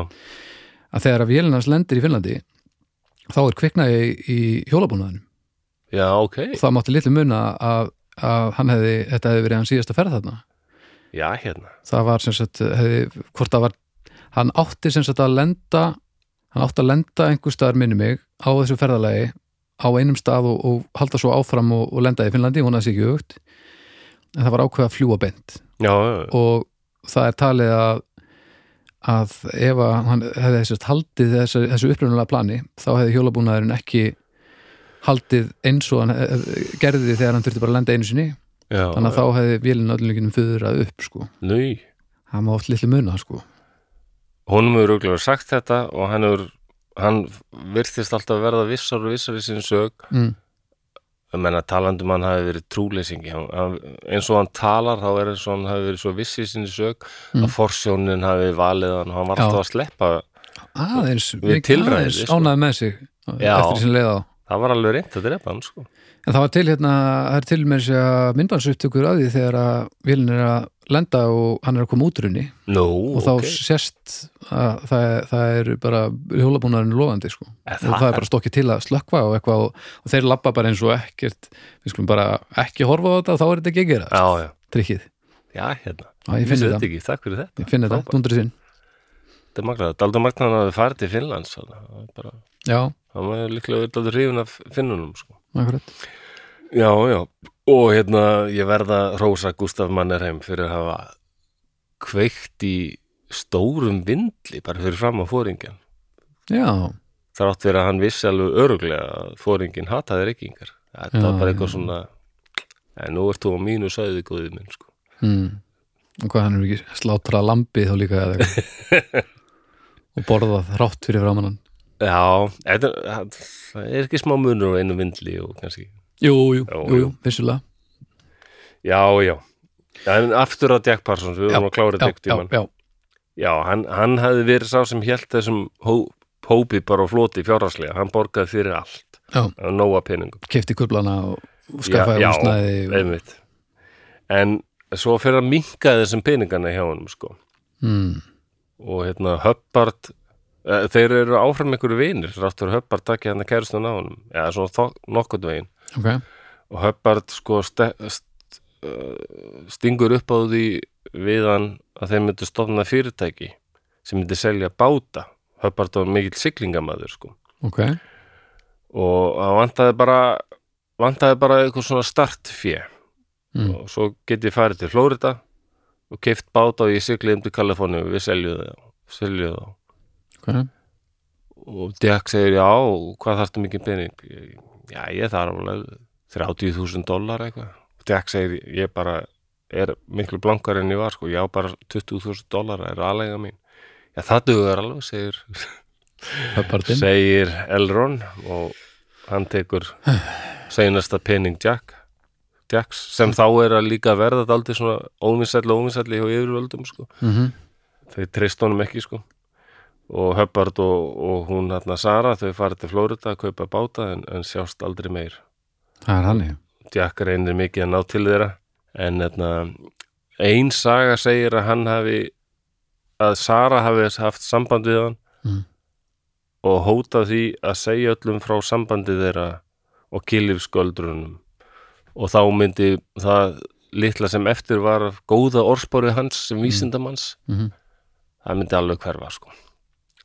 S2: að þegar að vélinnans lendir í Finnlandi þá er kviknaði í hjólabúnaðinu
S1: já, ok.
S2: og það mátti litlu muna að, að hann hefði, þetta hefði verið hans síðasta ferð þarna
S1: Já, hérna.
S2: það var sem sagt, hefði, hvort það var hann átti sem sagt að lenda hann átti að lenda einhver staðar minni mig á þessu ferðalagi á einum stað og, og halda svo áfram og, og lenda í Finnlandi, hún að sé ekki aukt en það var ákveð að fljúa bent
S1: Já, já, já.
S2: og það er talið að að ef að hann hefði þessi haldið þessu, þessu upprunalega plani þá hefði hjólabúnaðurinn ekki haldið eins og hann hef- gerði þegar hann þurfti bara að lenda einu sinni
S1: já,
S2: þannig að þá hefði vélinn öllum fyrrað upp sko,
S1: Nau,
S2: það má oft litlu muna sko
S1: honum hefur auðvitað sagt þetta og hann hefur hann virtist alltaf verða vissar og vissar í sinni sög
S2: mm.
S1: ég menna talandum hann hafi verið trúleysingi hann, hann, eins og hann talar þá er eins og hann hafi verið svo vissi í sinni sög að forsjónin hafi valið hann og hann var
S2: Mm. Já.
S1: alltaf að sleppa
S2: aðeins,
S1: Við tilræðið, sko.
S2: ánæði með sig
S1: Já.
S2: eftir sem leið á
S1: það var alveg reynd að drepa hann sko
S2: en það var til hérna, það er til með þessi að myndbansuptökur að því þegar að vélinn er að lenda og hann er að koma útrunni
S1: Nú,
S2: og þá
S1: ok,
S2: sérst að það, er- það er bara hjólabúnaðurinn er lofandi sko.
S1: Eh,
S2: og það er bara stokkið til að slökkva og, eitthvað, og, og þeir labba bara eins og ekkert við skulum bara ekki horfa á þetta og þá er þetta ekki að gera,
S1: já, já,
S2: trikkið
S1: já, hérna
S2: Já, ég finn
S1: Ég vissi
S2: þetta,
S1: þetta ekki, takk fyrir þetta
S2: ég finn þetta,
S1: Frábært.
S2: dundrið sinn
S1: Þetta er magnað, Daldur Magnan hafi farið til Finnlands þannig að það er bara,
S2: já,
S1: hann var líklega verið alveg hrifun af finnunum sko
S2: akkurat
S1: Já, já, og hérna ég verða Rósa Gustaf Mannerheim fyrir að hafa kveikt í stórum vindli bara fyrir fram á fóringin
S2: já,
S1: þrátt fyrir að hann vissi alveg öruglega að fóringin hataði reykingar þetta
S2: Já,
S1: var bara
S2: já.
S1: eitthvað svona en nú ert þú á mínu sæði góðið minn sko.
S2: mm. og hvað hann er ekki slátra lambi þá líka eða eitthvað og borðað rátt fyrir framannan
S1: Já, þetta, það er ekki smá munur á einu vindli og kannski
S2: jú, jú,
S1: Já,
S2: jú, jú,
S1: jú.
S2: vissulega
S1: Já, já, en aftur að Jack Parsons, við
S2: Já,
S1: vorum að klára
S2: já,
S1: þetta
S2: já,
S1: tíman
S2: já,
S1: Já, hann, hann hafði verið sá sem hélt þessum hó, hópi bara á floti fjárhagslega, hann borgaði fyrir allt
S2: já,
S1: og nóa peningum
S2: kefti kublana og, og skaffaði
S1: Já, já,
S2: húsnæði og,
S1: einmitt En svo fyrir að minka þessum peningana hjá honum sko
S2: mm,
S1: og hérna Hubbard eh, þeir eru áfram einhverju vinir ráttur Hubbard takkja hann að kæristun á honum eða svona nokkurt veginn
S2: ok,
S1: og Hubbard sko ste, st, uh, stingur upp á því við hann að þeir myndu stofna fyrirtæki sem myndi selja báta Hubbard var mikill siglingamæður sko
S2: ok
S1: og hann vantaði bara vantaði bara eitthvað svona startfé
S2: Mm.
S1: og svo get ég farið til Flórida og keift báta og ég siglið um til Kaliforni og við seljum það seljum það
S2: ok
S1: og Jack segir já, og hvað þarftu mikið pening Ég- já, ég þarf alveg 30.000 dólar eitthvað og Jack segir, ég bara er miklu blankar en ég var, sko, ég á bara 20.000 dólar, er aðlega mín já, það dugur alveg, segir
S2: Pöppartinn,
S1: segir Elron og hann tekur seinasta pening Jack Jacks, sem þá er að líka verða þetta aldrei svona óvinsætli og óvinsætli hjá yfirvöldum, sko
S2: mm -hmm.
S1: þeir treyst honum ekki sko og Hubbard og, og hún hérna Sara þau farið til Flórida að kaupa báta en, en sjást aldrei meir
S2: það er hannig
S1: Jack reynir mikið að ná til þeirra en hérna ein saga segir að hann hafi að Sara hafi haft samband við hann
S2: Mm.
S1: og hótað því að segja öllum frá sambandi þeirra og kýlifsköldrunum og þá myndi það litla sem eftir var af góða orðspórið hans sem vísindamanns
S2: mm -hmm.
S1: það myndi alveg hverfa sko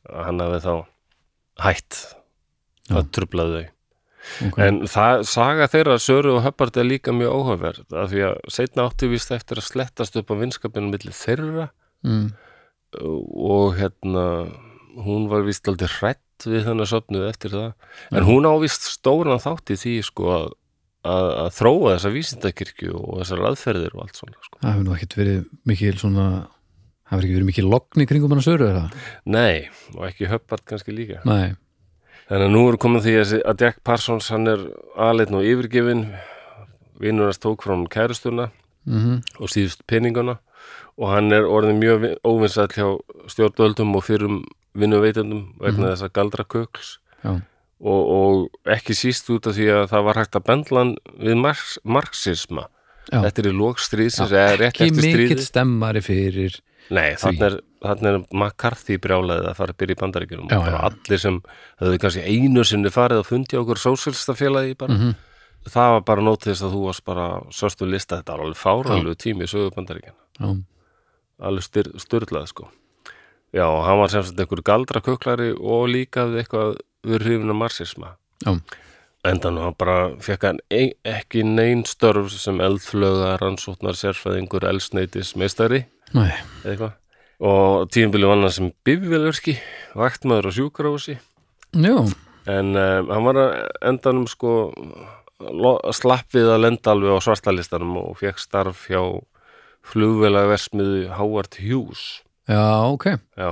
S1: að hann hafi þá hætt
S2: Já.
S1: að trubla þau
S2: okay.
S1: en það, saga þeirra Söru og Höppard er líka mjög óhauverð af því að seinna átti víst eftir að slettast upp á vinskapinu milli þeirra
S2: mm.
S1: og hérna hún var víst aldrei hrætt við þennan söfnuð eftir það en hún ávist stóran þátt í því sko að, að, að þróa þessa vísindakirkju og þessar aðferðir og allt svona sko.
S2: það hefur nú ekkert verið mikil svona það hefur ekki verið mikil lokn í kringum hann að söru er það?
S1: nei, og ekki Höppard kannski líka
S2: Nei,
S1: Þannig að nú er komið því að þessi- að Jack Parsons hann er aðleitn og yfirgefin vinnur hans tók frá hann kæristuna
S2: mm
S1: og síðust peningana og hann er orðin mjög óvinsall hjá stjórnvöldum og fyrrum vinnuveitendum
S2: Mhm.
S1: vegna þessa galdra kökls
S2: já,
S1: og, og ekki síst út af því að það var hægt að bendla hann við marx, marxisma
S2: Já.
S1: Þetta er í lókstríðsins eða rétt
S2: ekki
S1: eftir
S2: mikill
S1: stríðið
S2: stemmari fyrir
S1: Nei, þannig er, þarna er McCarthy brjálaðið að fara að byrja í bandaríkjunum
S2: Já,
S1: og bara
S2: já.
S1: allir sem höfðu kannski einu sinni farið að fundi okkur sósélstafélagi bara,
S2: Mhm.
S1: það var bara nótið þess að þú varst bara sörstu lista, þetta var alveg fáralegu tími í sögu bandaríkjana,
S2: já,
S1: alveg styr, styrlað sko. Já, og hann var sem sagt einhver galdraköklari og líka við eitthvað við hrifinu marxisma
S2: já,
S1: endanum hann bara fekk hann ein, ekki neyn störf sem eldflöga rannsóknar sérfæðingur elsneitis meistari
S2: Nei,
S1: eða eitthvað og tíðanbili vann hann sem bifilurki vaktmaður á sjúkrahúsi
S2: já,
S1: en um, hann var að endanum sko lo- slapp við að lenda alveg á svartalistanum og fekk starf hjá flugvélaversmiðu Howard Hughes
S2: já, ok
S1: já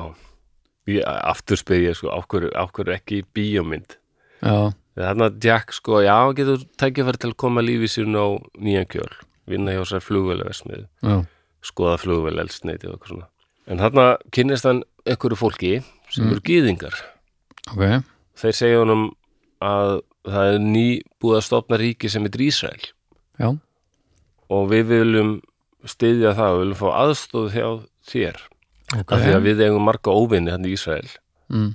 S1: Ég- aftur spyr ég sko, af hverju, af hverju ekki í bíómynd
S2: Já,
S1: Þannig að Jack sko, já, hann getur tækifæri til að koma lífi sín á nýjan kjöl, vinna hjá sér flugvélaversmiðu,
S2: já,
S1: skoða flugvélelsneiti og eitthvað svona. En þarna kynnist hann einhverju fólki sem eru gýðingar.
S2: ok
S1: Þeir segja honum að það er ný búið að stopna ríki sem er Ísrael
S2: Já,
S1: og við viljum styðja það, við viljum fá aðstóð hjá þér.
S2: ok
S1: Af því að við eigum marga óvinni hann í Ísrael
S2: mm,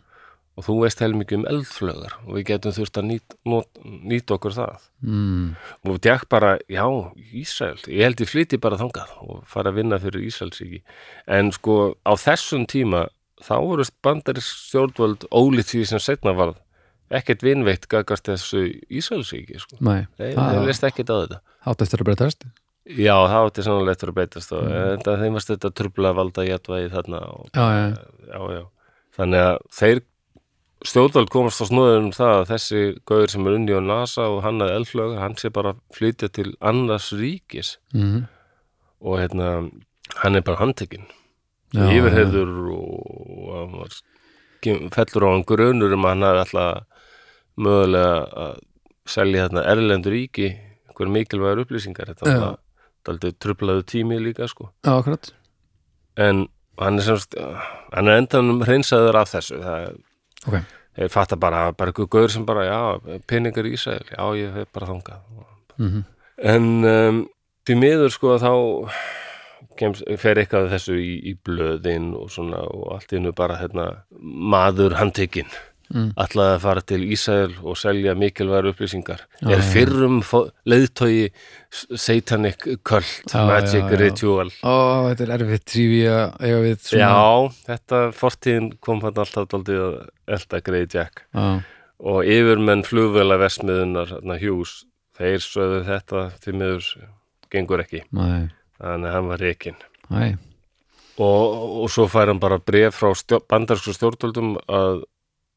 S1: og þú veist helmingi um eldflögar og við getum þurft að nýta nýt, nýt okkur það.
S2: mm,
S1: og Jack bara, já, Ísrael ég held ég flytti bara þangað og fara að vinna fyrir Ísraelsíki en sko á þessum tíma þá voru bandarist stjórnvöld ólíkt því sem setna varð ekkert vinveitt gagast þessu Ísraelsíki sko.
S2: Nei,
S1: þeir,
S2: það
S1: þeir leist ekkert á þetta
S2: átt eftir að breytast
S1: já, það átti sannlega eftir að beitast og mm. þeim varst þetta trubla valda jætvæði þarna og,
S2: Já, já,
S1: já, já. þannig að þeir stjórnvöld komast á snúðum það að þessi gauður sem er unni á NASA og hann að eldflöga, hann sé bara að flytja til annars ríkis
S2: mm,
S1: og hérna hann er bara handtekinn
S2: já
S1: yfirheður og hann var, kem- fellur á hann grunur um að hann hafi alltaf mögulega að selja þarna erlendur ríki einhver mikilvægur upplýsingar þetta
S2: Já.
S1: var bara daldið trublaðu tími líka sko
S2: Já, akkurat
S1: en hann er semst hann er endanum hreinsaður af þessu það
S2: Ok,
S1: er fatta bara, bara einhver gaur sem bara, já, peningar í Ísrael já, ég hef bara þangað
S2: mhm,
S1: En um, því miður sko þá kems, fer eitthvað af þessu í, í blöðin og svona og allt innu bara hérna, maður handtekinn
S2: Mm.
S1: ætlaði að fara til Ísæl og selja mikilværu upplýsingar er fyrrum fó- leiðtogi s- satanic cult
S2: Já,
S1: magic
S2: já, já.
S1: ritual
S2: Ó, þetta er erfitt trífi að eiga við svona
S1: Já, þetta fortíðin kom hann alltaf daldið að elda greið Jack
S2: Já,
S1: og yfirmenn flugvela versmiðunar Hughes, þeir sögðu þetta því miður gengur ekki
S2: nei,
S1: þannig að hann var reikinn
S2: nei
S1: og, og svo fær hann bara bref frá stjó, bandarsku stjórnvöldum að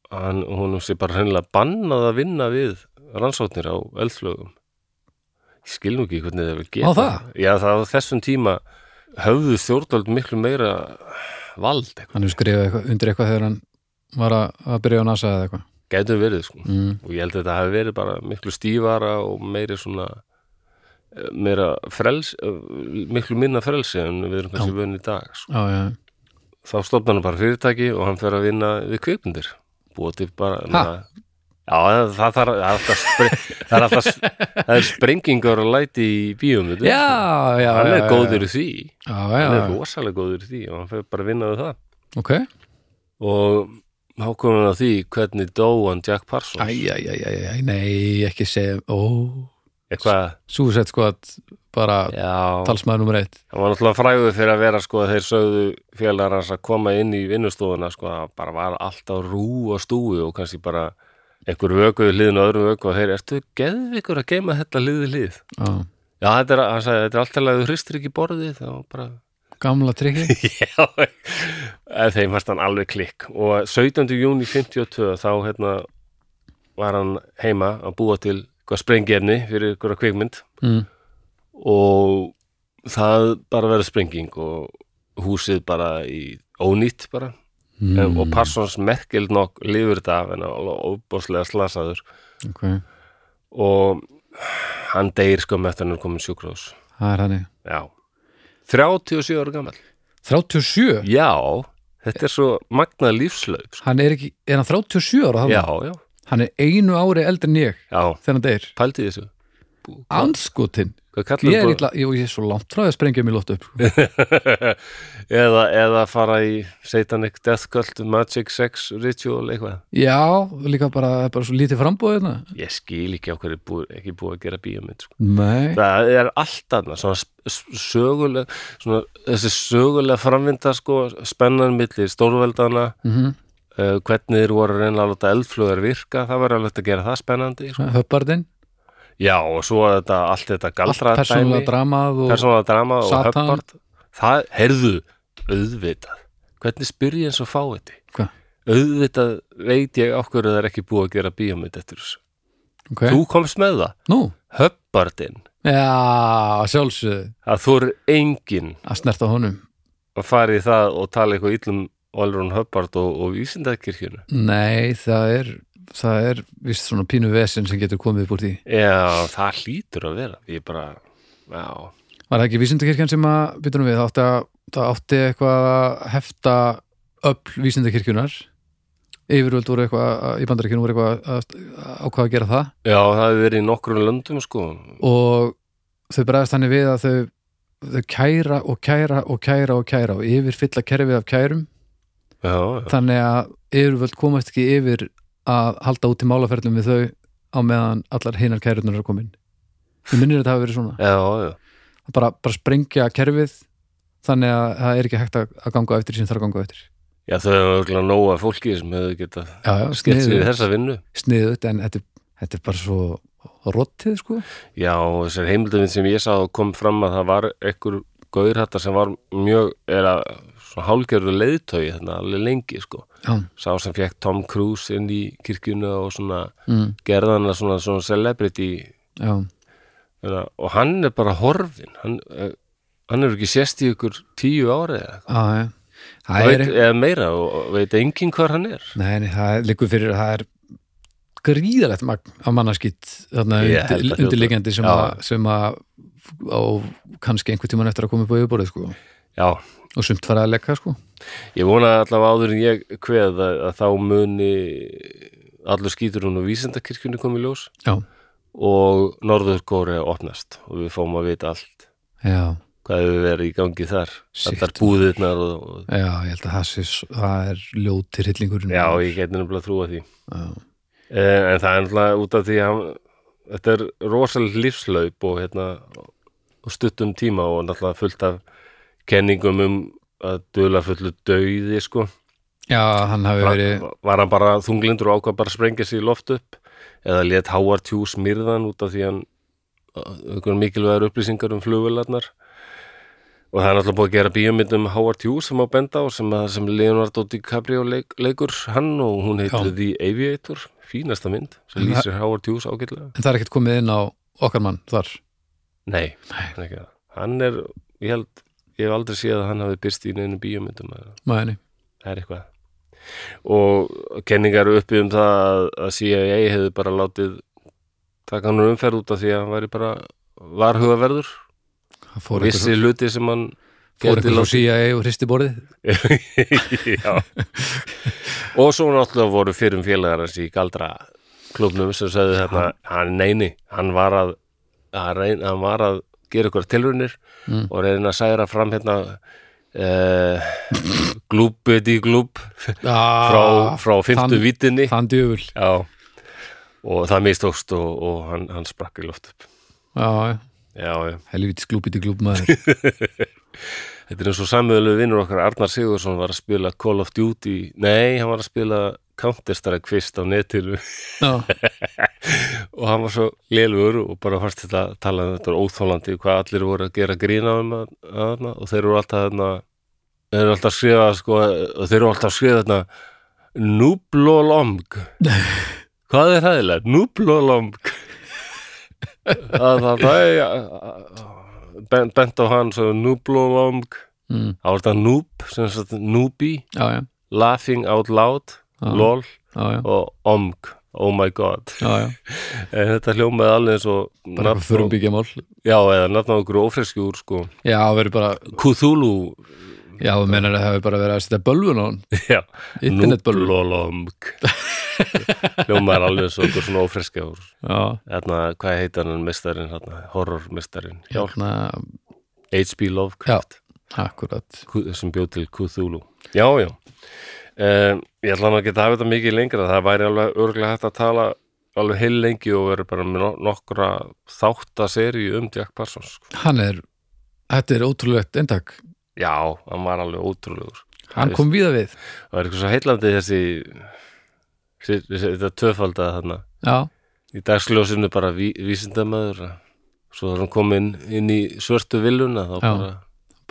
S1: hann, honum sé bara hennilega bannað að vinna við rannsóknir á eldflögum ég skil nú ekki hvernig það vil geta
S2: Á það?
S1: Já, það á þessum tíma höfðu stjórnvöld miklu meira vald eitthvað,
S2: Hann hefur skrifað eitthvað, undir eitthvað þegar hann var að, að byrja á NASA eða eitthvað
S1: gætum verið sko
S2: mm,
S1: og ég held að þetta hafi verið bara miklu stífara og meiri svona eh, meira frels eh, miklu minna frelsi en við erum kannski vöðin í dag sko.
S2: Já, já,
S1: þá stopna hann bara fyrirtæki og hann fer að vinna við kvikmyndir búið til bara na, já, það, þarf- það er alltaf spre- það er alltaf það er sprengingar og læti í bíómyndu
S2: já, já
S1: hann
S2: já,
S1: er
S2: já,
S1: góður í því
S2: Já,
S1: hann
S2: já,
S1: er rosalega góður í því og hann fer bara að vinna við það
S2: ok
S1: og þá komum við að því hvernig dó hann Jack Parsons
S2: Æ, æ, æ, æ, æ, nei, ekki segja Ó,
S1: eitthvað,
S2: Suicide Squad bara
S1: já,
S2: talsmaður nummer eitt
S1: hann var náttúrulega frægur fyrir að vera sko að þeir sögðu félagar hans að koma inn í vinnustofuna sko að bara var alltaf rú og stúi og kannski bara einhver vöku við hliðin og öðru vöku og þeir ertu geðvikur að geima þetta hlið við hlið
S2: Já,
S1: já þetta er, hann sagði, þetta er alltaf að þú hristir ekki borðið þá bara
S2: gamla tryggi
S1: já, en þeim varst hann alveg klikk og 17. júni 52 þá hérna var hann heima að búa til eitthvað sprengjefni fyrir einhverja kvikmynd
S2: mm,
S1: og það bara verður sprenging og húsið bara í ónýtt bara mm. og Parsons merkild nokk lifur þetta af en er alveg óbáslega slasaður
S2: Ok,
S1: og hann deyr sko með þannig komin sjúkrós
S2: það er hannig
S1: já, 37 ára gammal
S2: 37?
S1: já, þetta er svo magnað lífslaup sko.
S2: Hann er ekki, er hann 37 ára þá?
S1: já, já,
S2: Hann er einu ári eldri en ég
S1: já,
S2: þegar hann deyr
S1: pældi þessu
S2: Andskotin,
S1: hvað kallar
S2: ég er, illa, ég, ég er svo langt frá því að sprengja mér lótt upp sko.
S1: eða, eða fara í Satanic Death Cult Magic Sex Ritual eitthvað
S2: Já, líka bara, það er bara svo lítið frambúið hérna
S1: ég skil ekki á hverju er búið, ekki búið að gera bíómynd sko.
S2: Nei,
S1: það er allt annað svona s- söguleg svona, þessi sögulega framvinda sko, spennan milli stórveldana
S2: mhm,
S1: eh, uh, hvernig þeir voru að reyna að láta eldflugar virka, það var alveg hægt að gera það spennandi sko.
S2: höppardinn,
S1: já og svo þetta, allt þetta
S2: allt
S1: galdra
S2: persónulega dramað og
S1: persónulega drama og
S2: Satan.
S1: höppart það, heyrðu, auðvitað hvernig spyr ég eins og fá þetta
S2: Hvað?
S1: auðvitað veit ég okkur það er ekki búið að gera bíómynd eftir þessu
S2: okay.
S1: þú komst með það,
S2: nú,
S1: höppartinn
S2: já, sjálfsögðu
S1: að þú eru enginn
S2: að snerta honum
S1: að fara í það og tala eitthvað illum Olrun Höppard og, og Ísindakirkjunu
S2: nei, það er það er vist svona pínu vesinn sem getur komið upp úr því.
S1: Já, það hlýtur að vera ég bara, já
S2: Var það ekki vísindakirkjan sem að, býtum við, það átti, að, það átti eitthvað að hefta öll vísindakirkjunar yfirvöld voru eitthvað, að- í bandaríkjunum voru eitthvað að, að ákvaða að gera það
S1: Já, það hefur verið í nokkrum löndum sko
S2: og þau bregðast þannig við að þau, þau kæra og kæra og kæra og kæra og yfirfylla kerfið af kærum
S1: Já, já,
S2: þannig að yfirvöld komast ekki yfir að halda út í málaferðlum við þau á meðan allar hinar kærunar eru komin Ég minnir að það hafi verið svona
S1: já, já.
S2: bara, bara sprengja kerfið þannig að það er ekki hægt að, að ganga á eftir sem þarf að ganga á eftir
S1: já þau hefur örgulega nóga fólki sem hefur getað
S2: já, já,
S1: skett sér í þessa vinnu
S2: sniðut en þetta, þetta er bara svo rottið sko
S1: Já, og þessar heimilduminn sem ég sá kom fram að það var ekkur gauðrættar sem var mjög, eða svona hálgerðu leiðtögi þarna alveg lengi sko
S2: já,
S1: Sá sem fekk Tom Cruise inn í kirkjunu og svona
S2: mm,
S1: gerðana svona, svona celebrity
S2: já,
S1: Þannig, að- og hann er bara horfin hann, eh, hann er ekki sérst í ykkur tíu ári eða,
S2: á, já.
S1: eitthvað.
S2: það
S1: veit,
S2: er
S1: eða meira og og veit enginn hvar hann er
S2: nei, nei, það er líku fyrir að það er gríðalegt magn af mannarskitt þarna
S1: Ég held að
S2: undir,
S1: hljóta.
S2: undirliggjandi sem,
S1: Já.
S2: að- sem að á kannski einhvern tímann eftir að koma upp á yfirborðið sko
S1: já,
S2: og sumt farið að leka sko
S1: ég vona allavega áður en ég kveð að, að þá muni allur skýtur hún og vísendakirkjunni komið ljós
S2: já,
S1: og Norður Kóri opnast og við fáum að vita allt
S2: já,
S1: hvað hefur verið í gangi þar
S2: Shit.
S1: allar búðirnar og, og,
S2: já, ég held að það, sé, s- það er ljótir hillingurinn
S1: já, ég geti nefnilega að trúa því
S2: já.
S1: en, Eh, en það er náttúrulega út af því að hann, þetta er rosalega lífslaup og, hérna, og stuttum tíma og náttúrulega fullt af kenningum um að duðla fullu dauði sko.
S2: Já, hann hafi
S1: var,
S2: verið
S1: var hann bara þunglindur og ákvað bara að sprengja sig í loft upp eða let Howard Hughes myrðan út af því hann einhverjum mikilvægur upplýsingar um flugvélarnar og það er náttúrulega búið að gera bíómynd um Howard Hughes sem á benda á sem, að- sem Leonardo DiCaprio leik, leikur hann og hún heitir
S2: Já.
S1: The Aviator fínasta mynd sem
S2: En það-
S1: lýsir Howard Hughes ágætlega
S2: en það er ekkert komið inn á okkar mann þar
S1: nei, hann er ekki það. hann er, ég held, ég hef aldrei séð að hann hafi byrst í neinu bíómyndum eða
S2: Mæni.
S1: það er eitthvað og kenningar eru uppi um það að- að CIA hefði bara látið taka hann úr umferð út af því að hann væri bara varhugaverður
S2: Það fór
S1: vissi
S2: einhver,
S1: hluti sem hann
S2: fór
S1: gæti
S2: einhver
S1: látið-
S2: frá CIA og hristi borðið
S1: Já. og svo náttúrulega voru fyrum félagar hans í galdra klubnum sem sagði þarna hann neini, hann var að, að reyn, hann var að gera ykkur tilrunir
S2: Mm.
S1: og reyna að særa fram hérna uh, glúbið í glúb frá,
S2: ah,
S1: frá fymtu
S2: þann-
S1: vítinni
S2: Þann djöful
S1: Já, og það mistókst og, og hann, hann sprakk í loft upp.
S2: Já,
S1: Já, já.
S2: helvítis glúbíti glúbmaður
S1: Þetta er eins og samöðlu vinnur okkar Arnar Sigursson var að spila Call of Duty, nei, hann var að spila Counter-Strike fyrst á netinu
S2: Já,
S1: og hann var svo lélugur og bara fannst þetta að tala um þetta er óþólandi hvað allir voru að gera grína um að, að hana og þeir eru alltaf þarna þeir eru alltaf að skrifa sko, og þeir eru alltaf að skrifa þarna núblólomg hvað er hæðilega? núblólomg það, það, það er bent, bent á hann svo núblólomg
S2: mm,
S1: það var þetta núb sem sagt núbi
S2: já, já,
S1: laughing out loud
S2: Já.
S1: lol
S2: já, já,
S1: og omg oh my god
S2: já, já.
S1: En þetta hljómaði alveg eins og
S2: bara
S1: nafn
S2: eitthvað förum
S1: á-
S2: byggja mál
S1: Já, eða nafn á okkur ófresku úr sko
S2: Já, það verður bara,
S1: Cthulhu
S2: já, þú menar að það hefur bara verið að setja bölvun á hann
S1: Já,
S2: Internetbölvun
S1: Núblolomg Hljómaði alveg eins og okkur svona ófreska úr
S2: Já,
S1: Þarna, hvað heitir hann mestarinn hérna, horrormestarinn
S2: hérna,
S1: H.P. Lovecraft
S2: akkurat
S1: Cth- sem bjóð til Cthulhu Já, já um, Ég ætla hann að geta hafa þetta mikið lengra það væri alveg örglega hægt að tala alveg heil lengi og verið bara með no- nokkra þáttaseríu um Jack Parsons sko.
S2: Hann er, þetta er ótrúlegt eintak
S1: Já, hann var alveg ótrúlegur
S2: hann kom víða við
S1: Það er eitthvað svo heillandi þessi, þessi, þessi þetta tvöfalda þarna.
S2: já,
S1: Í dagsljósinu bara ví, vísindamæður, svo er hann komin inn í svörtu viljuna, þá
S2: Já.
S1: bara,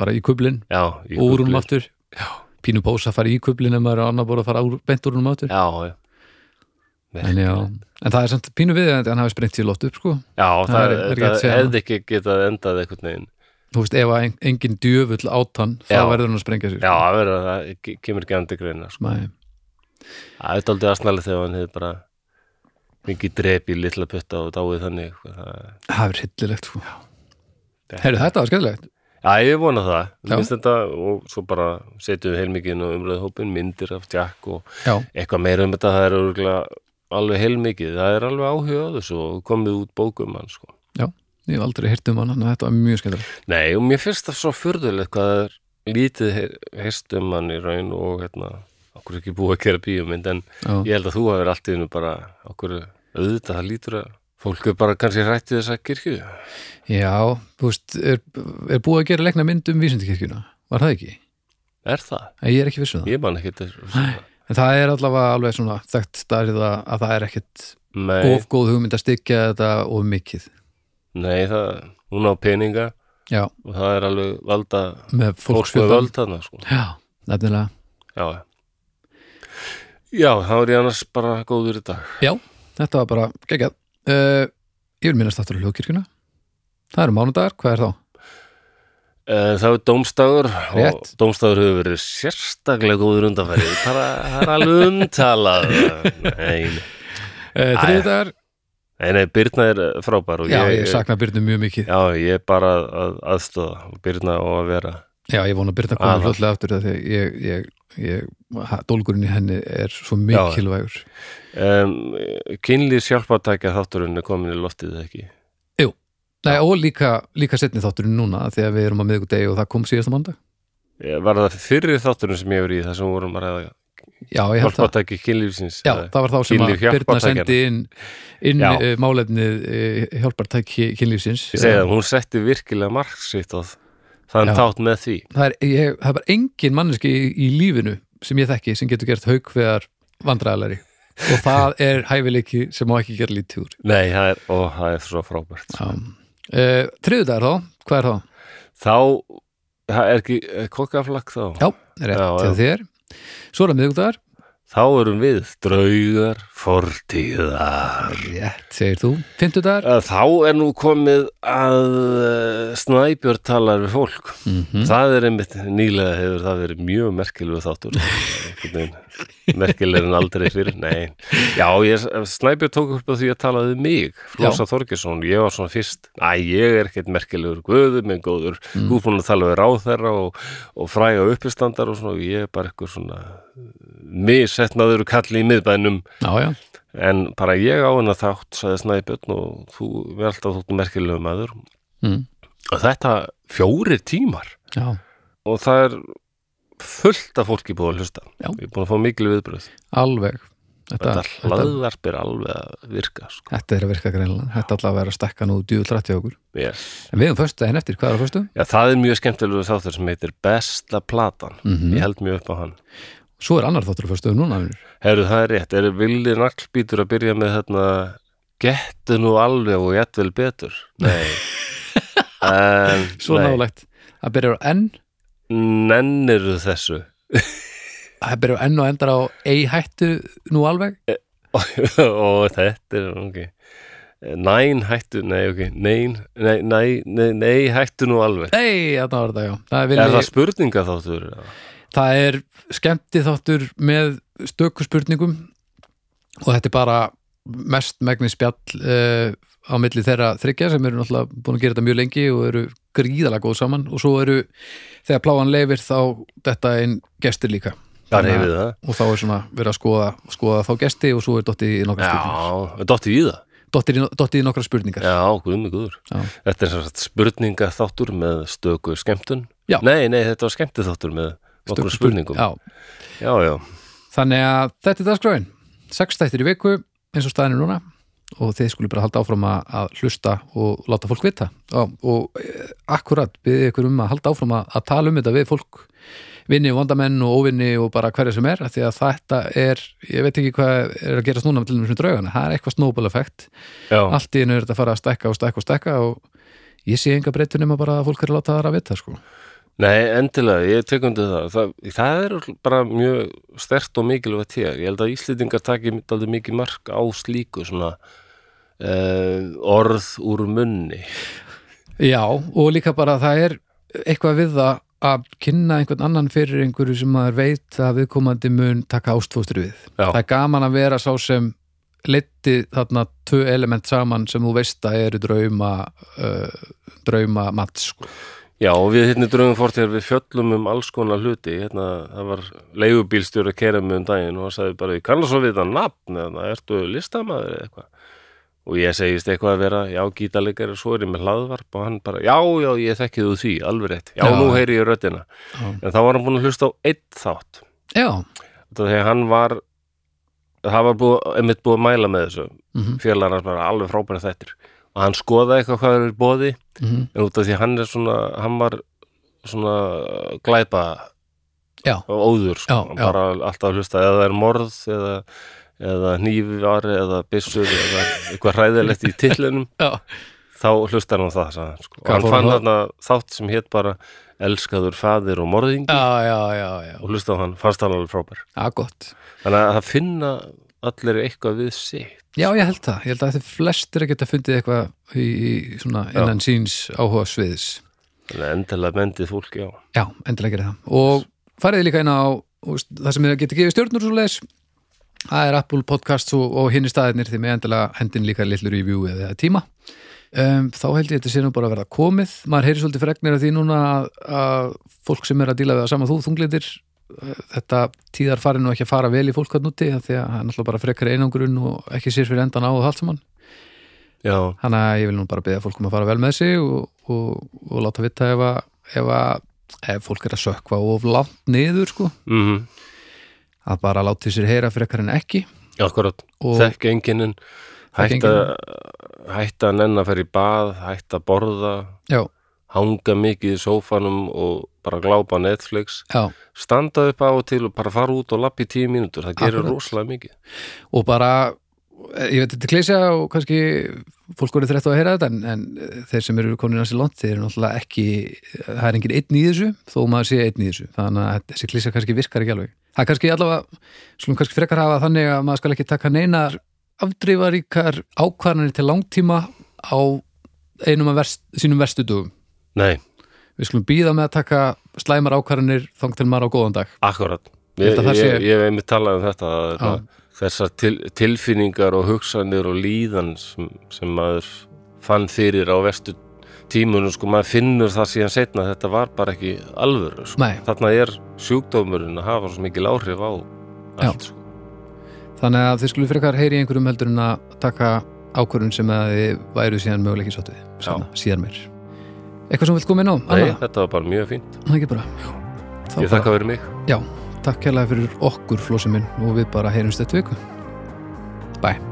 S2: bara í kublin
S1: já, í
S2: og úr um
S1: gullið.
S2: húnum aftur pínu bósa að fara í kublin ef maður er á annar bóra að fara úr, bent úr húnum aftur
S1: Já, já.
S2: en, já, en það er samt pínu við að hann hafi sprengt sér lott upp sko
S1: Já, það,
S2: er-
S1: er,
S2: er ekki hægt að
S1: það
S2: segja
S1: hefði ekki getað endað einhvern veginn.
S2: þú veist, ef að en, engin djöfull át hann þá
S1: Já.
S2: verður hann að sprengja sko. sér
S1: Já, að vera, það ke- kemur ekki andi greina, sko.
S2: Nei.
S1: Það er aldrei aðsnalega þegar hann hefði bara mikið drep í litla putta og dáið þannig. sko, Það,
S2: það er hryllilegt sko
S1: Þetta-
S2: Heyrðu, þetta var skemmtilegt
S1: Já, ég vona það.
S2: Já.
S1: Mér finnst þetta og svo bara setjum við heilmikið og umröðu hópin myndir af Jack og
S2: já,
S1: eitthvað meira um þetta. Það er örgulega alveg heilmikið. Það er alveg áhuga á þessu og komið út bókum hann, sko.
S2: já, ég hef aldrei heyrt um hann en þetta var mjög skemmtilegt
S1: Nei, og mér finnst það svo furðulegt hvað það er lítið he- heyrst um hann í raun og hérna, okkur ekki búið að gera bíómynd, en
S2: Já.
S1: ég held að þú hafir allt í hennu bara okkur auðvitað, það lítur að fólk er bara kannski hrættið þessa kirkju.
S2: já, þú veist, er, er búið að gera leikna mynd um vísindikirkjuna var það ekki?
S1: Er það?
S2: Nei, Ég er ekki viss um það
S1: Ég man ekki þetta.
S2: en það er allavega alveg svona þekkt starrið að að það er ekkit
S1: Nei,
S2: of góð hugmynd að styggja þetta of mikið
S1: nei, það, hún á peninga.
S2: já,
S1: og það er alveg valda
S2: með
S1: fólk með
S2: fólksfjöldan
S1: völd þarna sko.
S2: já, nefnilega,
S1: já, já. já, þá er ég annars bara góður í dag
S2: já, þetta var bara geggjað uh, ég vil minnast aftur á hljókirkjuna það eru mánudagar, hvað er þá?
S1: Eh, það er dómstagur og
S2: Rétt.
S1: dómstagur hefur verið sérstaklega góður undanfæri bara, það er alveg umtalað nei, nei.
S2: Uh, þriðdagar,
S1: nei, nei, Birna er frábær og
S2: já,
S1: ég,
S2: ég sakna Byrnu mjög mikið
S1: já, ég er bara að aðstóða og Birna og að vera
S2: Já, ég vona að Birna komið
S1: Aðal.
S2: hlutlega aftur af því að ég, ég, ég, ha- dólgurinn í henni er svo mikilvægur
S1: um, kynlýr sjálfatækja þátturinn er komin í loftið eða ekki
S2: Nei, og líka, líka setni þátturinn núna af því að við erum á miðvikudegi og það kom síðasta mándag
S1: Eh, var það fyrir þátturinn sem ég hefur í það sem vorum að ræða
S2: Já, ég held að
S1: hjálpatæki kynlýfsins
S2: Já,
S1: eða-
S2: það var þá sem að
S1: Kynlíf
S2: Birna
S1: hjálpartækjanna.
S2: sendi inn, inn
S1: Já.
S2: uh, málefnið uh, hjálpartæki kynlífsins
S1: Ég segi það, hún setti virkilega mark sitt á þann
S2: Já.
S1: tátt með því.
S2: það er, ég, það er bara engin manneski í, í lífinu sem ég þekki sem getur gert haukveðar vandræðalari og það er hæfileiki sem má ekki gera lítið úr
S1: Nei, það er, ó, það er svo frábært.
S2: uh, Þriðudagur þá, hvað er þá?
S1: Þá, það er ekki er kokkaflakk þá.
S2: Já, rétt
S1: Já,
S2: til
S1: já.
S2: þér Svo er það miðvíkudagar
S1: Þá erum við draugar fortíðar.
S2: Rétt, segir þú Fymtudagar
S1: Eh, Þá er nú komið að eh, snæbjörn talar við fólk.
S2: mm
S1: Það er einmitt, nýlega hefur það verið mjög merkilegu þáttur. Einhvern veginn, Merkilegur en aldrei fyrir, nei. Já, ég, Snæbjörn tók upp á því að tala við mig, Flósa Þorgesson, ég var svona fyrst, æ, ég er ekkert merkilegur guður, minn góður,
S2: Mhm.
S1: mm. búin að tala við ráðherra og, og fræga uppistandar og svona, ég er bara eitthvað svona misetnaður kalli í miðbænum,
S2: Já, já,
S1: en bara ég á hennar þátt, sagði Snæbjörn og þú, við alltaf þóttum merkilegu maður.
S2: Mm.
S1: Og þetta fjórir tímar
S2: já,
S1: og það er fullt af fólki búið að hlusta
S2: Já.
S1: ég er búin að fá mikil viðbröð
S2: alveg Þetta,
S1: þetta
S2: þetta,
S1: hlaðvarp er alveg að virka sko.
S2: þetta er að virka greinlega Þetta er allavega að vera að stekka nú djúðrætti okkur
S1: yes.
S2: En við um föstu en eftir, hvað er á föstu?
S1: Já, það er mjög skemmtilegu þáttur sem heitir Besta platan
S2: Mhm.
S1: ég held mjög upp á hann
S2: Svo er annar þáttur á föstu núna vinur.
S1: Herru, það er rétt, er Vili Naglbítur að byrja með hérna Gettu nú alveg og getvel betur Nei en,
S2: Svo
S1: nei.
S2: nálægt Það byrjar á N
S1: Nennirðu þessu
S2: Það byrjar á N og endar á ei hættu nú alveg
S1: og þetta er ok Nein hættu, nei ok Nein, nei, nei, nei, nei hættu nú alveg
S2: Ei, þarna var þetta, já Það er,
S1: Er
S2: vilji,
S1: það spurninga þáttur?
S2: það er skemmti þáttur með stöku spurningum og þetta er bara mest megni spjall uh, á milli þeirra þryggja sem eru náttúrulega búin að gera þetta mjög lengi og eru gríðalega góð saman og svo eru þegar pláan leifir þá þetta einn gestir líka
S1: Það reyfið það?
S2: og þá er svona verið að skoða, skoða þá gesti og svo er dottið í nokkra spurningar
S1: Já, dotti í það?
S2: dottið í, dottið í nokkra spurningar
S1: Já, guðmi guður.
S2: Já.
S1: Þetta er sem sagt spurninga þáttur með stöku skemmtun?
S2: Já.
S1: Nei, nei, þetta var skemmti þáttur með okkur
S2: Stöku spurning-
S1: spurningum.
S2: Já.
S1: já, já.
S2: þannig að þetta er dagskráin sex þættir í viku eins og staðinu núna og þið skulle bara halda áfram að, að hlusta og láta fólk vita og, og eh, akkurat byrðið ykkur um að halda áfram að, að tala um þetta við fólk vinni vandamenn og óvinni og bara hverja sem er af því að þetta er, ég veit ekki hvað er að gerast núna til þessum draugana, það er eitthvað snowball effekt,
S1: já,
S2: allt í einu er þetta að fara að stekka og stekka og stekka og ég sé enga breytun nema bara að fólk er að láta það að vita sko.
S1: nei, endilega, ég tek undir það. það það er bara mjög stert og mikilvægt hér, ég held að Íslendingar taki aldrei mikið mark á slíku svona uh, orð úr munni
S2: Já, og líka bara það er eitthvað við það að kynna einhvern annan fyrir einhverju sem maður veit að viðkomandi mun taka ástfóstri við.
S1: Já.
S2: Það er gaman að vera sá sem leiti þarna tvö element saman sem þú veist að eru drauma uh, drauma mat sko.
S1: Já, og við hérna í draugum fórtíðar við fjöllum um alls konar hluti, hérna, það var leigubílstjóri að kera mig um daginn og hann sagði bara, ég kannast svo við þetta nafn eða ertu listamaður eða eitthvað og ég segist eitthvað að vera, já, gítalegari svo er ég með hlaðvarp og hann bara, já, já, ég þekki þú því, alveg rétt, já,
S2: Já.
S1: nú heyri ég röddina
S2: Já.
S1: en þá var hann búin að hlusta á einn þátt
S2: Já,
S1: þegar hann var það var búið, einmitt búið að mæla með þessu
S2: mm
S1: félagar hans bara alveg frábæra þettir og hann skoðaði eitthvað hvað er bóði
S2: -hmm.
S1: en út af því að hann er svona hann var svona glæpa
S2: Já.
S1: og óður sko.
S2: Já,
S1: Hann
S2: já.
S1: bara alltaf að hlusta eða það er morð eða, eða hnífar eða byssur eða eitthvað hræðilegt í tillinum
S2: já,
S1: þá hlustar hann á það sagði hann, sko. og
S2: Hvað
S1: hann
S2: fór
S1: fann
S2: hann
S1: þarna þátt sem hétt bara elskaður faðir og morðingi
S2: já, já, já, já.
S1: og hlusta á hann, fannst hann alveg frábær
S2: Já, gott.
S1: þannig að það finna allir eitthvað við sitt
S2: Já, ég held það. Ég held að þið flestir að geta fundið eitthvað í, í svona innan síns áhuga sviðis.
S1: þannig að endilega mendið fólk, já
S2: Já, endilega gerir það og fariði líka inn á þú veist, það sem þið getur gefið stjórnur svo leis það er Apple Podcasts og, og hinni staðirnir því með endilega hendin líka litlu review eða tíma um, þá held ég þetta sé nú bara að verða komið maður heyri svolítið fregnir af því núna að, að fólk sem er að díla við að sama þú þunglindir uh, þetta tíðar fari nú ekki að fara vel í fólk að núti því að það er náttúrulega bara frekar einangrun og ekki sér fyrir endan á og allt saman
S1: já,
S2: Þannig að ég vil nú bara beða fólk um að fara vel með sig og, og, og láta vita ef, að, ef, að, ef fólk er að sökva of langt niður sko,
S1: mhm
S2: að bara láti sér heyra frekar en ekki
S1: Akkurat,
S2: Og-
S1: þekki enginin
S2: Þekki
S1: hætta, hætta að nenn að fer í bað, hætta að borða
S2: Já,
S1: hanga mikið í sófanum og bara glápa á Netflix
S2: já,
S1: standa upp á og til og bara fara út og lappa í tíu mínútur, það gerir
S2: Akkurat.
S1: rosalega mikið
S2: og bara eh, ég veit þetta er klesja og kannski fólk voru þreytt á að heyra þetta en, en þeir sem eru komin að sér langt þeir eru náttúrulega ekki, eh, það er engin einn í þessu þó maður sé einn í þessu þannig að þessi klesja kannski virkar ekki alveg það er kannski allavega, slum kannski frekar hafa þannig að maður skal ekki taka neinar afdreifaríkar ákvarðanir til langtíma á einum af verst, sínum verstu dugum
S1: Nei,
S2: við skulum býða með að taka slæmar ákvarðanir þang til maður á góðan dag
S1: akkurat
S2: Ég
S1: Ég,
S2: held að það
S1: ég,
S2: sé-
S1: ég hef einmitt talað um þetta að
S2: Já.
S1: þetta- þessar til, tilfinningar og hugsanir og líðan sem, sem maður fann fyrir á vestu tímunum, sko, maður finnur það síðan setna að þetta var bara ekki alvöru, sko
S2: Nei,
S1: þarna er sjúkdómurinn að hafa svo mikil áhrif á allt sko.
S2: þannig að þið skulum frekar heyri í einhverjum heldur en að taka ákvörðun sem að þið væru síðan möguleiki sátt við, Seinna, síðar meir eitthvað sem vilt koma inn á,
S1: Nei,
S2: annað,
S1: þetta var bara mjög fínt
S2: það ekki bara Þá
S1: ég þakka fyrir mig
S2: já, takk kærlega fyrir okkur flósi minn og við bara heyrumst þetta viku bye